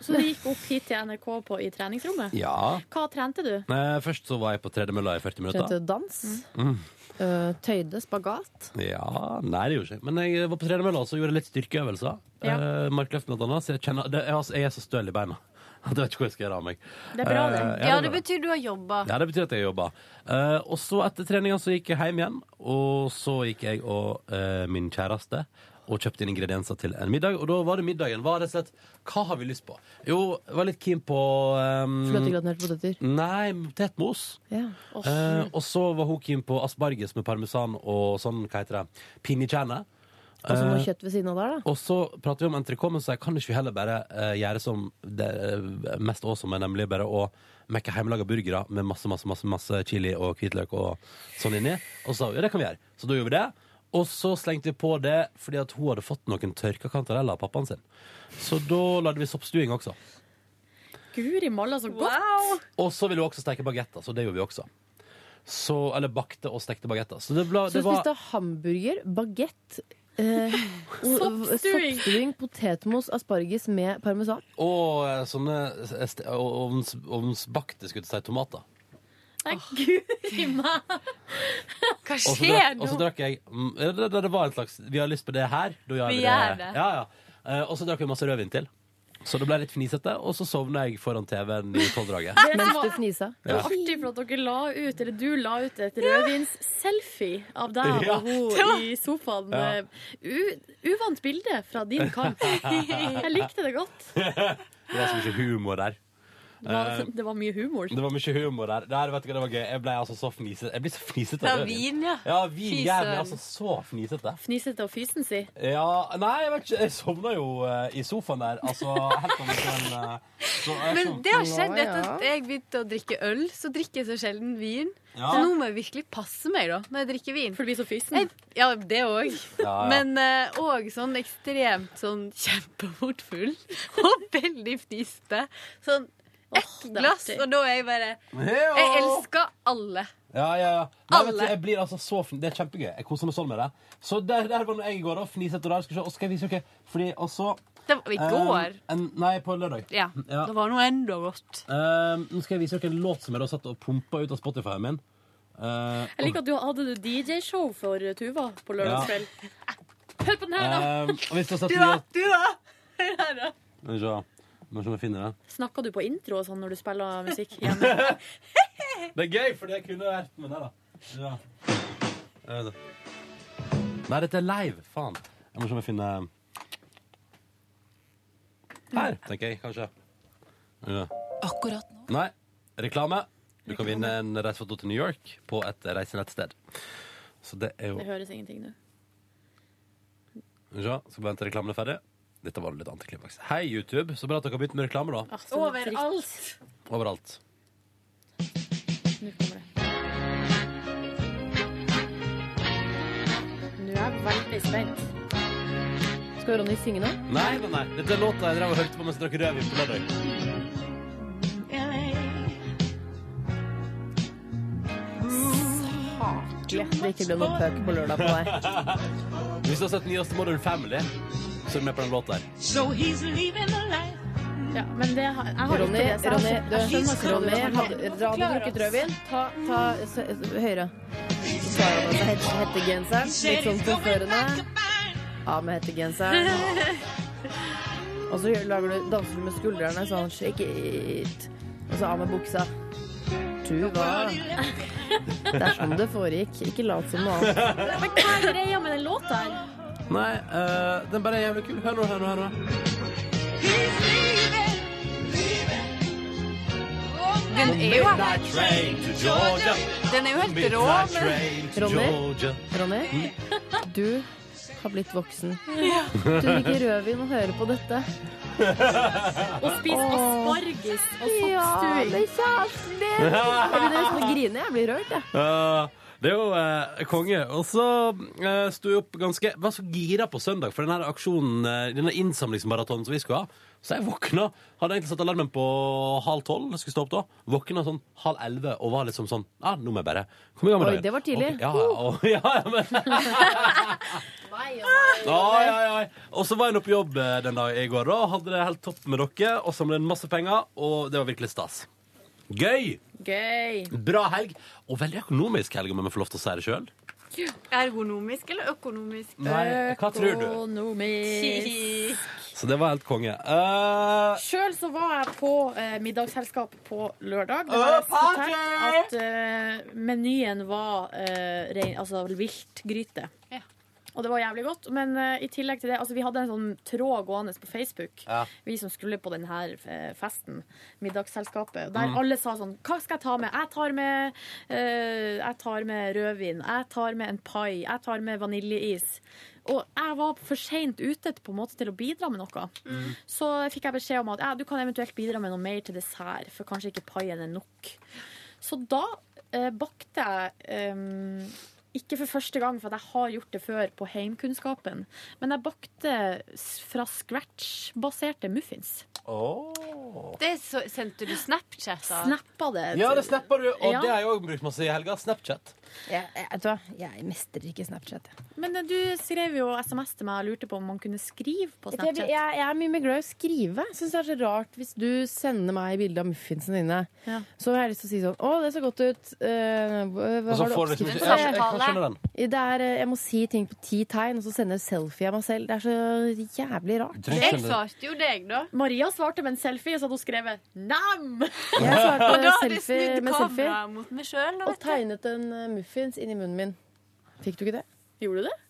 Speaker 15: Så du gikk opp hit til NRK på, i treningsrommet?
Speaker 2: Ja.
Speaker 15: Hva trente du?
Speaker 2: Eh, først så var jeg på tredemølla i 40
Speaker 4: Trente
Speaker 2: minutter.
Speaker 4: dans.
Speaker 2: Mm.
Speaker 4: eh, tøyde. Spagat.
Speaker 2: Ja, nei det gjorde jeg ikke Men jeg var på tredemølla og så gjorde jeg litt styrkeøvelser
Speaker 4: Ja.
Speaker 2: Eh, Markløft blant annet Så jeg, kjenner, det, jeg, altså, jeg er så støl i beina At jeg vet ikke hvor jeg skal gjøre av meg Eh,
Speaker 16: Ja,
Speaker 2: er
Speaker 16: det
Speaker 2: bra.
Speaker 16: betyr du har jobba.
Speaker 2: ja, det betyr at jeg jobber Eh, Og så etter treningen så gikk jeg hjem igjen Og så gikk jeg og eh, min kjæreste Og kjøpte inn ingredienser til en middag Og da var det middagen Var det slett, hva har vi lyst på? Jo, jeg var litt keen på um,
Speaker 4: Fløtegratinerte poteter.
Speaker 2: Nei, potetmos
Speaker 4: Ja.
Speaker 2: Eh, og så var hun keen på asparges med parmesan og sånn, hva heter det, pinnekjerne.
Speaker 4: Og så noe
Speaker 2: Eh,
Speaker 4: kjøtt ved siden av der, da.
Speaker 2: og så prater vi om entrecôte, men så jeg kan ikke vi heller bare eh, gjøre som det eh, mest awesome, nemlig bare å mekke hjemmelaga burgere med masse, masse, masse, masse chili og hvitløk og sånn inni. Og så sa hun ja, det kan vi gjøre. Så da gjorde vi det. Og så slengte vi på det fordi at hun hadde fått noen tørka kantareller av pappaen sin. Så da lagde vi soppstuing også.
Speaker 15: Guri malla, så godt!
Speaker 2: Og så ville hun også steke bagetter, så det gjorde vi også. Så, eller bakte og stekte bagetter. Så det, ble,
Speaker 4: Så
Speaker 2: det
Speaker 4: du
Speaker 2: var
Speaker 4: spiste hamburger, bagett eh, og-
Speaker 15: Soppstuing.
Speaker 4: Soppstuing, potetmos, asparges med parmesan.
Speaker 2: Og eh, sånne eh, ste- og- ovns, ovnsbakte skulle jeg til å si, tomater.
Speaker 15: Nei, guri meg! Hva
Speaker 2: Og så drakk- Og så drakk jeg mm, ja, det, det, det var en slags Vi har lyst på det her, da gjør vi,
Speaker 15: Vi
Speaker 2: det.
Speaker 15: gjør det.
Speaker 2: Ja, ja. Eh, og så drakk vi masse rødvin til. Så det ble litt fnisete, og så sovna jeg foran TV-en i tolvdraget.
Speaker 6: Det som
Speaker 17: Mens
Speaker 6: var
Speaker 17: du fnisa.
Speaker 6: det var artig for at dere la ut, eller du la ut et rødvins-selfie av deg
Speaker 2: Ja.
Speaker 6: og hun i sofaen. Eh,
Speaker 2: Ja.
Speaker 6: U uvant bilde fra din kamp. Jeg likte det godt.
Speaker 2: Det var så mye humor der.
Speaker 6: Det var,
Speaker 2: Eh,
Speaker 6: det var mye humor.
Speaker 2: Det var mye humor der. der vet du, hva, det var gøy. Jeg ble altså så fnisete. Jeg blir så fnisete. av
Speaker 6: Fra
Speaker 2: rødvin.
Speaker 6: vin, ja.
Speaker 2: Ja, vin, jeg ble
Speaker 6: Fy søren.
Speaker 2: altså så fnisete.
Speaker 6: Fnisete og fysen si.
Speaker 2: Ja, nei, jeg vet ikke. Jeg sovna jo eh, i sofaen der. Altså, helt om en eh, så jeg
Speaker 10: Men
Speaker 2: sov-
Speaker 10: det har skjedd
Speaker 2: Ja,
Speaker 10: etter
Speaker 2: ja.
Speaker 10: at jeg begynte å drikke øl. Så drikker jeg så sjelden vin.
Speaker 2: Ja.
Speaker 10: Så nå må jeg virkelig passe meg da når jeg drikker vin.
Speaker 6: For du blir så fysen?
Speaker 10: ja, det òg.
Speaker 2: Ja, ja.
Speaker 10: Men òg sånn ekstremt sånn kjempefort full. Og veldig fniste. Sånn ett
Speaker 6: er
Speaker 10: glass,
Speaker 6: artig.
Speaker 10: og da er jeg bare
Speaker 2: Heo!
Speaker 10: Jeg elsker alle.
Speaker 2: Ja, ja, ja. Nei, vet du,
Speaker 10: Alle.
Speaker 2: jeg blir altså så fn... Det er kjempegøy. Jeg koser meg sånn med det. Så der, der var nå jeg i går, da. Fnisete og rar. Skal vi se. Og skal jeg vise dere Fordi, og så
Speaker 10: Det var i går.
Speaker 2: Eh, en, Nei, på lørdag.
Speaker 10: Ja.
Speaker 2: Ja.
Speaker 10: Det var noe enda godt.
Speaker 2: Eh, nå skal jeg vise dere en låt som jeg da satt og pumpa ut av Spotify-en min. Eh,
Speaker 6: Jeg liker at du hadde du DJ-show for eh, Tuva på lørdagskveld. Hør på den her, da!
Speaker 2: Eh, og hvis du har sett
Speaker 6: Tuva,
Speaker 2: mye-
Speaker 6: Tuva! Hør her, da.
Speaker 2: Skal vi se. Må se om jeg finner det.
Speaker 6: Snakker du på intro og sånn når du spiller musikk hjemme?
Speaker 2: Det er gøy, fordi jeg kunne vært med deg, da. Nei, dette er live. Faen. Jeg må se om jeg finner Her, tenker jeg kanskje. Ja.
Speaker 12: Akkurat nå.
Speaker 2: Nei. Reklame. Du kan vinne en reisefoto til New York på et reisenettsted. Så det er jo
Speaker 6: Det høres ingenting nå.
Speaker 2: Skal vi se, skal bare vente reklamen er ferdig. Dette var litt antiklimaks. Hei, YouTube. Så bra at dere har begynt med reklame, da.
Speaker 6: Sånn Overalt.
Speaker 2: Overalt.
Speaker 6: Nå er jeg veldig spent.
Speaker 4: Skal Ronny synge nå?
Speaker 2: Nei, nei, nei. Dette er låta jeg drev og hørte på mens jeg drakk rødvin på lørdag.
Speaker 4: Saklig at det ikke ble noe pøk på lørdag på deg.
Speaker 2: Hvis du har sett nyeste Modern Family, så er du med på den låta her.
Speaker 6: Ja, men det har, jeg har
Speaker 4: Ronny,
Speaker 6: ikke det. så
Speaker 4: Ronny,
Speaker 6: jeg skjønner-
Speaker 4: du,
Speaker 6: jeg skjønner at
Speaker 4: Ronny
Speaker 6: det var-
Speaker 4: hadde, dere hadde drukket rødvin. Ta, ta s høyre. Så svarer han med het- hettegenseren. Litt sånn forførende. Av med hettegenseren. Og så gjør- lager du, danser du med skuldrene sånn shake it. Og så av med buksa. Tuva. Det er sånn det foregikk. Ikke lat som noe annet.
Speaker 6: Men hva er greia med den låta her?
Speaker 2: Nei, eh, den bare er jævlig kul. Hør nå, hør nå. hør nå.
Speaker 10: Den er jo Den er jo helt rå, men
Speaker 4: Ronny, Ronny du har blitt voksen. Du drikker rødvin og hører på dette.
Speaker 6: Å spise asparges og
Speaker 4: Ja,
Speaker 6: soppstuing.
Speaker 4: med kjæresten din! Jeg begynner nesten å grine. Jeg blir rørt, jeg.
Speaker 2: Eh, det er jo eh, konge. Og så uh, sto jeg opp ganske Var så gira på søndag for denne aksjonen, eh, denne innsamlingsmaratonen som vi skulle ha. Så jeg våkna. Hadde egentlig satt alarmen på halv tolv. Jeg skulle stå opp da. Våkna sånn halv elleve og var liksom sånn Ja, ah, nå må jeg bare komme i gang med
Speaker 4: Oi,
Speaker 2: dagen.
Speaker 4: det var tidlig.
Speaker 2: Ok, ja, ja, og, ja, ja, men Oi, oi, oi. Og så var jeg nå på jobb eh, den dagen i går, da. og Hadde det helt topp med dere og samlet inn masse penger. Og det var virkelig stas. Gøy!
Speaker 6: Gøy.
Speaker 2: Bra helg. Og veldig økonomisk helg, om jeg får lov til å si det sjøl.
Speaker 10: Ergonomisk eller økonomisk?
Speaker 2: Nei, hva tror du?
Speaker 6: Økonomisk.
Speaker 2: Så det var helt konge. Eh,
Speaker 6: Sjøl så var jeg på eh, middagsselskap på lørdag. Det var
Speaker 10: Å, party!
Speaker 6: at eh, menyen var eh, rein, altså viltgryte. Og det var jævlig godt. Men eh, i tillegg til det, altså vi hadde en sånn tråd gående på Facebook,
Speaker 10: Ja.
Speaker 6: vi som skulle på denne eh, festen, middagsselskapet, der
Speaker 10: Mm.
Speaker 6: alle sa sånn Hva skal jeg ta med? Jeg tar med, eh, jeg tar med rødvin. Jeg tar med en pai. Jeg tar med vaniljeis. Og jeg var for seint ute på en måte til å bidra med noe. Så fikk jeg beskjed om at ja, du kan eventuelt bidra med noe mer til dessert, for kanskje ikke paien er nok. Så da eh, bakte jeg eh, ikke for første gang, for at jeg har gjort det før på heimkunnskapen. Men jeg bakte s- fra scratch-baserte muffins.
Speaker 10: Det så, sendte du Snapchat av.
Speaker 6: Snappa det.
Speaker 2: ja, det snapper du, og
Speaker 6: Ja.
Speaker 2: det har jeg òg brukt masse i helga. Snapchat.
Speaker 4: Jeg, jeg, vet du hva? jeg mestrer ikke Snapchat. Jeg.
Speaker 6: Men eh, du skrev jo SMS til meg og lurte på om man kunne skrive på
Speaker 4: Vet du,
Speaker 6: Snapchat.
Speaker 4: Jeg, jeg, jeg er mye mer glad i å skrive. Jeg synes det er så rart hvis du sender meg bilde av muffinsene dine. Så har jeg lyst til å si sånn Å, det ser godt ut. Eh, hva,
Speaker 2: Og
Speaker 4: hva
Speaker 2: så
Speaker 4: har du
Speaker 2: får du liksom
Speaker 4: oppskrift
Speaker 2: ikke-
Speaker 4: på?»
Speaker 2: Jeg- jeg kan skjønne den.
Speaker 4: I- Det er, eh, jeg må si ting på ti tegn, og så sender jeg selfie av meg selv. Det er så jævlig rart.
Speaker 18: Jeg svarte jo deg, da.
Speaker 6: Maria svarte med en selfie, så hadde hun skrevet 'nam'.
Speaker 4: Jeg svarte
Speaker 18: Og da hadde jeg
Speaker 4: selfie
Speaker 18: snudd
Speaker 4: med selfie.
Speaker 18: kameraet mot meg sjøl.
Speaker 4: Og tegnet en eh, muffins inni munnen min. Fikk du ikke det?
Speaker 6: Gjorde du det?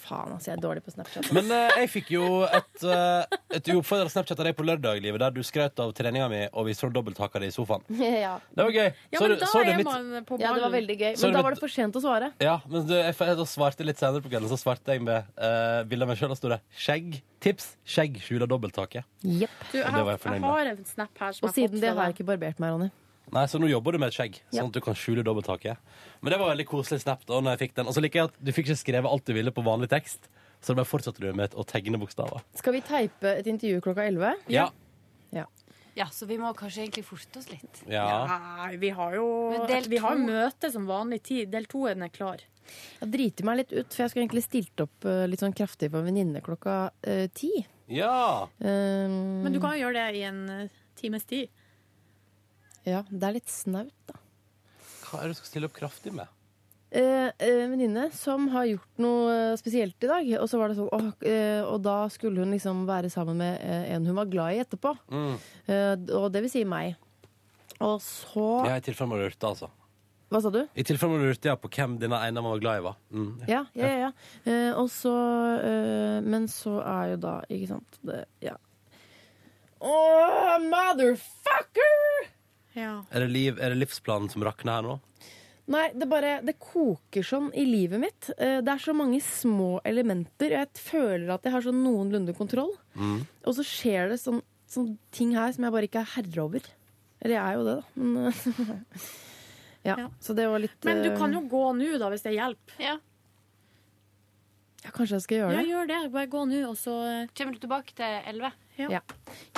Speaker 4: Faen, altså. Jeg er dårlig på Snapchat.
Speaker 2: Men eh, jeg fikk jo et, eh, et uoppfordret Snapchat av deg på lørdag, Livet, der du skrøt av treninga mi, og vi så dobbelthaka di i sofaen.
Speaker 4: ja.
Speaker 2: Det var gøy.
Speaker 4: Ja,
Speaker 2: Så
Speaker 4: men
Speaker 2: du-
Speaker 4: da
Speaker 2: så du
Speaker 4: er
Speaker 2: mitt-
Speaker 4: man på Ja, det var
Speaker 6: ballen.
Speaker 4: veldig gøy.
Speaker 2: Så
Speaker 4: Men
Speaker 2: du
Speaker 4: da
Speaker 2: mitt-
Speaker 4: var det for sent å svare.
Speaker 2: Ja, men du, jeg, jeg da svarte litt senere på kvelden, så svarte jeg med uh, bilde av meg sjøl, og sto det 'skjegg'. Tips skjegg skjuler dobbelttaket.
Speaker 6: Du, jeg,
Speaker 2: Og det var jeg
Speaker 6: har, jeg
Speaker 2: fornøyd med.
Speaker 6: har en snap her
Speaker 4: Og
Speaker 6: som jeg har fått
Speaker 4: siden det
Speaker 6: fra
Speaker 4: har
Speaker 6: deg.
Speaker 4: jeg ikke barbert meg, Ronny.
Speaker 2: Nei, Så nå jobber du med et skjegg,
Speaker 4: Ja.
Speaker 2: sånn at du kan skjule dobbelttaket. Men det var veldig koselig snap. da når jeg fikk den Og så liker jeg at du fikk ikke skrevet alt du ville på vanlig tekst, så bare fortsatte du med å tegne bokstaver.
Speaker 4: Skal vi teipe et intervju klokka 11?
Speaker 2: Ja.
Speaker 18: Ja, så vi må kanskje egentlig forte oss litt.
Speaker 2: Ja.
Speaker 6: Nei, vi har jo
Speaker 18: Men del
Speaker 6: Vi har
Speaker 18: to-
Speaker 6: møte som vanlig tid. Del to er den er klar.
Speaker 4: Jeg driter meg litt ut, for jeg skulle egentlig stilt opp eh, litt sånn kraftig for en venninne klokka eh, ti.
Speaker 2: Ja.
Speaker 4: Um,
Speaker 6: Men du kan jo gjøre det i en eh, times tid.
Speaker 4: Ja, det er litt snaut.
Speaker 2: Hva er det du skal stille opp kraftig med?
Speaker 4: Eh, eh, venninne som har gjort noe eh, spesielt i dag. Og så var det sånn, åh, eh, og da skulle hun liksom være sammen med eh, en hun var glad i etterpå.
Speaker 2: Mm.
Speaker 4: Eh, og det vil si meg. Og så
Speaker 2: Ja, I tilfelle man lurte, altså.
Speaker 4: Hva sa du?
Speaker 2: I tilfelle man lurte ja, på hvem denne ene man var glad i var. Mm.
Speaker 4: Ja, ja, ja. ja. Eh, og så eh, Men så er jo da, ikke sant det, Ja. Åh, motherfucker!
Speaker 2: Er, det liv, er det livsplanen som rakner her nå?
Speaker 4: Nei, det bare Det koker sånn i livet mitt. Eh, Det er så mange små elementer. og Jeg føler at jeg har sånn noenlunde kontroll. Og så skjer det sånn, sånn ting her som jeg bare ikke er herre over. Eller jeg er jo det, da. Men eh, ja, Så det var litt
Speaker 6: Men du
Speaker 4: eh,
Speaker 6: kan jo gå nå, da, hvis det hjelper. Ja,
Speaker 4: eh, ja, Kanskje jeg skal gjøre det?
Speaker 6: gjør det. Bare gå nå, og så
Speaker 18: Kommer du tilbake til elleve?
Speaker 4: Ja.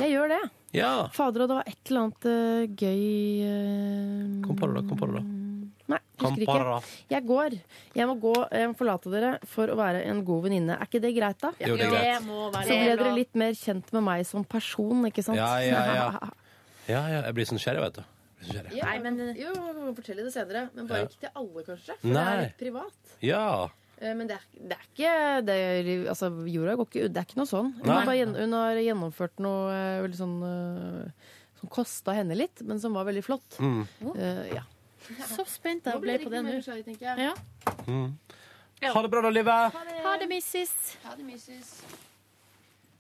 Speaker 4: Jeg gjør det.
Speaker 2: Ja.
Speaker 4: Fader, og det var et eller annet eh, gøy Kom på det, da. Kom på det, da. Mm. Nei,
Speaker 2: Kom
Speaker 4: husker
Speaker 2: på det, da.
Speaker 4: ikke. Jeg går. Jeg må gå, jeg må forlate dere for å være en god venninne. Er ikke det greit, da?
Speaker 2: Jo, det er greit. Det
Speaker 6: må
Speaker 2: være
Speaker 4: Så
Speaker 2: bra.
Speaker 4: ble dere litt mer kjent med meg som person, ikke sant?
Speaker 2: Ja, ja, ja. Ja, ja, jeg blir så nysgjerrig, vet du. Jeg blir sånn så nysgjerrig.
Speaker 4: Nei, men Jo, vi kan fortelle det senere. Men
Speaker 2: Ja.
Speaker 4: bare ikke til alle, kanskje. For det er
Speaker 2: Nei.
Speaker 4: litt privat.
Speaker 2: Ja.
Speaker 4: Eh, Men det er, det er ikke det er, Altså, jorda går ikke Det er ikke noe sånn. Hun,
Speaker 2: Nei.
Speaker 4: har, bare gjen- hun har gjennomført noe eh, veldig sånn eh, Som kosta henne litt, men som var veldig flott.
Speaker 2: Mm.
Speaker 4: Eh, ja.
Speaker 6: Så spent jeg ble på det nå. Ja.
Speaker 2: Ha det bra, da, livet.
Speaker 6: Ha det, missis.
Speaker 4: Ha det, missus.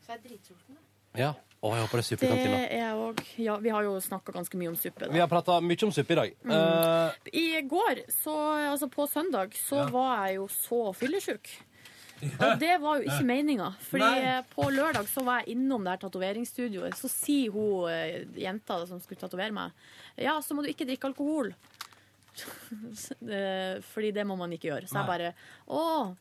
Speaker 4: Så er jeg dritsulten, da.
Speaker 2: Ja. Å, jeg håper det er
Speaker 6: Det
Speaker 2: suppe i kantina.
Speaker 6: er jeg òg. Ja, vi har jo snakka ganske mye om suppe.
Speaker 2: Vi
Speaker 6: Da.
Speaker 2: har prata mye om suppe i dag.
Speaker 6: Mm.
Speaker 2: Eh,
Speaker 6: I går, så, altså på søndag, så var jeg jo så fyllesyk. Og det var jo ikke meninga. Fordi
Speaker 18: Nei.
Speaker 6: eh, på lørdag så var jeg innom det her tatoveringsstudioet. Så sier hun eh, jenta som skulle tatovere meg, ja, så må du ikke drikke alkohol. Eh, Fordi det må man ikke gjøre. Så
Speaker 2: Nei.
Speaker 6: jeg bare Å,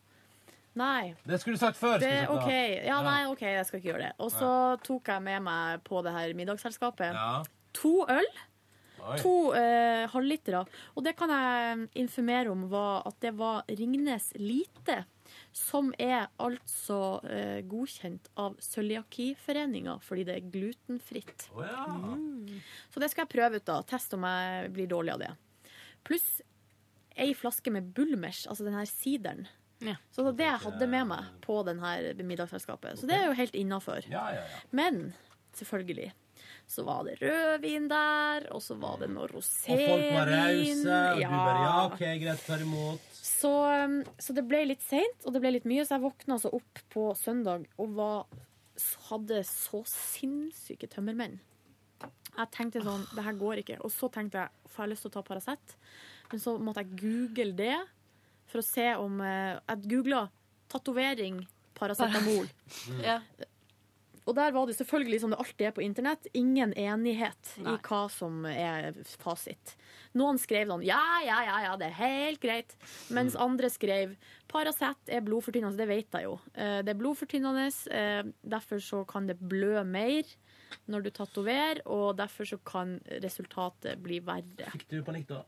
Speaker 6: nei.
Speaker 2: det skulle du sagt før.
Speaker 6: Det,
Speaker 2: skulle du sagt,
Speaker 6: ok,
Speaker 2: da.
Speaker 6: ja, nei, ok, jeg skal ikke gjøre det. Og så tok jeg med meg på det her middagsselskapet
Speaker 2: Ja.
Speaker 6: to øl.
Speaker 2: Oi.
Speaker 6: To eh, halvlitere. Og det kan jeg eh, informere om var at det var Ringnes Lite. Som er altså eh, godkjent av cøliakiforeninga fordi det er glutenfritt. Mm. Så det skal jeg prøve ut, da. Teste om jeg blir dårlig av det. Pluss ei flaske med Bulmers, altså den her sideren. Så det var det jeg hadde med meg på den her middagsselskapet. Så det er jo helt innafor. Mm. Men selvfølgelig så var det rødvin der, og så var det noe rosévin. Ja.
Speaker 2: OK, greit, tar imot.
Speaker 6: Så, um, så det ble litt seint, og det ble litt mye, så jeg våkna altså opp på søndag og var, hadde så sinnssyke tømmermenn. Jeg tenkte sånn, det her går ikke. Og så tenkte jeg, får jeg lyst til å ta Paracet? Men så måtte jeg google det for å se om eh, Jeg googla 'tatovering paracetamol'.
Speaker 18: Ja.
Speaker 6: Og der var det selvfølgelig, som det alltid er på internett, ingen enighet i
Speaker 18: Nei.
Speaker 6: hva som er fasit. Noen skrev sånn ja, ja, ja, ja, det er helt greit. Mens andre skrev Paracet er blodfortynnende, det vet jeg jo. Eh, Det er blodfortynnende, eh, derfor så kan det blø mer når du tatoverer, og derfor så kan resultatet bli verre.
Speaker 2: Du panikk, da.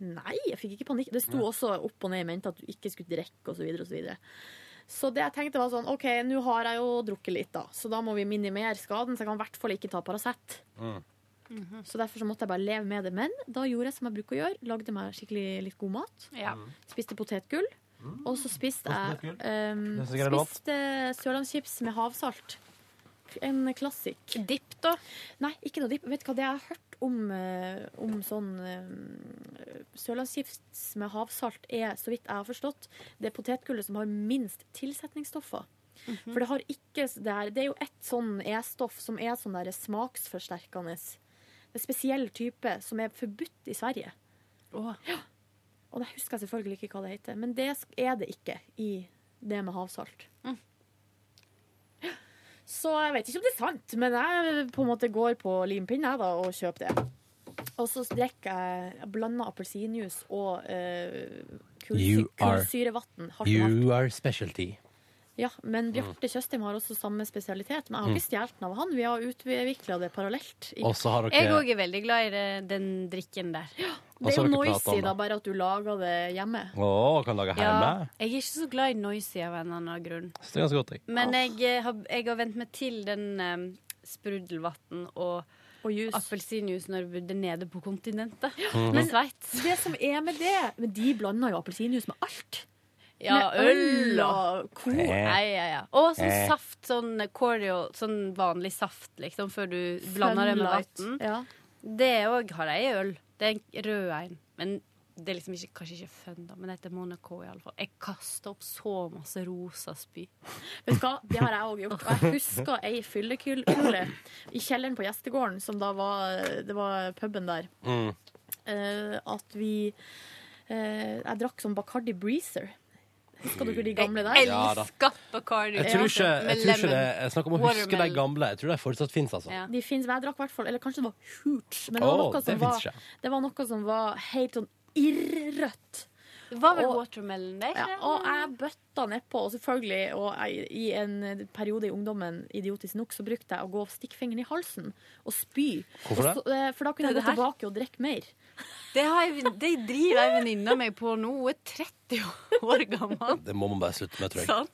Speaker 6: Nei, jeg fikk ikke panikk. Det sto også opp og ned i mente at du ikke skulle drikke osv. Så, videre, og så, videre. så det jeg tenkte var sånn OK, nå har jeg jo drukket litt, da. Så da må vi minimere skaden, så jeg kan i hvert fall ikke ta Paracet. Så derfor så måtte jeg bare leve med det. Men da gjorde jeg som jeg bruker å gjøre. Lagde meg skikkelig litt god mat. Spiste potetgull. Og så spiste jeg ehm,
Speaker 2: Det er sikkert lov.
Speaker 6: Spiste sørlandschips med havsalt. En klassikk. Dipp, da? Nei, ikke noe dipp. Vet du hva det jeg har hørt om, eh, om sånn eh, Sørlandschips med havsalt er, så vidt jeg har forstått, det potetgullet som har minst tilsetningsstoffer. For det har ikke s- det er, det er jo ett sånn E-stoff som er sånn der smaksforsterkende. Det er en spesiell type som er forbudt i Sverige. Ja. Og det husker jeg selvfølgelig ikke hva det heter, men det sk- er det ikke i det med havsalt. Så jeg vet ikke om det er sant, men jeg på en måte går på limpinn jeg da, og kjøper det. Og så drikker jeg jeg blander appelsinjuice og uh,
Speaker 2: You are-
Speaker 6: kullsyrevann.
Speaker 2: You Mm. are specialty.
Speaker 6: Ja, men Bjarte Tjøstheim har også samme spesialitet. Men jeg har ikke stjålet den av han. Vi har utvikla det parallelt. i-
Speaker 2: Mm. Og så har dere-
Speaker 10: Jeg òg er veldig glad i det, den drikken der.
Speaker 6: Det er
Speaker 2: Og så
Speaker 6: jo
Speaker 2: har dere pratet om
Speaker 6: noisy,
Speaker 2: det.
Speaker 6: da, bare at du lager det hjemme.
Speaker 2: Å, kan lage hjemme.
Speaker 10: Ja, jeg er ikke så glad i noisy av en eller annen grunn.
Speaker 2: Så det er ganske godt, jeg.
Speaker 10: Men jeg, eh, har, jeg har vent meg til den um, sprudelvann og, appelsinjuice når jeg bodde nede på kontinentet.
Speaker 6: Mhm.
Speaker 10: Men Sveits.
Speaker 6: Det som er med det Men de blander jo appelsinjuice med alt.
Speaker 10: Ja,
Speaker 6: Med
Speaker 10: øl og
Speaker 6: og
Speaker 10: ko.
Speaker 6: Eh.
Speaker 10: Nei, ja, ja. Og sånn
Speaker 6: Eh.
Speaker 10: saft, sånn cordial, sånn vanlig saft, liksom, før du blander det med
Speaker 6: Sunlight,
Speaker 10: vann.
Speaker 6: ja.
Speaker 10: Det òg har jeg i øl. Det er en rød en. Men det er liksom ikke, kanskje ikke fun, da, men det heter Monaco i alle fall. Jeg kasta opp så masse rosa spy.
Speaker 6: Vet du hva, det har jeg òg gjort. Og jeg husker ei fyllekule i kjelleren på gjestegården, som da var, det var puben der,
Speaker 2: Mm.
Speaker 6: eh, at vi eh, Jeg drakk sånn Bacardi Breezer. Husker dere de gamle der?
Speaker 10: Jeg
Speaker 2: Ja, da.
Speaker 10: elsker Bacardi.
Speaker 2: Jeg tror ikke, jeg tror ikke det er snakk om å huske de
Speaker 6: Watermelon.
Speaker 2: gamle. Jeg tror de fortsatt fins, altså.
Speaker 6: Ja. De finnes, men jeg drakk i hvert fall Eller kanskje det var Hooch. Men det var,
Speaker 2: Åh,
Speaker 6: noe
Speaker 2: det
Speaker 6: som var,
Speaker 2: finnes ikke.
Speaker 6: det var noe som var helt sånn irrrødt.
Speaker 10: Det var vel
Speaker 6: Og-
Speaker 10: watermelon, det?
Speaker 6: Ja, og jeg bøtta nedpå, og selvfølgelig, og jeg, i en periode i ungdommen, idiotisk nok, så brukte jeg å gå stikkfingeren i halsen og spy.
Speaker 10: Hvorfor
Speaker 6: Og
Speaker 10: det?
Speaker 6: så- eh, for da kunne jeg
Speaker 10: Det er
Speaker 6: gå
Speaker 10: det her.
Speaker 6: tilbake og drikke mer.
Speaker 10: Det, har jeg, det driver ei venninne av meg på nå. Hun er 30 år gammel.
Speaker 2: Det må man bare slutte med, tror jeg.
Speaker 10: Sant?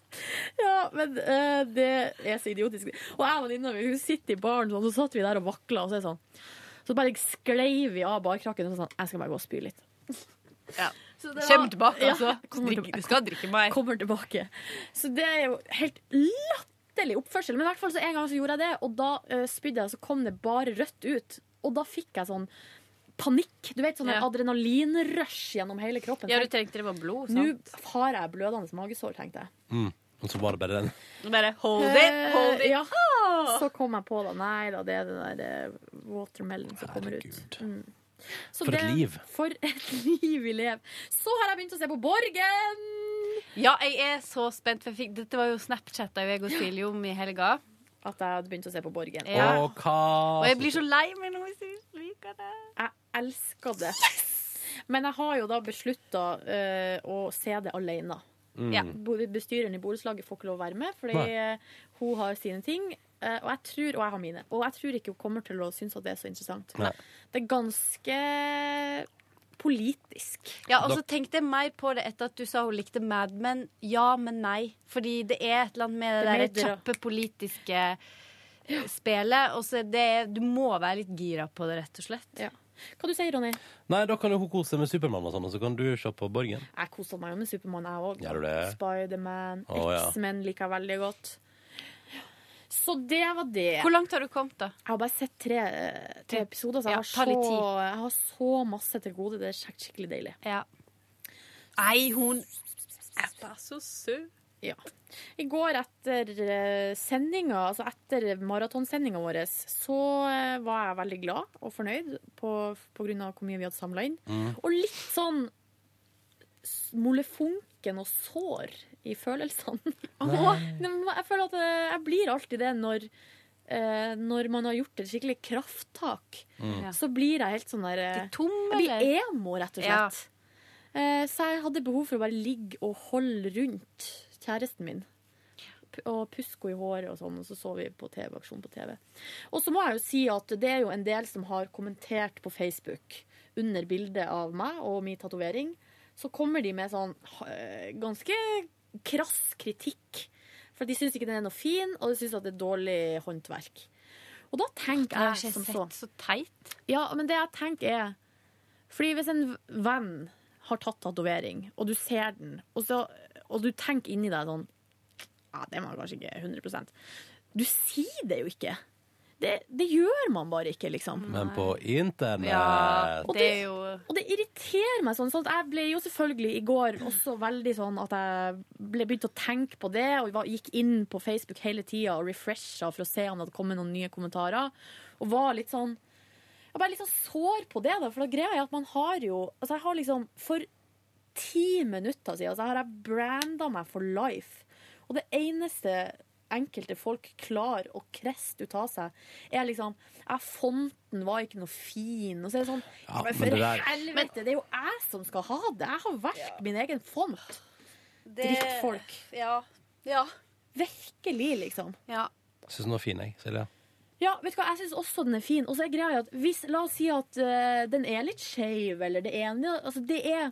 Speaker 6: Ja, men eh, det er så idiotisk. Og jeg og venninna mi hun sitter i baren, sånn, og så satt vi der og vakla, og så er det sånn. Så bare sklei vi av barkrakken og så sånn Jeg skal bare gå og spy litt.
Speaker 10: Ja.
Speaker 6: Så det
Speaker 10: Kjem
Speaker 6: var-
Speaker 10: tilbake,
Speaker 6: Ja,
Speaker 10: altså.
Speaker 6: kommer
Speaker 10: Drikk-
Speaker 6: tilbake.
Speaker 10: skal drikke meg.
Speaker 6: Kommer tilbake. Så det er jo helt latterlig oppførsel. Men i hvert fall så en gang så gjorde jeg det, og da eh, spydde jeg, så kom det bare rødt ut. Og da fikk jeg sånn panikk. Du vet, sånn
Speaker 10: Ja.
Speaker 6: adrenalinrush gjennom hele kroppen.
Speaker 10: Ja, du trengte det var blod,
Speaker 6: Nå
Speaker 10: sant?
Speaker 6: har jeg blødende magesår, tenkte jeg.
Speaker 2: Mm. Og så var det bare den.
Speaker 10: Nå bare hold it, hold
Speaker 6: Eh,
Speaker 10: it. Ah.
Speaker 6: ja. Så kom jeg på da, nei da, det er den der eh, watermelon som kommer ut. Mm. Så
Speaker 10: For et
Speaker 6: det-
Speaker 10: liv.
Speaker 6: For et liv vi lever. Så har jeg begynt å se på Borgen!
Speaker 10: Ja, jeg er så spent. For jeg fikk, dette var jo Snapchat av jeg og Silje om i helga.
Speaker 6: At jeg hadde begynt å se på Borgen.
Speaker 10: Ja.
Speaker 2: Og hva
Speaker 10: Og jeg blir så lei meg nå hvis jeg ikke liker det.
Speaker 6: Jeg elsker det. Men jeg har jo da beslutta å se det alene.
Speaker 10: Mm. Ja.
Speaker 6: Bo- Bestyreren i borettslaget får ikke lov å være med, fordi
Speaker 10: Nei.
Speaker 6: eh, hun har sine ting. eh, Og jeg tror, og jeg har mine. Og jeg tror ikke hun kommer til å synes at det er så interessant.
Speaker 10: Nei.
Speaker 6: Det er ganske politisk.
Speaker 10: Ja, og så tenkte jeg mer på det etter at du sa hun likte Mad Men. Ja, men nei. Fordi det er et eller annet med det,
Speaker 6: Det er
Speaker 10: der
Speaker 6: mer dra-
Speaker 10: kjappe politiske eh, spelet. Og så er det Du må være litt gira på det, rett og slett.
Speaker 6: Hva du sier Ronny?
Speaker 2: Nei, da kan jo hun kose seg med Supermann og sånn, og så kan du se på Borgen.
Speaker 6: Jeg kosa meg jo med Supermann, jeg òg.
Speaker 2: Gjør du det?
Speaker 6: Spiderman,
Speaker 2: Å, ja.
Speaker 6: X-Men liker jeg veldig godt. Så det var det.
Speaker 10: Hvor langt har du kommet, da?
Speaker 6: Jeg har bare sett tre, eh, tre episoder, så jeg,
Speaker 10: Ja, ta
Speaker 6: har
Speaker 10: litt
Speaker 6: så,
Speaker 10: tid.
Speaker 6: jeg har så masse til gode. Det er skikkelig, skikkelig deilig.
Speaker 10: Nei, hun er bare så søt.
Speaker 6: Ja. I går etter eh, sendinga, altså etter maratonsendinga vår, så eh, var jeg veldig glad og fornøyd på, på grunn av hvor mye vi hadde samla inn.
Speaker 10: Mm.
Speaker 6: Og litt sånn s- molefonken og sår i følelsene. Åh, nei, men jeg føler at eh, jeg blir alltid det når eh, når man har gjort et skikkelig krafttak,
Speaker 10: Mm. Ja.
Speaker 6: så blir jeg helt sånn der eh,
Speaker 10: tom,
Speaker 6: Jeg
Speaker 10: eller?
Speaker 6: blir emo, rett og
Speaker 10: Ja.
Speaker 6: slett. Eh, Så jeg hadde behov for å bare ligge og holde rundt kjæresten min. P- Og puske henne i håret og sånn, og så så vi på TV, aksjon på TV. Og så må jeg jo si at det er jo en del som har kommentert på Facebook under bildet av meg og min tatovering, så kommer de med sånn eh, ganske krass kritikk. For de syns ikke den er noe fin, og de syns at det er dårlig håndverk. Og da tenker
Speaker 19: har
Speaker 6: jeg
Speaker 19: jeg
Speaker 6: som
Speaker 19: sett
Speaker 6: så. Så teit. Ja, men det jeg tenker er Fordi hvis en venn har tatt tatovering, og du ser den, og, så, og du tenker inni deg sånn Ja, det var kanskje ikke 100 Du sier det jo ikke. Det, det gjør man bare ikke, liksom.
Speaker 2: Men på internett
Speaker 6: og det, og det irriterer meg sånn. sånn at jeg ble jo selvfølgelig i går også veldig sånn at jeg ble begynt å tenke på det, og var, gikk inn på Facebook hele tida og refresha for å se om det hadde kommet noen nye kommentarer. Og var litt sånn Jeg ble litt sånn sår på det, da, for da greia er at man har jo Altså, jeg har liksom For ti minutter siden så har jeg branda meg for life. Og det eneste enkelte folk klarer å kreste ut av seg, er liksom ja, Fonten var ikke noe fin. Og så er det sånn
Speaker 20: Ja,
Speaker 6: men
Speaker 20: men det
Speaker 6: For
Speaker 20: der-
Speaker 6: helvete, det er jo jeg som skal ha det! Jeg har valgt min egen font. Drittfolk.
Speaker 4: Ja. ja.
Speaker 6: Virkelig, liksom.
Speaker 4: Ja.
Speaker 2: Syns den var fin, jeg, Silja.
Speaker 6: Ja, vet du hva, jeg syns også den er fin. Og så er greia at hvis, La oss si at eh, den er litt skeiv, eller det ene Altså, det er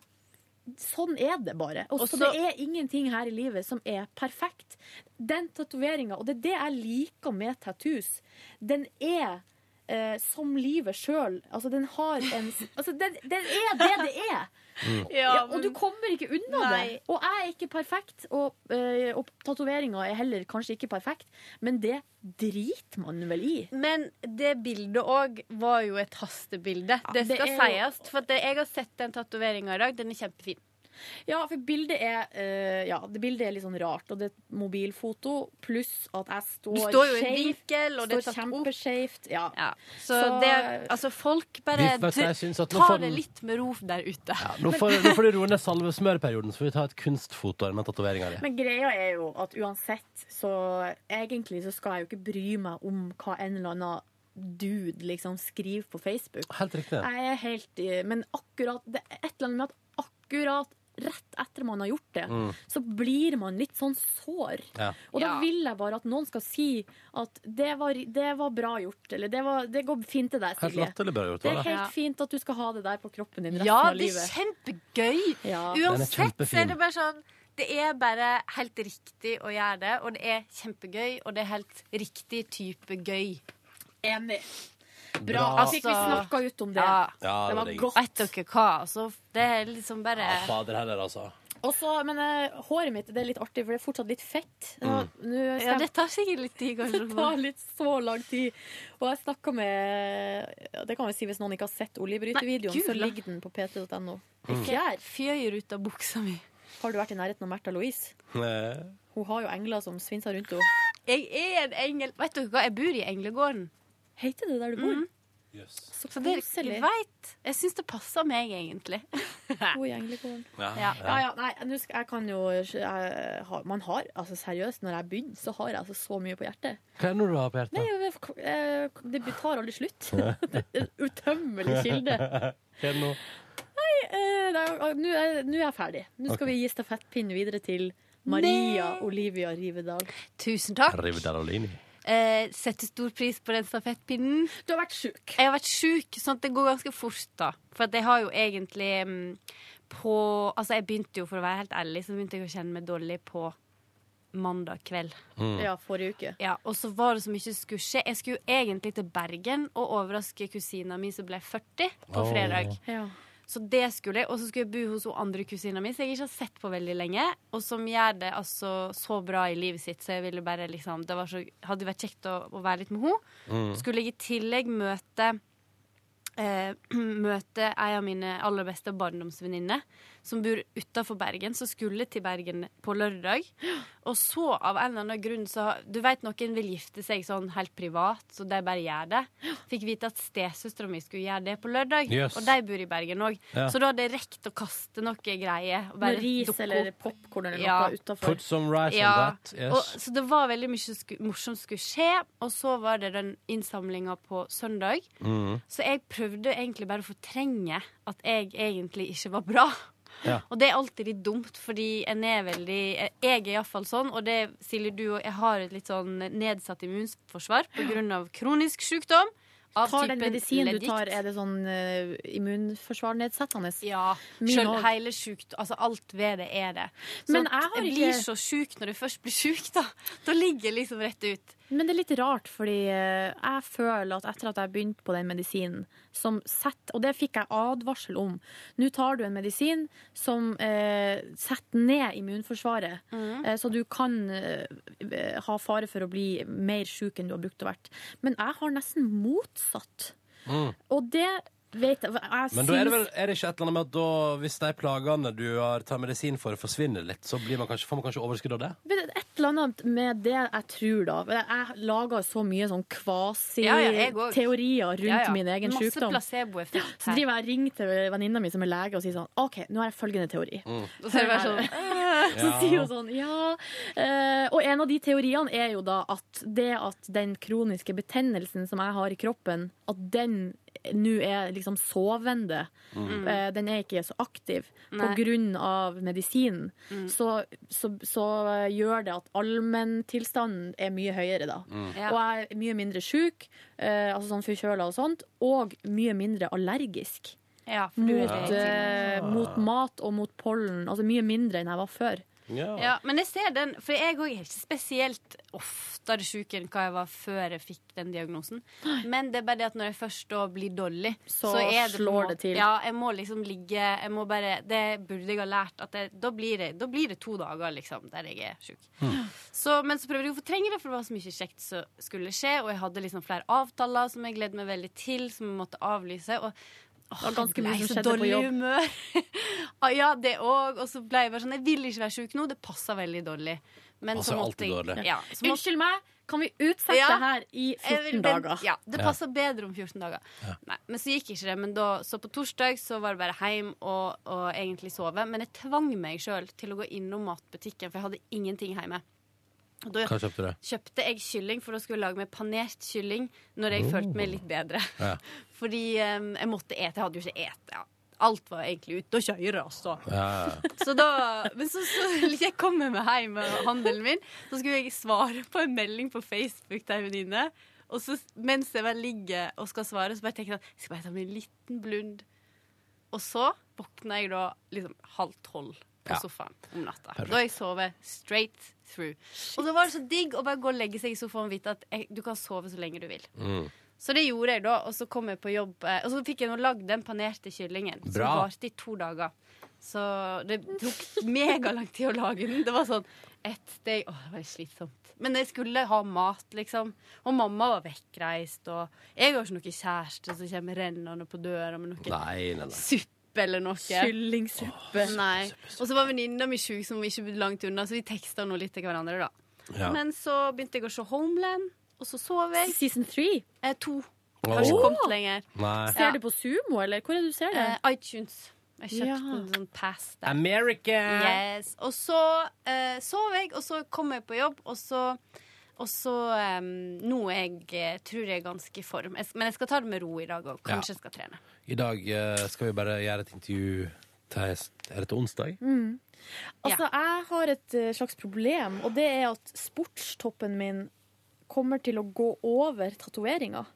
Speaker 6: Sånn er det bare. Og
Speaker 4: Og
Speaker 6: så
Speaker 4: så-
Speaker 6: det er ingenting her i livet som er perfekt. Den tatoveringa, og det er det jeg liker med tattoos, den er eh, som livet sjøl. Altså, den har en Altså, den, den er det det er!
Speaker 20: Mm.
Speaker 6: Ja,
Speaker 20: Ja,
Speaker 6: og du kommer ikke unna
Speaker 20: Nei.
Speaker 6: det. Og jeg er ikke perfekt, og, eh, og tatoveringa er heller kanskje ikke perfekt, men det driter man vel i.
Speaker 4: Men det bildet òg var jo et hastebilde. det
Speaker 19: det
Speaker 4: skal
Speaker 19: er jo-
Speaker 4: sies. For at jeg har sett den tatoveringa i dag. Den er kjempefin.
Speaker 6: Ja, for bildet er, eh, ja, det bildet er litt sånn rart, og det er et mobilfoto, pluss at jeg
Speaker 4: Du
Speaker 6: står
Speaker 4: står jo i en
Speaker 6: skjevt,
Speaker 4: vinkel, og det er
Speaker 6: står
Speaker 4: tatt opp.
Speaker 6: kjempeskjevt. Ja.
Speaker 4: Så, det, altså, folk bare
Speaker 2: Vi- vet du, jeg
Speaker 4: tr-
Speaker 2: syns at nå
Speaker 4: tar
Speaker 2: får den-
Speaker 4: det litt med ro der ute.
Speaker 2: Nå får, nå får du roe ned salvesmørperioden, så får vi ta et kunstfoto av denne tatoveringa di.
Speaker 6: Men greia er jo at uansett, så egentlig så skal jeg jo ikke bry meg om hva en eller annen dude liksom skriver på Facebook.
Speaker 2: Helt riktig.
Speaker 6: Jeg er helt i- Men akkurat Det er et eller annet med at akkurat rett etter man har gjort det,
Speaker 20: Mm.
Speaker 6: så blir man litt sånn sår.
Speaker 20: Ja.
Speaker 6: Og da
Speaker 20: Ja.
Speaker 6: vil jeg bare at noen skal si at det var, det var bra gjort, eller det, var, det går fint til deg,
Speaker 2: Helt
Speaker 6: Silje.
Speaker 2: latterlig bra gjort,
Speaker 6: det
Speaker 2: var
Speaker 6: er
Speaker 2: det? Ja.
Speaker 6: helt fint at du skal ha det der på kroppen din resten
Speaker 4: Ja,
Speaker 6: av
Speaker 4: det er
Speaker 6: livet.
Speaker 4: kjempegøy! Uansett så er det bare sånn Det er bare helt riktig å gjøre det, og det er kjempegøy, og det er helt riktig type gøy.
Speaker 6: Enig.
Speaker 2: Bra.
Speaker 6: Altså, Fikk vi snakka ut om det.
Speaker 2: Ja, det
Speaker 6: det
Speaker 2: var
Speaker 6: var
Speaker 2: digg.
Speaker 6: godt.
Speaker 4: Vet dere hva? Altså, det er liksom bare
Speaker 2: Ja, fader heller, altså.
Speaker 6: Og så- men eh, håret mitt det er litt artig, for det er fortsatt litt fett.
Speaker 2: Mm.
Speaker 4: Ja, det tar sikkert litt tid. kanskje.
Speaker 6: Det tar litt så lang tid. Og jeg snakka med ja, Det kan vi si hvis noen ikke har sett Oljebryter-videoen,
Speaker 4: Nei,
Speaker 6: så
Speaker 4: gula.
Speaker 6: ligger den på p3.no.
Speaker 2: Mm.
Speaker 6: Fjær.
Speaker 4: Fjøyer ut av buksa mi.
Speaker 6: Har du vært i nærheten av Märtha Louise? Hun har jo engler som svinser rundt henne.
Speaker 4: Jeg er en engel. Vet dere hva, jeg bor i englegården.
Speaker 6: Heter det der du bor?
Speaker 4: Så, det er,
Speaker 6: koselig.
Speaker 4: jeg vet, jeg syns det passer meg, egentlig.
Speaker 6: Hun i englegården.
Speaker 2: Ja,
Speaker 6: Ja, ja, nei, nå skal, jeg kan jo jeg, har- Man har, altså seriøst, når jeg begynner, så har jeg altså så mye på hjertet.
Speaker 2: Hva er det nå du har på
Speaker 6: Nei,
Speaker 2: hjertet?
Speaker 6: jeg- jeg- eh, det tar aldri slutt. Det er en Utømmelig kilde.
Speaker 2: Hva er det nå?
Speaker 6: Nei, eh, det er- nå er, nå er jeg ferdig. Nå skal
Speaker 2: Ok.
Speaker 6: vi gi stafettpinnen videre til Maria Olivia Rivedal.
Speaker 4: Tusen takk.
Speaker 2: Rivedalolini.
Speaker 4: Eh, setter stor pris på den stafettpinnen.
Speaker 6: Du har vært sjuk.
Speaker 4: Jeg har vært sjuk, sånn at det går ganske fort, da. For at jeg har jo egentlig mm, på Altså, jeg begynte jo, for å være helt ærlig, så begynte jeg å kjenne meg dårlig på mandag kveld.
Speaker 6: Mm. Ja, forrige uke.
Speaker 4: Ja, og så var det så mye som skulle skje. Jeg skulle jo egentlig til Bergen og overraske kusina mi som ble 40 på
Speaker 20: Åh.
Speaker 4: fredag.
Speaker 6: Ja.
Speaker 4: Så det skulle jeg, og så skulle jeg bo hos hun andre kusina mi, som jeg ikke har sett på veldig lenge, og som gjør det altså så bra i livet sitt, så jeg ville bare liksom Det var så, hadde vært kjekt å, å være litt med henne.
Speaker 20: Mm.
Speaker 4: Skulle jeg i tillegg møte eh, møte ei av mine aller beste barndomsvenninner som bor utafor Bergen, som skulle til Bergen på lørdag. Og så, av en eller annen grunn, så Du vet noen vil gifte seg sånn helt privat, så de bare gjør det. Fikk vite at stesøstera mi skulle gjøre det på lørdag,
Speaker 6: Yes.
Speaker 4: og de bor i Bergen òg.
Speaker 2: Ja.
Speaker 4: Så da hadde jeg rekt å kaste noe greier. og
Speaker 6: Noe
Speaker 4: bare
Speaker 6: ris
Speaker 4: dukke
Speaker 6: eller
Speaker 4: opp.
Speaker 6: popkorn eller noe
Speaker 4: Ja.
Speaker 6: utenfor.
Speaker 2: Put some rice on that. Yes.
Speaker 4: Og, så det var veldig mye sku, morsomt skulle skje, og så var det den innsamlinga på søndag.
Speaker 20: Mhm.
Speaker 4: Så jeg prøvde egentlig bare å fortrenge at jeg egentlig ikke var bra.
Speaker 20: Ja.
Speaker 4: Og det er alltid litt dumt, fordi en er veldig Jeg er iallfall sånn, og det Silje, du og jeg har et litt sånn nedsatt immunforsvar pga. kronisk sykdom. Av
Speaker 6: tar den
Speaker 4: typen
Speaker 6: medisinen du
Speaker 4: leddgikt?
Speaker 6: tar, er det sånn uh, immunforsvarnedsettende?
Speaker 4: Ja.
Speaker 6: Min
Speaker 4: Selv
Speaker 6: også.
Speaker 4: hele sjukt, altså alt ved det er det. Så
Speaker 6: Men
Speaker 4: Men
Speaker 6: jeg har
Speaker 4: jeg
Speaker 6: ikke-
Speaker 4: blir så sjuk når du først blir sjuk, da. Da ligger jeg liksom rett ut.
Speaker 6: Men det er litt rart, fordi eh, jeg føler at etter at jeg begynte på den medisinen som setter, Og det fikk jeg advarsel om. Nå tar du en medisin som eh, setter ned immunforsvaret,
Speaker 4: Mhm.
Speaker 6: eh, så du kan eh, ha fare for å bli mer sjuk enn du har brukt å vært. Men jeg har nesten motsatt. Og det vet jeg, jeg
Speaker 2: Mm. Men da er det vel
Speaker 6: syns-
Speaker 2: er det ikke et eller annet med at da, hvis de plagene du har tar medisin for, forsvinner litt, så blir man kanskje, får man kanskje overskudd av det?
Speaker 6: Men et eller annet med det jeg tror, da. Jeg lager så mye sånn
Speaker 4: Ja, ja, jeg også.
Speaker 6: kvasi-teorier rundt
Speaker 4: Ja, ja.
Speaker 6: min egen
Speaker 4: Masse
Speaker 6: sykdom.
Speaker 4: placeboeffekt
Speaker 6: Så
Speaker 4: her.
Speaker 6: driver jeg og ringer til venninna mi som er lege og sier sånn OK, nå har jeg følgende teori.
Speaker 4: Da ser det bare sånn,
Speaker 6: Så
Speaker 4: Ja.
Speaker 6: sier hun sånn ja. Eh, og en av de teoriene er jo da at det at den kroniske betennelsen som jeg har i kroppen, at den nå er liksom sovende.
Speaker 4: Mm.
Speaker 6: Eh, den er ikke så aktiv på
Speaker 4: Nei. Mm.
Speaker 6: grunn av medisinen. Så, så, så eh, gjør det at allmenntilstanden er mye høyere da.
Speaker 4: Mm. Ja.
Speaker 6: Og jeg er mye mindre syk, eh, altså sånn forkjøla og sånt, og mye mindre allergisk
Speaker 4: Ja, for du er
Speaker 6: mot, eh,
Speaker 4: det.
Speaker 6: mot mat og mot pollen. Altså mye mindre enn jeg var før.
Speaker 4: Ja, men jeg ser den, for jeg òg er ikke spesielt oftere sjuk enn hva jeg var før jeg fikk den diagnosen. Men det er bare det at når jeg først da blir dårlig,
Speaker 6: Så
Speaker 4: er på en
Speaker 6: slår
Speaker 4: måte-
Speaker 6: det til.
Speaker 4: Ja, jeg må liksom ligge jeg må bare, Det burde jeg ha lært. At det, da, blir det, da blir det to dager liksom, der jeg er sjuk. Så, men så prøvde jeg å fortrenge det, for det var så mye kjekt som skulle skje. Og jeg hadde liksom flere avtaler som jeg gledet meg veldig til, som jeg måtte avlyse. Og åh,
Speaker 6: Det var ganske
Speaker 4: jeg
Speaker 6: mye
Speaker 4: ble
Speaker 6: som
Speaker 4: så
Speaker 6: skjedde på
Speaker 4: dårlig i
Speaker 6: jobb.
Speaker 4: humør. Ah, ja, det òg. Og så ble jeg bare sånn Jeg vil ikke være sjuk nå. Det passer veldig dårlig. Men
Speaker 2: Passer
Speaker 4: så måtte
Speaker 2: alltid
Speaker 4: jeg-
Speaker 2: dårlig.
Speaker 4: Ja, så måtte-
Speaker 6: Unnskyld meg, kan vi utsette
Speaker 4: Ja.
Speaker 6: det her i
Speaker 4: Jeg
Speaker 6: 14
Speaker 4: vil vente-
Speaker 6: dager?
Speaker 4: Ja, det
Speaker 6: Ja.
Speaker 4: passer bedre om 14 dager. Nei, men så gikk ikke det. Men da, så på torsdag så var det bare hjem og, og egentlig sove. Men jeg tvang meg sjøl til å gå innom matbutikken, for jeg hadde ingenting hjemme. Og da
Speaker 2: Hva kjøpte
Speaker 4: kjøpte jeg kylling, for da skulle jeg lage meg panert kylling når jeg
Speaker 2: Oh.
Speaker 4: følte meg litt bedre.
Speaker 2: Ja.
Speaker 4: Fordi eh, jeg måtte ete. Jeg hadde jo ikke et. Ja. Alt var egentlig ute og kjøre, altså. Så da, men så, så jeg kommer meg hjem med handelen min, så skulle jeg svare på en melding på Facebook til en venninne. Og så mens jeg bare ligger og skal svare, så bare tenker jeg at jeg skal bare ta meg en liten blund. Og så våkner jeg da liksom halv tolv på
Speaker 21: Ja.
Speaker 4: sofaen om natta.
Speaker 21: Perfekt.
Speaker 4: Da har jeg sovet straight through. Og så var det så digg å bare gå og legge seg i sofaen og vite at jeg, du kan sove så lenge du vil.
Speaker 21: Mm.
Speaker 4: Så det gjorde jeg da, og så kom jeg på jobb. eh, Og så fikk jeg nå lagd den panerte kyllingen, som
Speaker 21: Bra.
Speaker 4: varte i to dager. Så det tok megalang tid å lage den. Det var sånn ett steg Å, det var slitsomt. Men jeg skulle ha mat, liksom. Og mamma var vekkreist, og jeg har ikke noen kjæreste som kommer rennende på døra med noe
Speaker 2: Nei, nei, nei.
Speaker 4: suppe eller noe.
Speaker 6: Kyllingsuppe.
Speaker 4: Nei. Og så var venninna mi sjuk, som ikke bodde langt unna, så vi teksta nå litt til hverandre, da.
Speaker 2: Ja.
Speaker 4: Men så begynte jeg å se Homeland, og så sov jeg.
Speaker 6: Season three?
Speaker 4: Eh, to.
Speaker 2: Åh.
Speaker 4: Har ikke kommet lenger.
Speaker 2: Nei.
Speaker 6: Ser du på Sumo, eller hvor er det du ser det?
Speaker 4: Eh, iTunes. Jeg kjøpte
Speaker 6: Ja.
Speaker 4: en sånn pass der.
Speaker 2: America!
Speaker 6: Eh.
Speaker 4: Yes. Og så eh, sov jeg, og så kom jeg på jobb, og så og så eh, Nå er jeg, eh, tror jeg er ganske i form. Jeg, men jeg skal ta det med ro i dag òg.
Speaker 2: Ja.
Speaker 4: Kanskje jeg skal trene.
Speaker 2: I dag eh, skal vi bare gjøre et intervju til Er det til onsdag?
Speaker 6: Mm. Altså, jeg har et eh, slags problem, og det er at sportstoppen min kommer til å gå over tatoveringa.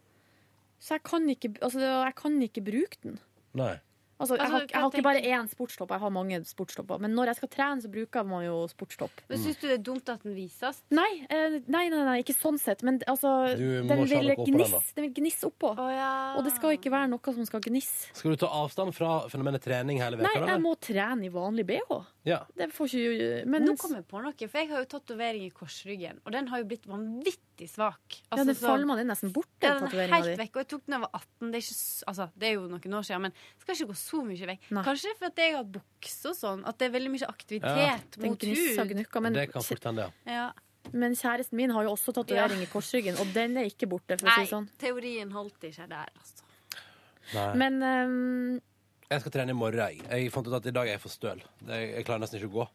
Speaker 6: Så jeg kan ikke, altså, jeg kan ikke bruke den.
Speaker 2: Nei.
Speaker 6: Altså,
Speaker 4: Altså,
Speaker 6: jeg, har,
Speaker 4: hva
Speaker 6: jeg har ikke
Speaker 4: tenker
Speaker 6: bare én sportstopp, jeg har mange sportstopper. Men når jeg skal trene, så bruker man jo sportstopp.
Speaker 4: Men Syns du det er dumt at den vises?
Speaker 6: Nei, eh, nei, nei, nei, ikke sånn sett. Men altså,
Speaker 2: Du må ikke ha
Speaker 6: den vil
Speaker 2: noe oppå den,
Speaker 6: gnisse
Speaker 2: da.
Speaker 6: den vil gnisse oppå. Og det skal ikke være noe som skal gnisse.
Speaker 2: Skal du ta avstand fra fenomenet trening hele
Speaker 6: Nei,
Speaker 2: veka?
Speaker 6: jeg må trene i vanlig BH.
Speaker 2: Ja.
Speaker 6: Det får ikke men,
Speaker 4: Nå kom jeg på noe, for jeg har jo tatovering i korsryggen, og den har jo blitt vanvittig svak. Altså,
Speaker 6: Ja, den
Speaker 4: så-
Speaker 6: falma den nesten bort,
Speaker 4: Ja,
Speaker 6: den
Speaker 4: den er
Speaker 6: tatoveringa
Speaker 4: helt
Speaker 6: di.
Speaker 4: vekk, og jeg tok den da jeg var 18. Det er, ikke, s- altså, det er jo noen år siden, men det skal ikke gå så mye vekk. Kanskje det er fordi jeg har bukse og sånn, at det er veldig mye aktivitet
Speaker 6: Den
Speaker 4: mot
Speaker 6: gnissa
Speaker 4: hud.
Speaker 6: gnukka. Men,
Speaker 2: Det kan fort hende, ja.
Speaker 4: Ja.
Speaker 6: men kjæresten min har jo også tatovering
Speaker 4: Ja.
Speaker 6: i korsryggen, og den er ikke borte, for å
Speaker 4: Nei,
Speaker 6: si det sånn.
Speaker 4: teorien holdt ikke der, altså.
Speaker 2: Nei.
Speaker 6: Men ehm,
Speaker 2: Jeg skal trene i morgen. Jeg, jeg fant ut at i dag er jeg for støl. Jeg, jeg klarer nesten ikke å gå.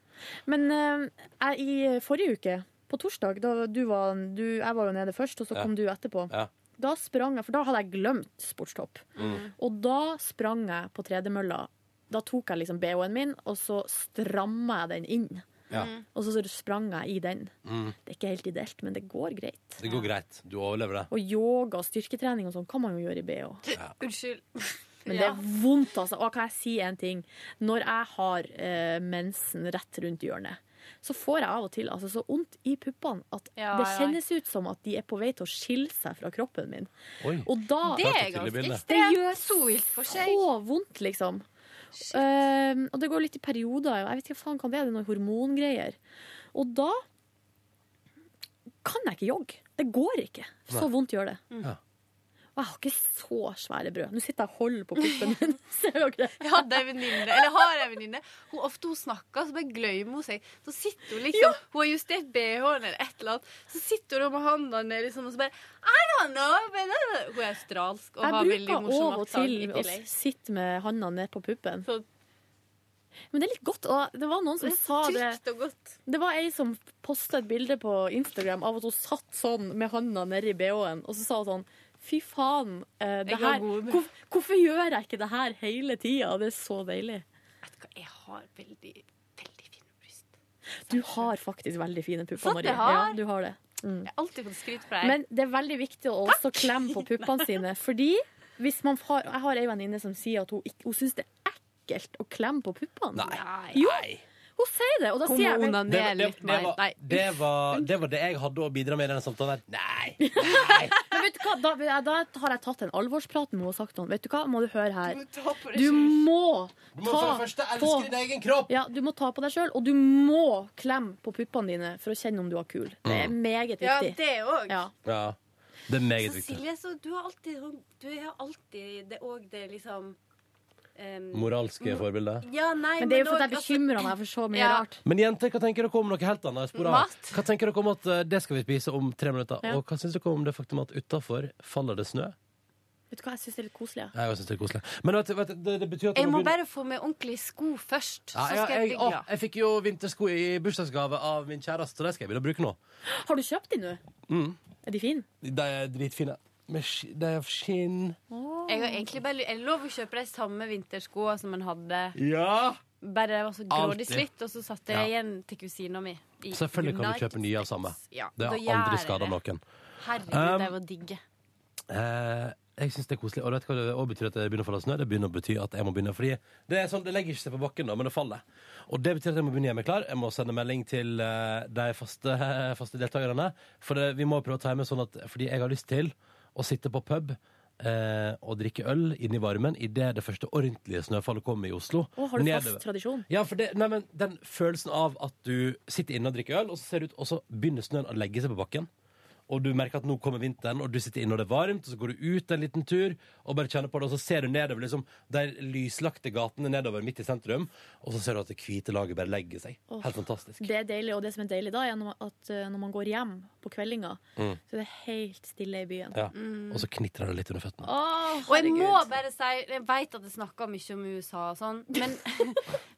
Speaker 6: Men eh, jeg, i forrige uke, på torsdag, da du var, du, jeg var jo nede først, og så
Speaker 2: Ja.
Speaker 6: kom du etterpå.
Speaker 2: Ja.
Speaker 6: Da sprang jeg, for da hadde jeg glemt sportstopp.
Speaker 2: Mm.
Speaker 6: Og da sprang jeg på tredemølla. Da tok jeg liksom BH-en min, og så stramma jeg den inn.
Speaker 2: Ja.
Speaker 6: Og så sprang jeg i den.
Speaker 2: Mm.
Speaker 6: Det er ikke helt ideelt, men det går greit.
Speaker 2: Det går greit. Du overlever det.
Speaker 6: Og yoga og styrketrening og sånn kan man jo gjøre i BH.
Speaker 4: Unnskyld.
Speaker 6: Men det er vondt, altså. Og kan jeg si en ting? Når jeg har eh, mensen rett rundt hjørnet, så får jeg av og til altså, så vondt i puppene at
Speaker 4: Ja,
Speaker 6: det
Speaker 4: ja.
Speaker 6: kjennes ut som at de er på vei til å skille seg fra kroppen min.
Speaker 2: Oi.
Speaker 6: Og da
Speaker 4: Det er ganske
Speaker 6: Det
Speaker 4: ekstremt.
Speaker 6: gjør så vondt, liksom. Ehm, og det går litt i perioder. og Jeg vet ikke faen hva det er, det er noen hormongreier. Og da kan jeg ikke jogge. Det går ikke. Så
Speaker 4: Nei. Mm.
Speaker 6: vondt gjør det.
Speaker 4: Ja.
Speaker 6: Og jeg har ikke så svære brød. Nå sitter jeg og holder på puppen min. Ser dere det?
Speaker 4: Jeg hadde en venninne, eller har en venninne. Hun ofte hun snakker, så bare glemmer hun seg. Så sitter hun liksom, hun har justert BH-en eller et eller annet, så sitter hun med hånda nedi sånn, og så bare I don't know, but uh." Hun er australsk og
Speaker 6: Jeg
Speaker 4: har veldig
Speaker 6: bruker
Speaker 4: morsom
Speaker 6: av og
Speaker 4: opptak i
Speaker 6: til å
Speaker 4: tillegg.
Speaker 6: sitte med handa ned på puppen. Men det er litt godt. Og det var noen som
Speaker 4: Det er
Speaker 6: sa
Speaker 4: Mm,
Speaker 6: det.
Speaker 4: trygt og godt.
Speaker 6: Det var ei som posta et bilde på Instagram av at hun satt sånn med handa nedi bh-en, og så sa hun sånn Fy faen, eh, det
Speaker 4: Jeg har
Speaker 6: her,
Speaker 4: gode brød."
Speaker 6: hvorf- hvorfor gjør jeg ikke det her hele tida? Det er så deilig.
Speaker 4: Jeg har veldig, veldig fine bryst.
Speaker 6: Du har faktisk veldig fine pupper,
Speaker 4: Sant,
Speaker 6: Marie.
Speaker 4: Sånn, jeg har.
Speaker 6: Ja, du har det. Mm.
Speaker 4: Jeg har alltid fått skryt fra deg.
Speaker 6: Men det er veldig viktig å også klemme på puppene sine. Fordi hvis man har, Jeg har ei venninne som sier at hun, ikke- hun syns det er ekkelt å klemme på puppene.
Speaker 4: Nei.
Speaker 6: Jo, hun sier det, og da
Speaker 4: Kom
Speaker 6: sier jeg
Speaker 4: og onaner
Speaker 2: Det, det, det, var, det, var, det var det jeg hadde å bidra med i denne samtalen. her. Nei!
Speaker 6: Men vet du hva, da, da har jeg tatt en alvorsprat med henne og sagt sånn Vet du hva, må du høre her.
Speaker 2: Du må ta på deg
Speaker 6: Du
Speaker 2: selv.
Speaker 6: må
Speaker 2: Du må for det første elske din egen kropp.
Speaker 6: Ja, du må ta på deg sjøl, og du må klemme på puppene dine for å kjenne om du er kul. Det er
Speaker 2: Mm.
Speaker 6: meget
Speaker 4: Ja,
Speaker 6: viktig.
Speaker 4: det òg.
Speaker 6: Ja.
Speaker 2: Ja. Det er meget
Speaker 4: Så
Speaker 2: viktig.
Speaker 4: Silje, så du har alltid, sånn- du har alltid det òg det liksom em,
Speaker 2: Moralske forbildet.
Speaker 4: Ja, nei,
Speaker 6: Men det er jo
Speaker 4: men altså,
Speaker 6: fordi jeg
Speaker 4: også-
Speaker 6: bekymrer meg for så mye
Speaker 4: Ja.
Speaker 6: rart.
Speaker 2: Men jenter, hva tenker dere om noe helt annet? Jeg sporer av.
Speaker 6: Mat.
Speaker 2: Hva tenker dere om at eh, det skal vi spise om tre minutter?
Speaker 6: Ja.
Speaker 2: Og hva syns dere om det faktum at utafor faller det snø?
Speaker 6: Vet du hva, jeg syns det er litt koselig. Ja.
Speaker 2: Jeg også synes det er koselig. Men vet, du- vet, du, det, det betyr at
Speaker 4: Jeg
Speaker 2: når
Speaker 4: må
Speaker 2: vi-
Speaker 4: bare få meg ordentlige sko først,
Speaker 2: ja,
Speaker 4: så
Speaker 2: ja,
Speaker 4: skal jeg
Speaker 2: jeg,
Speaker 4: bli
Speaker 2: å,
Speaker 4: glad.
Speaker 2: jeg fikk jo vintersko i bursdagsgave av min kjæreste, og det skal jeg begynne å bruke nå.
Speaker 6: Har du kjøpt de nå?
Speaker 2: Mm.
Speaker 6: Er de fine?
Speaker 2: De er dritfine. Med sk- De er av skinn.
Speaker 4: Jeg har egentlig bare ly- jeg lov å kjøpe de samme vinterskoene som en hadde.
Speaker 2: Ja!
Speaker 4: Bare det var så grådig
Speaker 2: Alltid.
Speaker 4: slitt, og så satte jeg igjen til kusina mi. i
Speaker 2: Selvfølgelig kan du
Speaker 4: United
Speaker 2: kjøpe nye av samme.
Speaker 4: States. Ja,
Speaker 2: Det
Speaker 4: da
Speaker 2: har
Speaker 4: gjør
Speaker 2: aldri
Speaker 4: jeg
Speaker 2: skada
Speaker 4: det.
Speaker 2: noen.
Speaker 4: Herregud,
Speaker 2: Um,
Speaker 4: de var digge.
Speaker 2: Eh, jeg syns det er koselig. Og vet du hva det også betyr at det begynner å falle snø? Det begynner å bety at jeg må begynne Fordi det er sånn, det legger ikke seg på bakken, da, men det faller. Og det betyr at jeg må begynne å gjøre meg klar. Jeg må sende melding til eh, de faste, faste deltakerne. For det, vi må prøve å time sånn at Fordi jeg har lyst til å sitte på pub eh, og drikke øl inne i varmen idet det første ordentlige snøfallet kommer i Oslo.
Speaker 6: Å, har du
Speaker 2: Nedover.
Speaker 6: fast tradisjon?
Speaker 2: Ja, for det, nei, men den følelsen av at du sitter inne og drikker øl, og så ser det ut, og så begynner snøen å legge seg på bakken. Og du merker at nå kommer vinteren, og du sitter inne og det er varmt, og så går du ut en liten tur og bare kjenner på det, og så ser du nedover liksom, de lyslagte gatene nedover midt i sentrum, og så ser du at det hvite laget bare legger seg.
Speaker 6: Åh. Mm.
Speaker 2: Helt fantastisk.
Speaker 6: Det er deilig, og det som er deilig da, er når man- at eh, når man går hjem på kveldinga,
Speaker 2: Mm.
Speaker 6: så er det helt stille i byen.
Speaker 2: Ja. Og så knitrer det litt under føttene.
Speaker 4: og jeg må
Speaker 6: herregud.
Speaker 4: bare si Jeg vet at jeg snakker mye om USA og sånn, men,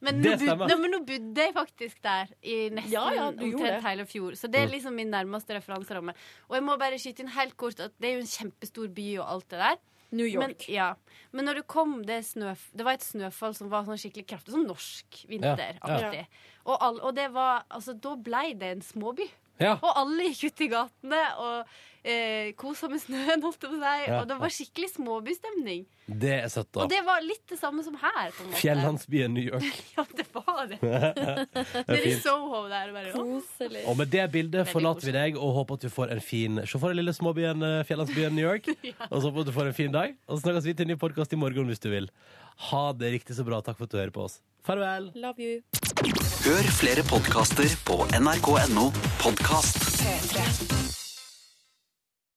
Speaker 4: men, nå,
Speaker 2: Det
Speaker 4: bod,
Speaker 2: stemmer.
Speaker 4: nå, men nå bodde jeg faktisk der i nesten
Speaker 6: Ja, ja, du gjorde det.
Speaker 4: omtrent hele fjor. Så det er
Speaker 6: Mm.
Speaker 4: liksom min nærmeste referanseramme. Og jeg må bare skyte inn helt kort at det er jo en kjempestor by og alt det der.
Speaker 6: New York.
Speaker 4: Men, ja. men når det kom det snøf... Det var et snøfall som var sånn skikkelig kraftig. Sånn norsk vinter.
Speaker 2: Ja, ja.
Speaker 4: Alltid. Og, all, og det var Altså, da blei det en småby.
Speaker 2: Ja.
Speaker 4: Og alle gikk ut i gatene og eh, kosa med snøen, holdt jeg på å si.
Speaker 2: Ja.
Speaker 4: Og det var skikkelig småbystemning.
Speaker 2: Det er søtt, da.
Speaker 4: Og det var litt det samme som her. på en måte.
Speaker 2: Fjellandsbyen New York.
Speaker 4: Ja, det var det.
Speaker 2: Det er
Speaker 4: Nede i
Speaker 2: fint.
Speaker 4: Soho der. Bare,
Speaker 6: Koselig.
Speaker 2: Og med det bildet forlater vi deg og håper at du får en fin Se for deg lille småbyen, eh, fjellandsbyen New York. Og så håper jeg at du får en fin dag. Og så snakkes vi til en ny podkast i morgen hvis du vil. Ha det riktig så bra. Takk for at du hører på oss. Farvel.
Speaker 6: Love you.
Speaker 22: Hør flere podkaster på nrk.no podkast.
Speaker 23: P3.